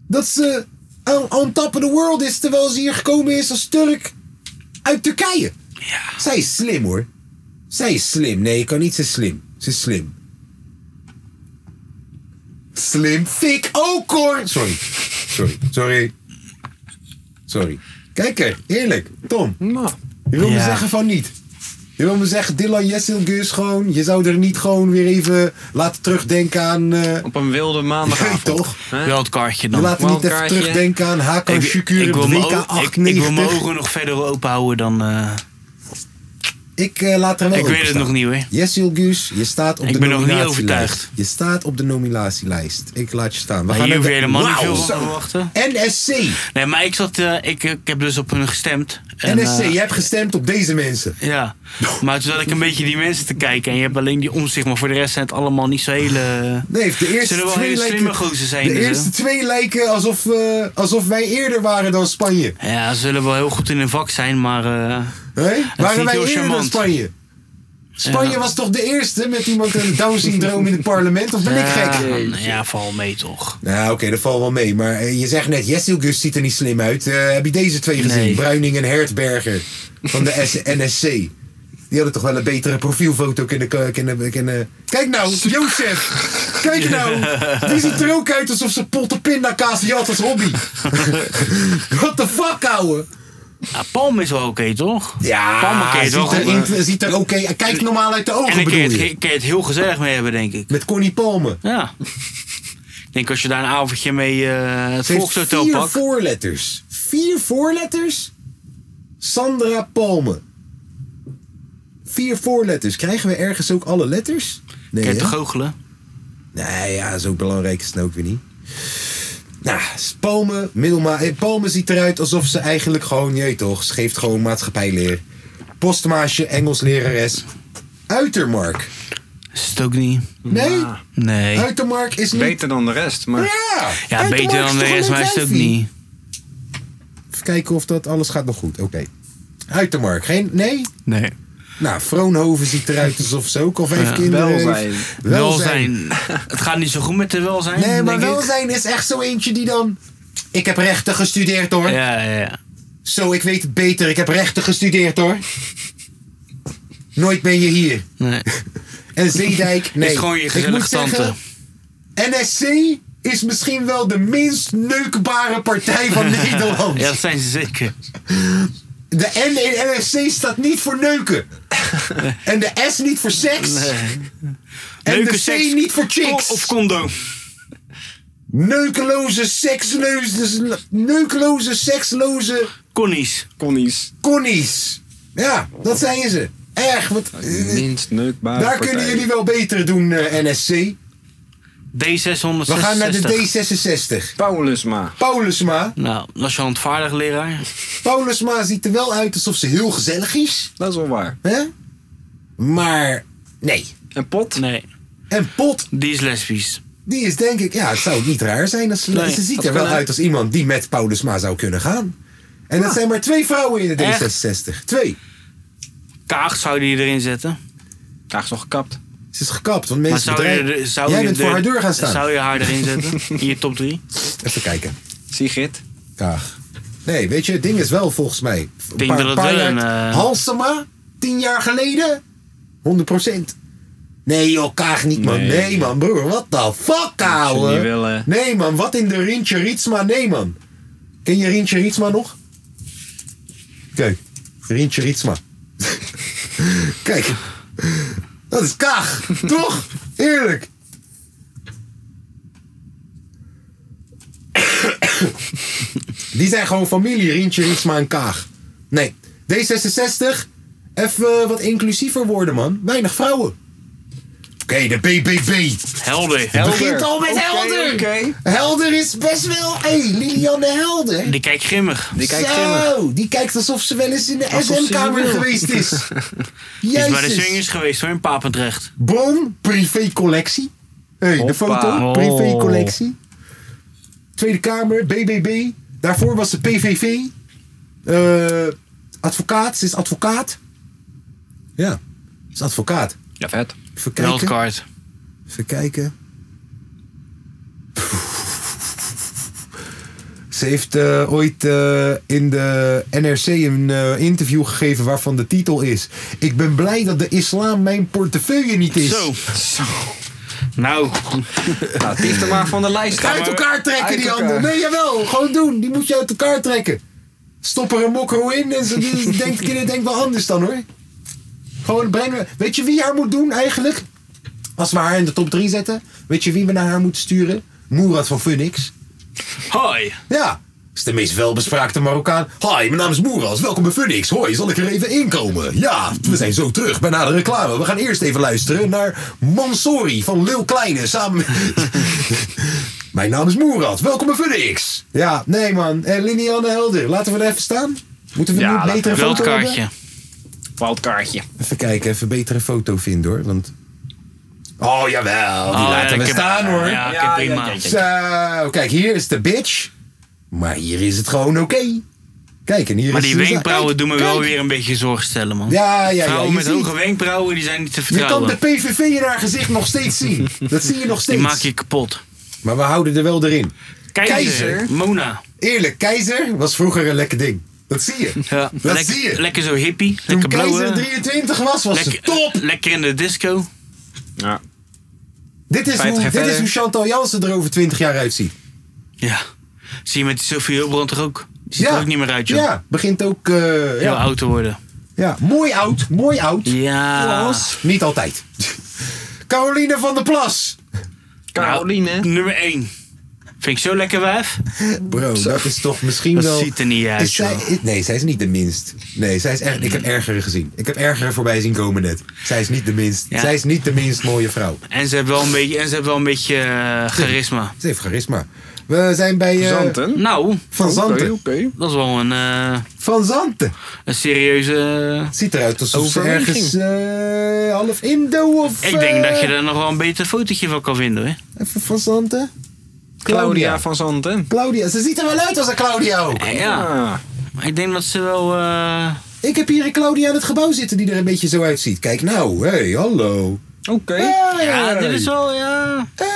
dat ze on, on top of the world is terwijl ze hier gekomen is als Turk uit Turkije. Ja. Zij is slim hoor. Zij is slim. Nee, ik kan niet. Ze is slim. Ze is slim. Slim fik ook hoor. Sorry. Sorry. Sorry. Sorry. Kijk er. Eerlijk. Tom. Nou. Je wil me Ja. zeggen van niet. Je wil me zeggen, Dylan Jessilgus gewoon. Je zou er niet gewoon weer even laten terugdenken aan... eh, Op een wilde maandagavond. Ja, toch? Hè? Wel het kaartje We dan. laten niet even Wildkaartje. terugdenken aan Hakan Ik, Shukur ik, op wil het mijn WK ogen- ik, ik wil mijn 98. ogen nog verder open houden dan... eh, Ik eh, laat er wel ik open weet het staan. nog niet hoor. Jessil Guus, je staat op Ik de ben nog niet nominatielijst. overtuigd. Je staat op de nominatielijst. Ik laat je staan. We Maar hier naar hoef je de- helemaal niet Wauw, veel van zo. te verwachten. NSC. Nee, maar ik zat... eh, ik, ik heb dus op hun gestemd. En, NSC, eh, je hebt gestemd op deze mensen. Ja, maar toen zat ik een beetje die mensen te kijken en je hebt alleen die omzicht, maar voor de rest zijn het allemaal niet zo hele... Nee, de eerste Zullen wel twee hele lijken, slimme gozer zijn. De dus, hè? eerste twee lijken alsof, eh, alsof wij eerder waren dan Spanje. Ja, ze zullen wel heel goed in hun vak zijn, maar... eh, Hè? Waren niet wij heel eerder dan charmant. Spanje? Spanje Ja. was toch de eerste met iemand een Down-syndroom in het parlement? Of ben ik gek? ja, nou ja, val mee toch. Nou, oké, dat valt wel mee. Maar eh, je zegt net, Jessil Gus ziet er niet slim uit. Eh, heb je deze twee gezien? Nee. Bruining en Hertberger van de S- NSC. Die hadden toch wel een betere profielfoto kunnen... kunnen, kunnen, kunnen- Kijk nou, Jozef! Kijk nou! Die ziet er ook uit alsof ze potten pindakaas die had als hobby. What the fuck, ouwe? Ja, Palm is wel oké toch? Palm Ja, kan je het ziet wel er, goed maken. in- ziet er oké... Kijk normaal uit de En ogen, dan kun je, bedoel het, je? kun je het heel gezellig mee hebben, denk ik. Met Connie Palmen. Ja. ik denk als je daar een avondje mee eh het Ze heeft Volkshotel vier pakt. voorletters. Vier voorletters? Sandra Palme. Vier voorletters. Krijgen we ergens ook alle letters? Kent hè? te goochelen. Nee, ja, dat is ook belangrijk. Is het ook weer niet. Nou, Palme, middelma... eh, Palme ziet eruit alsof ze eigenlijk gewoon... Jee toch, ze geeft gewoon maatschappijleer. Postmaasje, Engels lerares. Uitermark. Is het ook niet? Nee? Nee. Uitermark is niet... Beter dan de rest, maar... Ja! Ja, beter dan de rest, maar is het ook niet. Even kijken of dat alles gaat nog goed. Oké. Uitermark, geen... Nee? Nee. Nou, Vroonhoven ziet eruit alsof ze ook al vijf Ja. kinderen heeft. Welzijn. Welzijn. Het gaat niet zo goed met de welzijn. Nee, maar denk ik. welzijn is echt zo eentje die dan... Ik heb rechten gestudeerd hoor. Ja, ja, ja. Zo, ik weet het beter. Ik heb rechten gestudeerd hoor. Nooit ben je hier. Nee. En Zeedijk, nee. Is gewoon je Ik gezellige moet zeggen, tante. NSC is misschien wel de minst neukbare partij van Nederland. Ja, dat zijn ze zeker. De N in NSC staat niet voor neuken. En de S niet voor seks. En Leuke de C seks- niet voor chicks. Of condoom. Neukeloze, seksloze, neukeloze, seksloze... Connies. Connies. Connies. Ja, dat zijn ze. Erg, wat... Minst neukbare Daar partij. kunnen jullie wel beter doen, eh, NSC. D666. We gaan naar de D66. Paulusma. Paulusma. Nou, als je handvaardig leraar. Paulusma ziet er wel uit alsof ze heel gezellig is. Dat is wel waar. Hè? Maar nee. En Pot? Nee. En Pot? Die is lesbisch. Die is denk ik, ja, het zou niet raar zijn. Als, ze- Nee, ze ziet dat er wel kunnen. uit als iemand die met Paulusma zou kunnen gaan. En Ah. dat zijn maar twee vrouwen in de D66. Twee. Kaag zou die erin zetten. Kaag is nog gekapt. Ze is gekapt, want Maar mensen zou je, bedreigen- er- zou Jij je bent er- voor haar deur gaan staan. Zou je haar erin zetten? In je top 3? Even kijken. Sigrid? Kaag. Nee, weet je, het ding is wel volgens mij... denk dat het wel een, eh, Halsema? Tien jaar geleden? 100 Nee joh, Kaag niet man. Nee, Nee. man, broer. Wat de fuck, niet ouwe? willen. Nee man, wat in de Rintje Rietsma? Nee man. Ken je Rintje Rietsma nog? Kijk, Rintje Rietsma. Kijk, dat is Kaag, toch? Eerlijk. Die zijn gewoon familie, Rientje, Rietsma en Kaag. Nee, D66, even wat inclusiever worden, man. Weinig vrouwen. Oké, de BBB. Helder. Het begint al met Helder. Helder is best wel... Hé, hey, Liliane Helder. Die kijkt grimmig. Die kijkt Zo, grimmig. die kijkt alsof ze wel eens in de Alsof ze SM-kamer wil. geweest is. Die is bij de Jezus. swingers geweest hoor, in Papendrecht. Bon, privécollectie. Hé, hey, de Hoppa. Oh. foto, privécollectie. Tweede Kamer, BBB. Daarvoor was ze PVV. Eh, advocaat, ze is advocaat. Ja, ze is advocaat. Ja, vet. Even kijken. Wildcard. Even kijken. Ze heeft eh, ooit eh, in de NRC een eh, interview gegeven waarvan de titel is... Ik ben blij dat de islam mijn portefeuille niet is. Zo. Nou. Nou, dief er maar van de lijst. Uit maar- elkaar trekken uit die elkaar. handen. Nee, jawel. Gewoon doen. Die moet je uit elkaar trekken. Stop er een mokro in en ze die denkt, kinderen denkt wel anders dan hoor. Gewoon brengen. Weet je wie haar moet doen eigenlijk? Als we haar in de top 3 zetten. Weet je wie we naar haar moeten sturen? Moerad van Funix. Hoi. Ja. Is de meest welbespraakte Marokkaan. Hi, mijn naam is Moeras. Welkom bij Funix. Hoi, zal ik er even inkomen? Ja, we zijn zo terug bij na de reclame. We gaan eerst even luisteren naar Mansori van Lil Kleine samen met... mijn naam is Moeras. Welkom bij Funix. Ja, nee man. Eh, Liniane Helder. Laten we er even staan. Moeten we nu een betere foto hebben? Wildkaartje. Wildkaartje. Even kijken, even een betere foto vinden hoor. Want... Oh jawel, die Oh, ja, laten dat we kan- staan hoor. Ja, oké, prima. Zo, kijk, hier is de bitch. Maar hier is het gewoon oké. Kijk, en hier Maar is die Suza- wenkbrauwen Kijk, doen me wel kijk. weer een beetje zorgen stellen, man. Ja, ja, ja, Vrouwen je met ziet- hoge wenkbrauwen, die zijn niet te Je kan de vertrouwen. PVV in haar gezicht nog steeds zien. Dat zie je nog Die steeds. maak je kapot. Maar we houden er wel erin. Keizer. Mona. Eerlijk, keizer was vroeger een lekker ding. Dat zie je. Ja. Dat Lekker- zie je. Lekker zo hippie. Toen Lekker blauwe. keizer 23 was, was ze lekker, top. Lekker in de disco. Ja. Dit is, Vijftig hoe, jaar dit is verder. hoe Chantal Jansen er over 20 jaar uitziet. Ja. Zie je met die Sophie Hilbrand toch ook? Die ziet er ook niet meer uit, joh. Ja, begint ook... eh, Heel ja. oud te worden. ja, mooi oud, mooi oud. Ja. Ah, Niet altijd. Caroline van der Plas. Nou, Caroline. Nummer 1. Vind ik zo lekker wijf? Bro, dat is toch misschien Dat wel... ziet er niet uit, Is zij- joh. is- nee, zij is niet de minst. Nee, zij is echt, ik heb erger gezien. Ik heb erger voorbij zien komen net. Zij is niet de minst. Ja. Zij is niet de minst mooie vrouw. En ze hebben wel een beetje, en ze hebben wel een beetje eh, charisma. Ze heeft charisma. We zijn bij... eh, Nou. Van Oh, Zanten. Dat is wel een... eh, Van Zanten. Een serieuze... Ziet eruit alsof ze ergens eh, half Indo of... Ik denk eh, dat je er nog wel een beter fotootje van kan vinden, hoor. Even van Zanten. Claudia van Zanten. Claudia, ze ziet er wel uit als een Claudia ook. Ja. Maar Ik denk dat ze wel... eh, Ik heb hier een Claudia in het gebouw zitten die er een beetje zo uitziet. Kijk nou, hey, hallo. Oké. Ja, dit is wel, ja... Ja,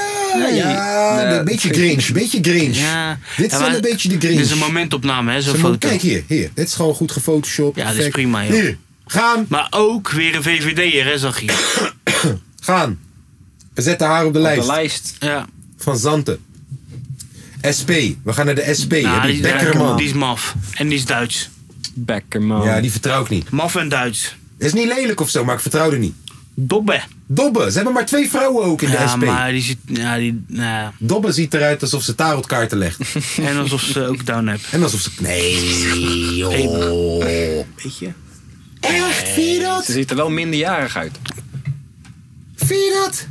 Nee, een beetje vind ik- Grinch, een beetje Grinch. Ja. Dit is Ja, wel maar een beetje de Grinch. Dit is een momentopname, hè, zo'n Ze moet- foto. Kijk hier, hier. Dit is gewoon goed gefotoshopt. Ja, dit is perfect. prima, joh. Hier, gaan. Maar ook weer een VVD'er, hè, zag je. gaan. We zetten haar op de lijst. lijst. Ja. Van Zanten. SP. We gaan naar de SP. Nou, hè, die die, is- Beckerman. die is maf. En die is Duits. Beckerman. Ja, die vertrouw ik niet. Maf en Duits. Is niet lelijk of zo, maar ik vertrouw er niet. Dobbe. Dobbe. Ze hebben maar twee vrouwen ook in de Ja, SP. maar die zit... Ja, die, ja. Dobbe ziet eruit alsof ze tarotkaarten legt. En alsof ze ook down hebt. En alsof ze... Nee, joh. Weet je? Echt? Zie je dat? Ze ziet er wel minderjarig uit. Zie je dat?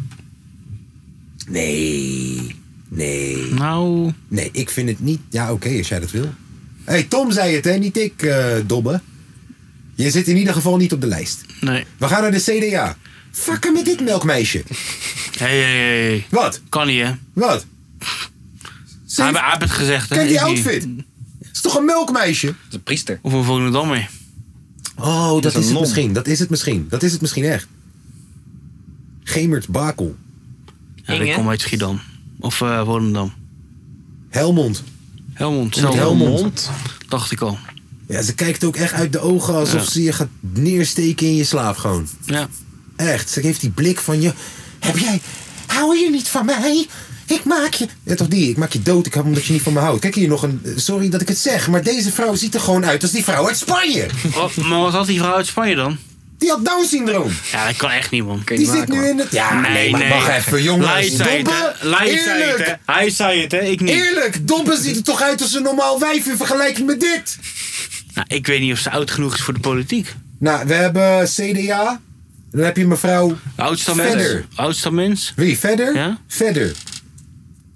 Nee. Nee. Nou. Nee, ik vind het niet. Ja, oké, als jij dat wil. Hé, hey, Tom zei het, hè? Niet ik, eh Dobbe. Je zit in ieder geval niet op de lijst. Nee. We gaan naar de CDA. Fucken met dit melkmeisje. Hé, hé, hé, hé. Wat? Kan niet, hè? Wat? Ah, Hij, hij heeft het gezegd, hè? Kijk die Ik niet. outfit. is toch een melkmeisje? Dat is een priester. Of een Volendammer. Oh, dat, Dat is een is, het non. misschien. Dat is het misschien. Dat is het misschien echt. Gemert Bakel. Ja, ik kom uit Schiedam. Of eh Volendam. Helmond. Helmond. Komt uit zelf. Helmond. Dacht ik al. Ja, ze kijkt ook echt uit de ogen alsof Ja. ze je gaat neersteken in je slaap gewoon. Ja. Echt, ze geeft die blik van je. Heb jij. Hou je niet van mij? Ik maak je. Ja, toch die? Ik maak je dood. Ik hou omdat je niet van me houdt. Kijk hier nog een. eh, Sorry dat ik het zeg, maar deze vrouw ziet er gewoon uit als die vrouw uit Spanje. Wat- Oh, maar wat had die vrouw uit Spanje dan? Die had Down syndroom. Ja, dat kan echt niet, man. Die zit nu in het. Ja, Ah, nee, maar wacht even, jongens. Hij zei het, Dobbe, hè. Hij zei het, Hm. eerlijk. hè. Hij zei het, hè. Ik niet. Eerlijk, Dobbe ziet er toch uit als een normaal wijf in vergelijking met dit. Nou, ik weet niet of ze oud genoeg is voor de politiek. Nou, we hebben CDA. Dan heb je mevrouw. Oudste mens. Verder. Oudste mens. Wie? Verder? Verder.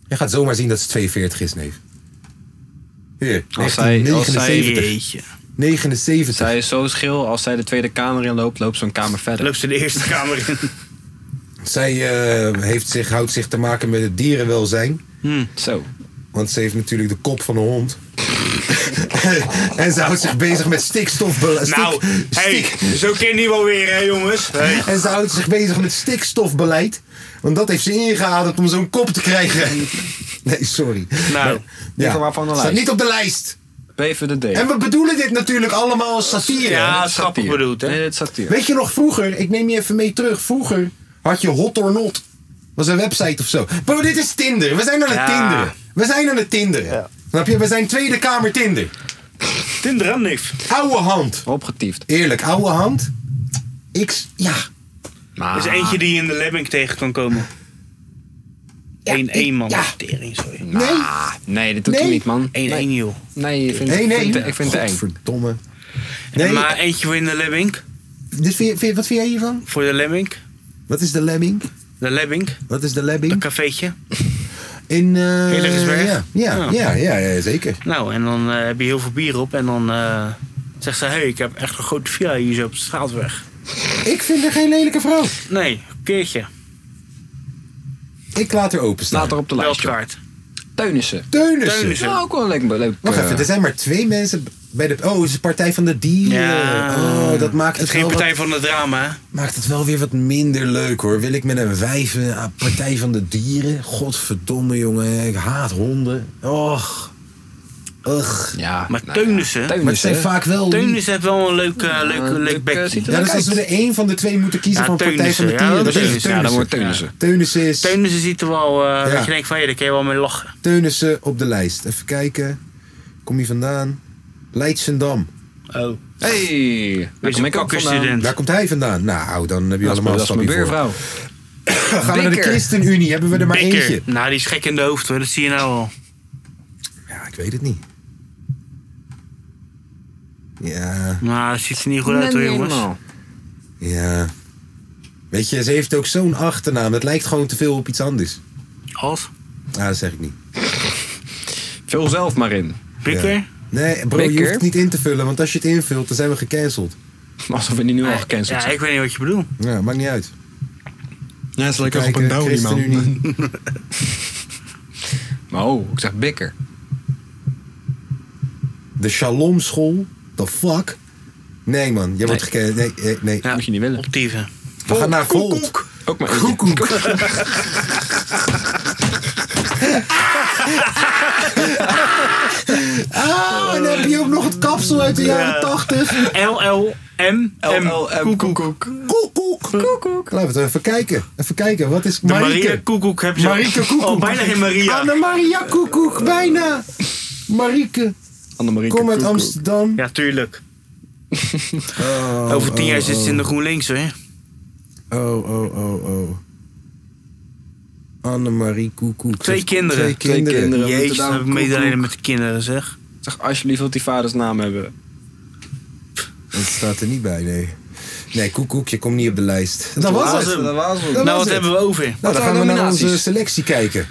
Je gaat zomaar zien dat ze 42 is, neef. Hier, Als zij, als zij, 1979. 79. Zij is zo schil, als zij de Tweede Kamer in loopt, loopt zo'n kamer verder. Loopt ze de Eerste Kamer in. Zij eh, heeft zich, houdt zich te maken met het dierenwelzijn. Zo. Want ze heeft natuurlijk de kop van een hond. en ze houdt zich bezig met stikstofbeleid. Nou, hey, zo ken je wel weer, hè, jongens. Hey. En ze houdt zich bezig met stikstofbeleid. Want dat heeft ze ingeademd om zo'n kop te krijgen. Nee, sorry. Nou, Ja. maar van de Staat lijst. niet op de lijst. PVDD. En we bedoelen dit natuurlijk allemaal als satire. Ja, grappig bedoeld, hè. Nee, dit is satire. Weet je nog vroeger, ik neem je even mee terug. Vroeger had je Hot or Not. Was een website of zo. Bro, dit is Tinder. We zijn aan het Ja. Tinderen. We zijn aan het Tinderen. Snap je? We zijn Tweede Kamer Tinder. Tinder aan niks. Oude hand. Opgetiefd. Eerlijk, oude hand. Ik, s- ja. Er is eentje die je in de Lemming tegen kan komen. Eén één man. ja. Tering, sorry. Nee. Ah. Nee, dit doet hij Nee. niet, man. Eén één, joh. Nee, ik vind, Nee, nee. ik vind, ik vind het eng. Godverdomme. Nee. Maar eentje voor in de Lemming. Dus vind je- vind je- wat vind jij hiervan? Voor de Lemming. Wat is de Lemming? De Lemming. Wat is de Lemming? Een cafeetje. In... eh, Heiligersberg? Ja, ja, ja, ja, ja, zeker. Nou, en dan eh, heb je heel veel bier op. En dan eh, zegt ze, hé, hey, ik heb echt een grote villa hier zo op de straatweg. Ik vind er geen lelijke vrouw. Nee, een keertje. Ik laat er openstaan. Laat er op de lijst. joh. Welkaart. Teunissen. Teunissen. Ja, ook wel een leuk. leuk Wacht eh, even, er zijn maar twee mensen bij de... Oh, het is de Partij van de Dieren. Ja. Oh, dat maakt Het het, is geen wel partij wat, van het drama, hè? maakt het wel weer wat minder leuk, hoor. Wil ik met een wijf eh, aan Partij van de Dieren? Godverdomme, jongen. Ik haat honden. Och. Ugh. Nou Ja, Maar Teunissen... Maar het zijn vaak wel... Teunissen heeft wel een leuk, eh, leuk, leuk bekje. Ja, dus als we er één van de twee moeten kiezen Ja, van Partij van de Teunissen. Dieren... Ja, dan is het Teunissen. Ja, dan wordt Teunissen. Teunissen is... Teunissen ziet er wel... eh, Ja. Dat je denkt van, hé, daar kun je wel mee lachen. Teunissen op de lijst. Even kijken. Kom je vandaan? Leidsendam. Oh. Hey, daar Wees kom een ik ook vandaan. kakkerstudent. Waar komt hij vandaan? Nou, dan heb je Dat is mijn- allemaal eh, dat is mijn stapje voor. buurvrouw. Gaan we naar de Bikker. ChristenUnie? Hebben we er maar Bikker. eentje? Nou, die is gek in de hoofd hoor, dat zie je nou al. ik weet het niet. Ja. Nou, dat ziet er niet goed uit hoor, jongens. Ja. Weet je, ze heeft ook zo'n achternaam. Het lijkt gewoon te veel op iets anders. Als? Nou, dat zeg ik niet. Vul zelf maar in. Bikker? Ja. Nee, bro, je Bikker? hoeft het niet in te vullen, want als je het invult, dan zijn we gecanceld. Alsof we niet nu al gecanceld Ja, ik weet niet wat je bedoelt. Ja, maakt niet uit. Ja, het is lekker Kijken, op een downie, man. ChristenUnie. Maar oh, ik zeg bikker. De Shalom School? The fuck? Nee, man, jij wordt gekend. Nee, nee, eh, nee. moet je niet willen. Optieven. We gaan naar Volt. Ook maar eentje. Ah, en dan heb je ook nog het kapsel uit de jaren 80. LLM. LLM. Koekoek. Koekoek. Koekoek. Laten we het even kijken. Even kijken, wat is Marieke? Maria Koekoek heb je al. Marieke Koekoek. Oh, bijna geen Maria. Anne-Maria Koekoek, bijna. Marieke. Annemarie Kom uit Amsterdam. Ja, tuurlijk. Over tien jaar zit ze in de GroenLinks, hoor. Oh, oh, oh, oh. Annemarie Koekoek. Twee kinderen. Twee kinderen. Jezus, Daarom dan heb ik koekoek. medelijden met de kinderen, zeg. Zeg alsjeblieft wat die vaders naam hebben. Dat staat er niet bij, nee. Nee, Koekoek, je komt niet op de lijst. Dat, was, het. hem. Dat was het. Nou, wat hebben we over? Nou, Wat dan waren gaan we naar nominaties? onze selectie kijken.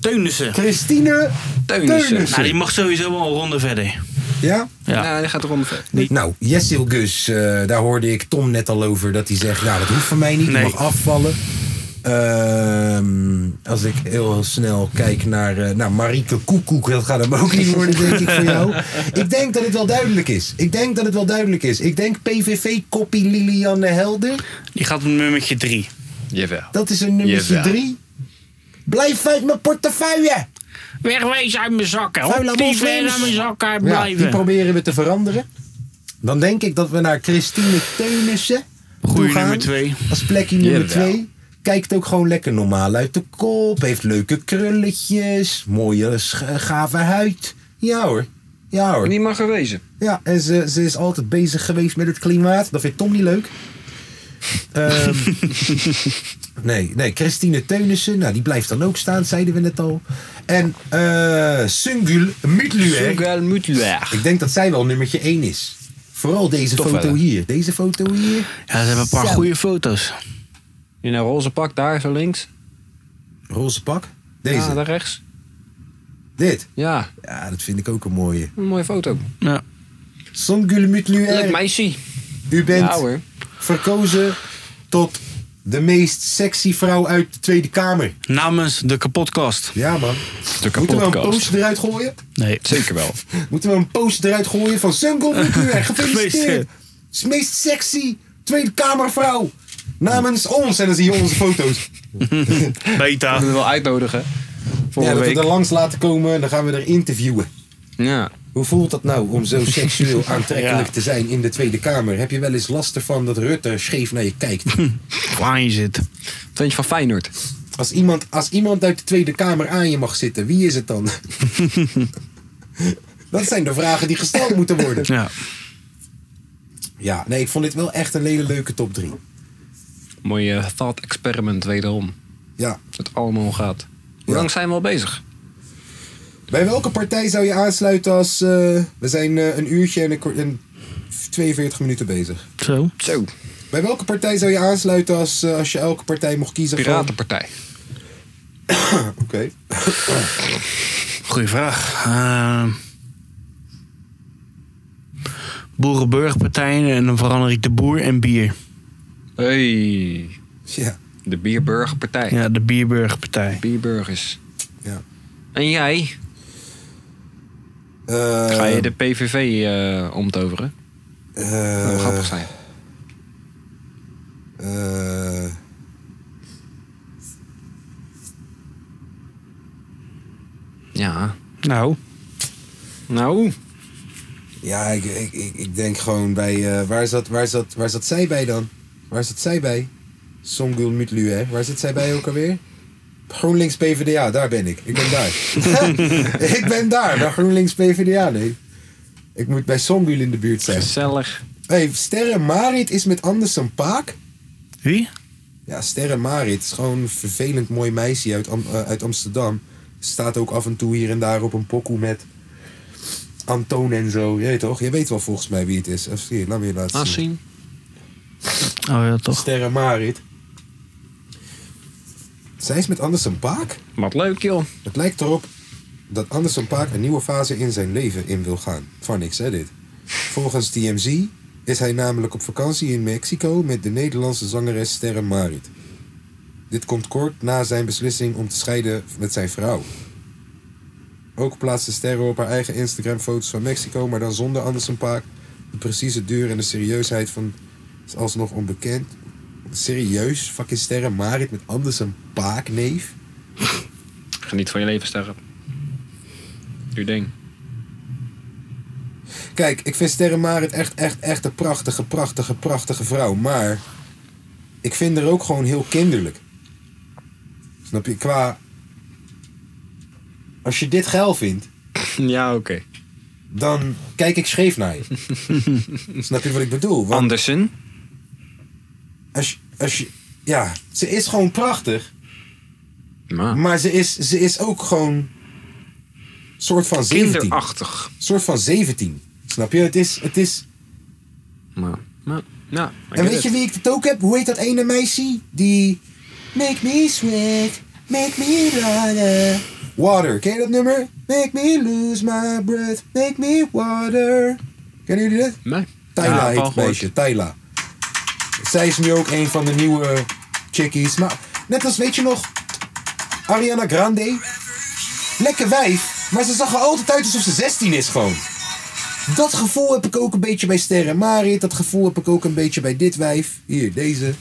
Teunissen. Christine Teunissen. Nou, die mag sowieso wel een ronde verder. Ja? Ja. die gaat eronder verder. Nou, Jessil Gus, eh, daar hoorde ik Tom net al over dat hij zegt: Nou, dat hoeft van mij niet, ik Nee. mag afvallen. Ehm, als ik heel snel kijk naar, eh naar Marieke Koekoek, dat gaat hem ook niet worden, denk ik, voor jou. Ik denk dat het wel duidelijk is. Ik denk dat het wel duidelijk is. Ik denk PVV-koppie Lilianne Helder. Die gaat op nummertje drie. Jawel. Dat is een nummertje Jawel. drie. Blijf uit mijn portefeuille! Wegwezen uit mijn zakken. Vuile Hop, die moslims. ver uit mijn zakken Ja, die blijven. proberen we te veranderen. Dan denk ik dat we naar Christine Teunissen toe Goeie gaan. nummer twee. Als plekje nummer Jawel. 2. Kijkt ook gewoon lekker normaal uit de kop. Heeft leuke krulletjes. Mooie sch- gave huid. Ja hoor. Ja hoor. Wie mag er wezen? Ja, en ze, ze is altijd bezig geweest met het klimaat. Dat vindt Tom niet leuk. Ehm, nee, nee, Christine Teunissen. Nou, die blijft dan ook staan, zeiden we net al. En eh Sungul Mutluer. Sungul Mutluer. Ik denk dat zij wel nummertje 1 is. Vooral deze Toch foto wel, hè? hier. Deze foto hier. Ja, ze hebben een paar Zo. goede foto's. In een roze pak daar, zo links. Roze pak? Deze? Ja, daar rechts. Dit? Ja. Ja, dat vind ik ook een mooie. Een mooie foto. Ja. Songul Leuk Mutluer. meisje. U bent Ja, hoor. verkozen tot de meest sexy vrouw uit de Tweede Kamer. Namens de kapotkast. Ja, man. De Moeten we een post eruit gooien? Nee. Zeker wel. Moeten we een post eruit gooien van Songul Mutluer? Gefeliciteerd. Gefeliciteerd. Is meest sexy Tweede Kamervrouw. Namens ons. En dan zie je onze foto's. Beta. We wel uitnodigen. Volgende ja, dat week. we er langs laten komen en dan gaan we er interviewen. Ja. Hoe voelt dat nou om zo seksueel aantrekkelijk Ja. te zijn in de Tweede Kamer? Heb je wel eens last ervan dat Rutte scheef naar je kijkt? Waar je zit. Tandje van Feyenoord. Als iemand, als iemand uit de Tweede Kamer aan je mag zitten, wie is het dan? dat zijn de vragen die gesteld moeten worden. Ja. Ja, nee, ik vond dit wel echt een hele leuke top 3. Mooi eh, thought experiment wederom. Ja. Het allemaal om gaat. Hoe lang zijn we al bezig? Bij welke partij zou je aansluiten als... eh, we zijn eh, een uurtje en, een, kwart- en 42 minuten bezig. Zo. Zo. Bij welke partij zou je aansluiten als, eh, als je elke partij mocht kiezen? van- Piratenpartij. Oké. Goeie vraag. Ehm Eh, Boerenburgpartijen en dan verander ik de boer en bier. Hey. Ja. De Bierburgerpartij. Ja, de Bierburgerpartij. Bierburgers. Ja. En jij? Eh, Ga je de PVV eh omtoveren? eh, Dat zou grappig zijn. eh, Ja. Nou, Nou. ja, ik, ik, ik, ik denk gewoon bij... eh, waar, zat, waar, zat, waar zat zij bij dan? Waar zat zij bij? Songul Mutlu, hè? Waar zit zij bij ook alweer? GroenLinks PvdA, daar ben ik. Ik ben daar. ik ben daar, bij GroenLinks PvdA, nee. Ik moet bij Songul in de buurt zijn. Gezellig. hey, Sterren Marit is met Andersen Paak. wie? Ja, Sterren Marit is gewoon een vervelend mooi meisje uit, Am- eh, uit Amsterdam. Staat ook af en toe hier en daar op een pokoe met... Antoon en zo. Je weet toch? Je weet wel volgens mij wie het is. Of hier, laat me je laten Laat zien. Oh ja, toch. Sterren Marit. Zij is met Andersen Paak? Wat leuk, joh. Het lijkt erop dat Andersen Paak een nieuwe fase in zijn leven in wil gaan. Van niks, hè, dit. Volgens TMZ is hij namelijk op vakantie in Mexico met de Nederlandse zangeres Sterren Marit. Dit komt kort na zijn beslissing om te scheiden met zijn vrouw. Ook plaatste Sterren op haar eigen Instagram foto's van Mexico, maar dan zonder Andersen Paak. De precieze duur en de serieusheid van is alsnog onbekend. Serieus, fucking Sterren Marit met Andersen Paak, neef. Geniet van je leven, Sterren. Doe ding. Kijk, ik vind Sterren Marit echt, echt, echt een prachtige, prachtige, prachtige vrouw. Maar ik vind haar ook gewoon heel kinderlijk. Snap je? Qua... Als je dit geil vindt... Ja, oké. Dan kijk ik scheef naar je. Snap je wat ik bedoel? Want Andersen? Als, je- als je... Ja, ze is gewoon prachtig. Maar ze is, ze is ook gewoon... Soort van 17. Kinderachtig. Soort van 17. Snap je? Het is... Het is Maar, maar, ja. I en get weet it. je wie ik het ook heb? Hoe heet dat ene meisje? Die... Make me sweat, make me water. Water, ken je dat nummer? Make me lose my breath, make me water. Kennen jullie dat? Nee. Tyla Ja, wel heet het gehoord. meisje, Tyla. Zij is nu ook een van de nieuwe chickies. Maar net als, weet je nog, Ariana Grande. Lekker wijf, maar ze zag er altijd uit alsof ze 16 is gewoon. Dat gevoel heb ik ook een beetje bij Sterren Marit. Dat gevoel heb ik ook een beetje bij dit wijf. Hier, deze.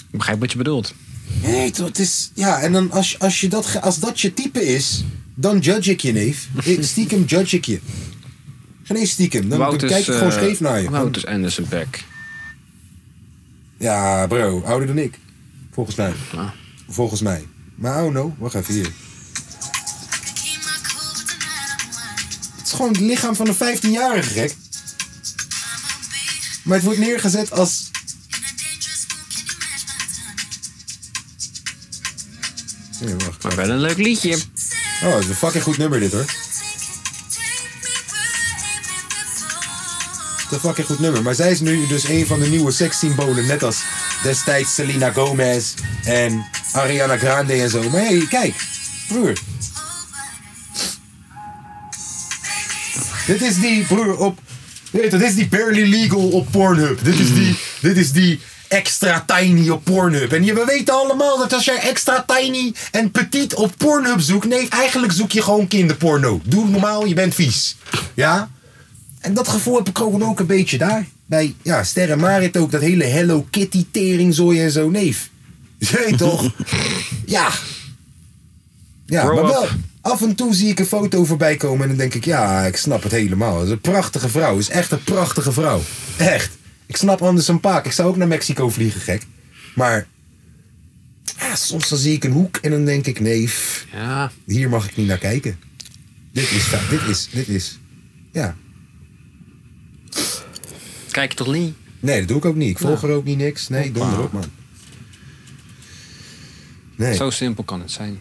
Ik begrijp wat je bedoelt. Nee, toch, het is... Ja, en dan als, als, je dat, ge- als dat je type is, dan judge ik je, neef. Ik- Stiekem judge ik je. Geen eens stiekem. Dan, dan Wout is, kijk ik gewoon eh, scheef naar je. Wout is Anderson Beck. Ja, bro, ouder dan ik. Volgens mij. Volgens mij. Maar oh no, wacht even hier. Het is gewoon het lichaam van een 15-jarige gek. Maar het wordt neergezet als. Nee, wacht. Maar wel een leuk liedje. Oh, het is een fucking goed nummer dit hoor. Het is een fucking goed nummer. Maar zij is nu dus een van de nieuwe sekssymbolen. Net als destijds Selena Gomez en Ariana Grande en zo. Maar hé, hey, kijk. Broer. Dit is die, broer, op... Weet je, dit is die barely legal op Pornhub. Dit is die, dit is die extra tiny op Pornhub. En je, we weten allemaal dat als jij extra tiny en petit op Pornhub zoekt... Nee, eigenlijk zoek je gewoon kinderporno. Doe normaal, je bent vies. Ja? En dat gevoel heb ik gewoon ook een beetje daar. Bij ja, Sterren Marit ook, dat hele Hello Kitty teringzooi en zo, neef. Je weet toch? ja. Ja, Grow maar up. wel. Af en toe zie ik een foto voorbij komen en dan denk ik, ja, ik snap het helemaal. Het is een prachtige vrouw. Het is echt een prachtige vrouw. Echt. Ik snap anders een paak. Ik zou ook naar Mexico vliegen, gek. Maar ja, soms dan zie ik een hoek en dan denk ik, nee, pff, hier mag ik niet naar kijken. Dit is, fa- dit is, dit is, ja. Kijk je toch niet? Nee, dat doe ik ook niet. Ik volg er ook niet niks. Nee, donder op, man. Nee. Zo simpel kan het zijn.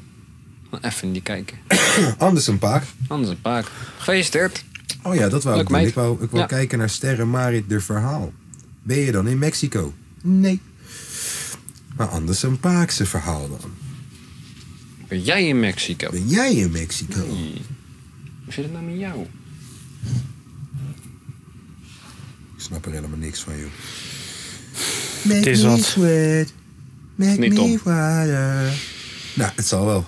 Gewoon Even niet kijken. Ah, Anders een paak. Anders een paak. Gefeliciteerd. Oh ja, dat wou Leuk, ik doen. meid. Ik wou, ik wou Ja. kijken naar Sterren Marit de verhaal. Ben je dan in Mexico? Nee. Maar anders een paakse verhaal dan. Ben jij in Mexico? Ben jij in Mexico? Hoe zit het nou met jou? Ik snap er helemaal niks van, joh. Het is wat. sweat. Make Niet om. water. Nou, het zal wel.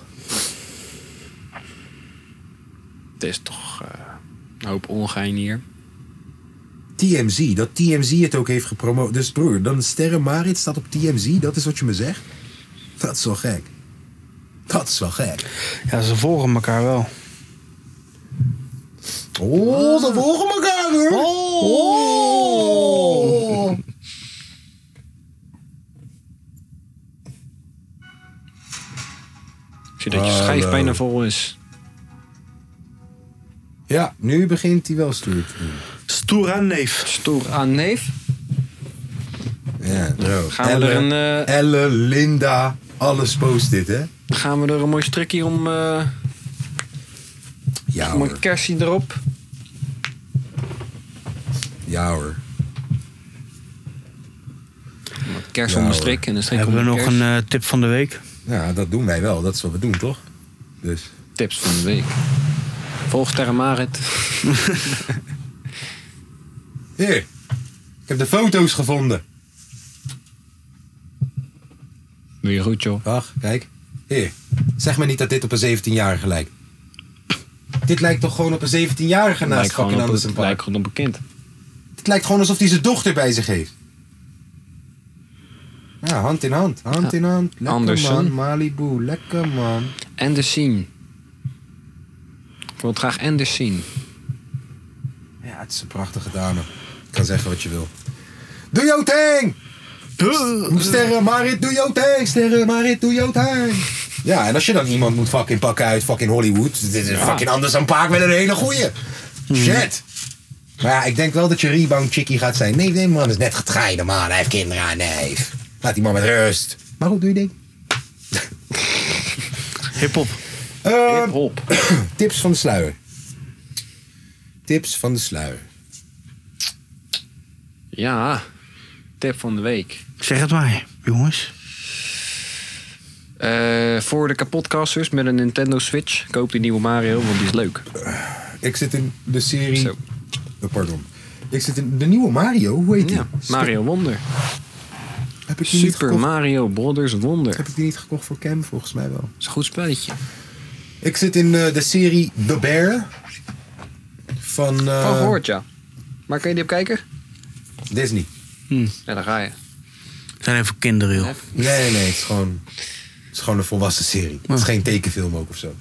Het is toch eh, een hoop ongein hier. TMZ, dat TMZ het ook heeft gepromoot. Dus broer, dan Sterren Marit staat op TMZ, dat is wat je me zegt? Dat is wel gek. Dat is wel gek. Ja, ze volgen elkaar wel. Oh, ze volgen elkaar hoor. Oh. Zie dat je schijf Hallo. bijna vol is. Ja, nu begint hij wel stoer te doen. Stoer aan neef. Stoer aan neef. Ja, bro. Gaan we er een, eh, Elle, Linda, alles post dit, hè? Dan gaan we er een mooi strikje om eh, Ja Doe maar hoor. een kerstje erop. Ja hoor. Kerst Ja, om een hoor. strik en een strik Hebben om we een nog kerst. een, Eh, tip van de week. Ja, dat doen wij wel. Dat is wat we doen, toch? Dus. Tips van de week. Volg Terra Marit. Hier. Ik heb de foto's gevonden. Doe je goed, joh. Wacht, kijk. Hier. Zeg me niet dat dit op een 17-jarige lijkt. Dit lijkt toch gewoon op een 17-jarige naast Lijkt gewoon fucking op- Anderson Park? lijkt gewoon op een kind. Het lijkt gewoon alsof hij zijn dochter bij zich heeft. Ja, hand in hand. Hand in hand. Lekker Anderson. man. Malibu. Lekker man. Anders zien. Ik wil het graag Anders zien. Ja, het is een prachtige dame. Ik kan zeggen wat je wil. Doe jouw ding! Sterren Marit, doe jouw ding! Sterren Marit, doe jouw ding! Ja, en als je dan iemand moet fucking pakken uit fucking Hollywood, dit is Ja. fucking anders dan Paak met een hele goeie. Shit! Maar ja, ik denk wel dat je rebound chickie gaat zijn. Nee, nee, man is net getreiden, man. Hij heeft kinderen aan, nee. Laat die man met rust. Maar goed, doe je ding. Hip-hop. Hip-hop. Ehm, tips van de sluier. Tips van de sluier. Ja, tip van de week. Zeg het maar, jongens. Eh, voor de kapotcasters met een Nintendo Switch. Koop die nieuwe Mario, want die is leuk. Ik zit in de serie. Oh, pardon. Ik zit in de nieuwe Mario. Hoe heet die? Mario Wonder. Heb ik die niet Super gekocht? Mario Brothers Wonder. Heb ik die niet gekocht voor Cam? Volgens mij wel. is een goed spelletje. Ik zit in eh, de serie The Bear. Van, eh, Van gehoord, Oh, ja. Maar kun je die op kijken? Disney. Hmm. Ja, daar ga je. zijn even kinderen, joh. Nee, nee, nee. Het is gewoon, het is gewoon een volwassen serie. Het is Oh. geen tekenfilm ook of zo.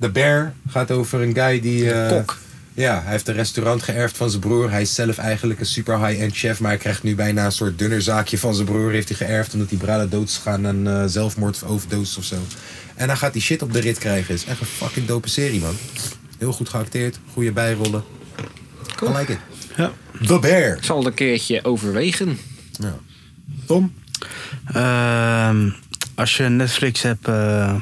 The Bear gaat over een guy die... eh, Ja, hij heeft een restaurant geërfd van zijn broer. Hij is zelf eigenlijk een super high-end chef. Maar hij krijgt nu bijna een soort dunner zaakje van zijn broer. Heeft hij geërfd omdat die braden dood is gegaan aan eh, zelfmoord of overdosis of zo. En dan gaat hij shit op de rit krijgen. is echt een fucking dope serie, man. Heel goed geacteerd. Goede bijrollen. I like it. Ja. The Bear. Ik zal het een keertje overwegen. Ja. Tom? Ehm, als je Netflix hebt, eh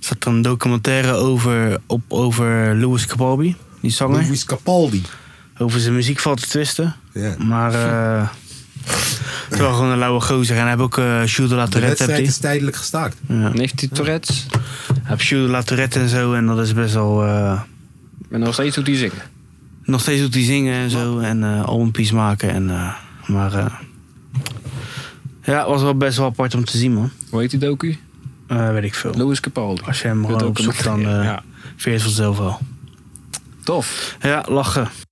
staat er een documentaire over, op, over Louis Capaldi, die zanger. Louis Capaldi. Over zijn muziek valt te twisten. Ja. Maar eh het is wel gewoon een lauwe gozer. En hij heeft ook eh Jules de La De Tourette. wedstrijd is Heeft hij. tijdelijk gestaakt. Ja. Heeft hij Tourette's? Hij heeft Jules de La Tourette en zo. En dat is best wel... eh, En nog steeds doet hij zingen. nog steeds doet hij zingen en zo. En eh albumpies maken. En, eh, maar eh, ja, het was wel best wel apart om te zien, man. Eh, Hoe heet die docu? weet ik veel. Louis Capaldi. Als je hem Doet gewoon eh, ook opzoekt, een- dan eh ja. vind je het vanzelf wel. Tof. Ja, lachen.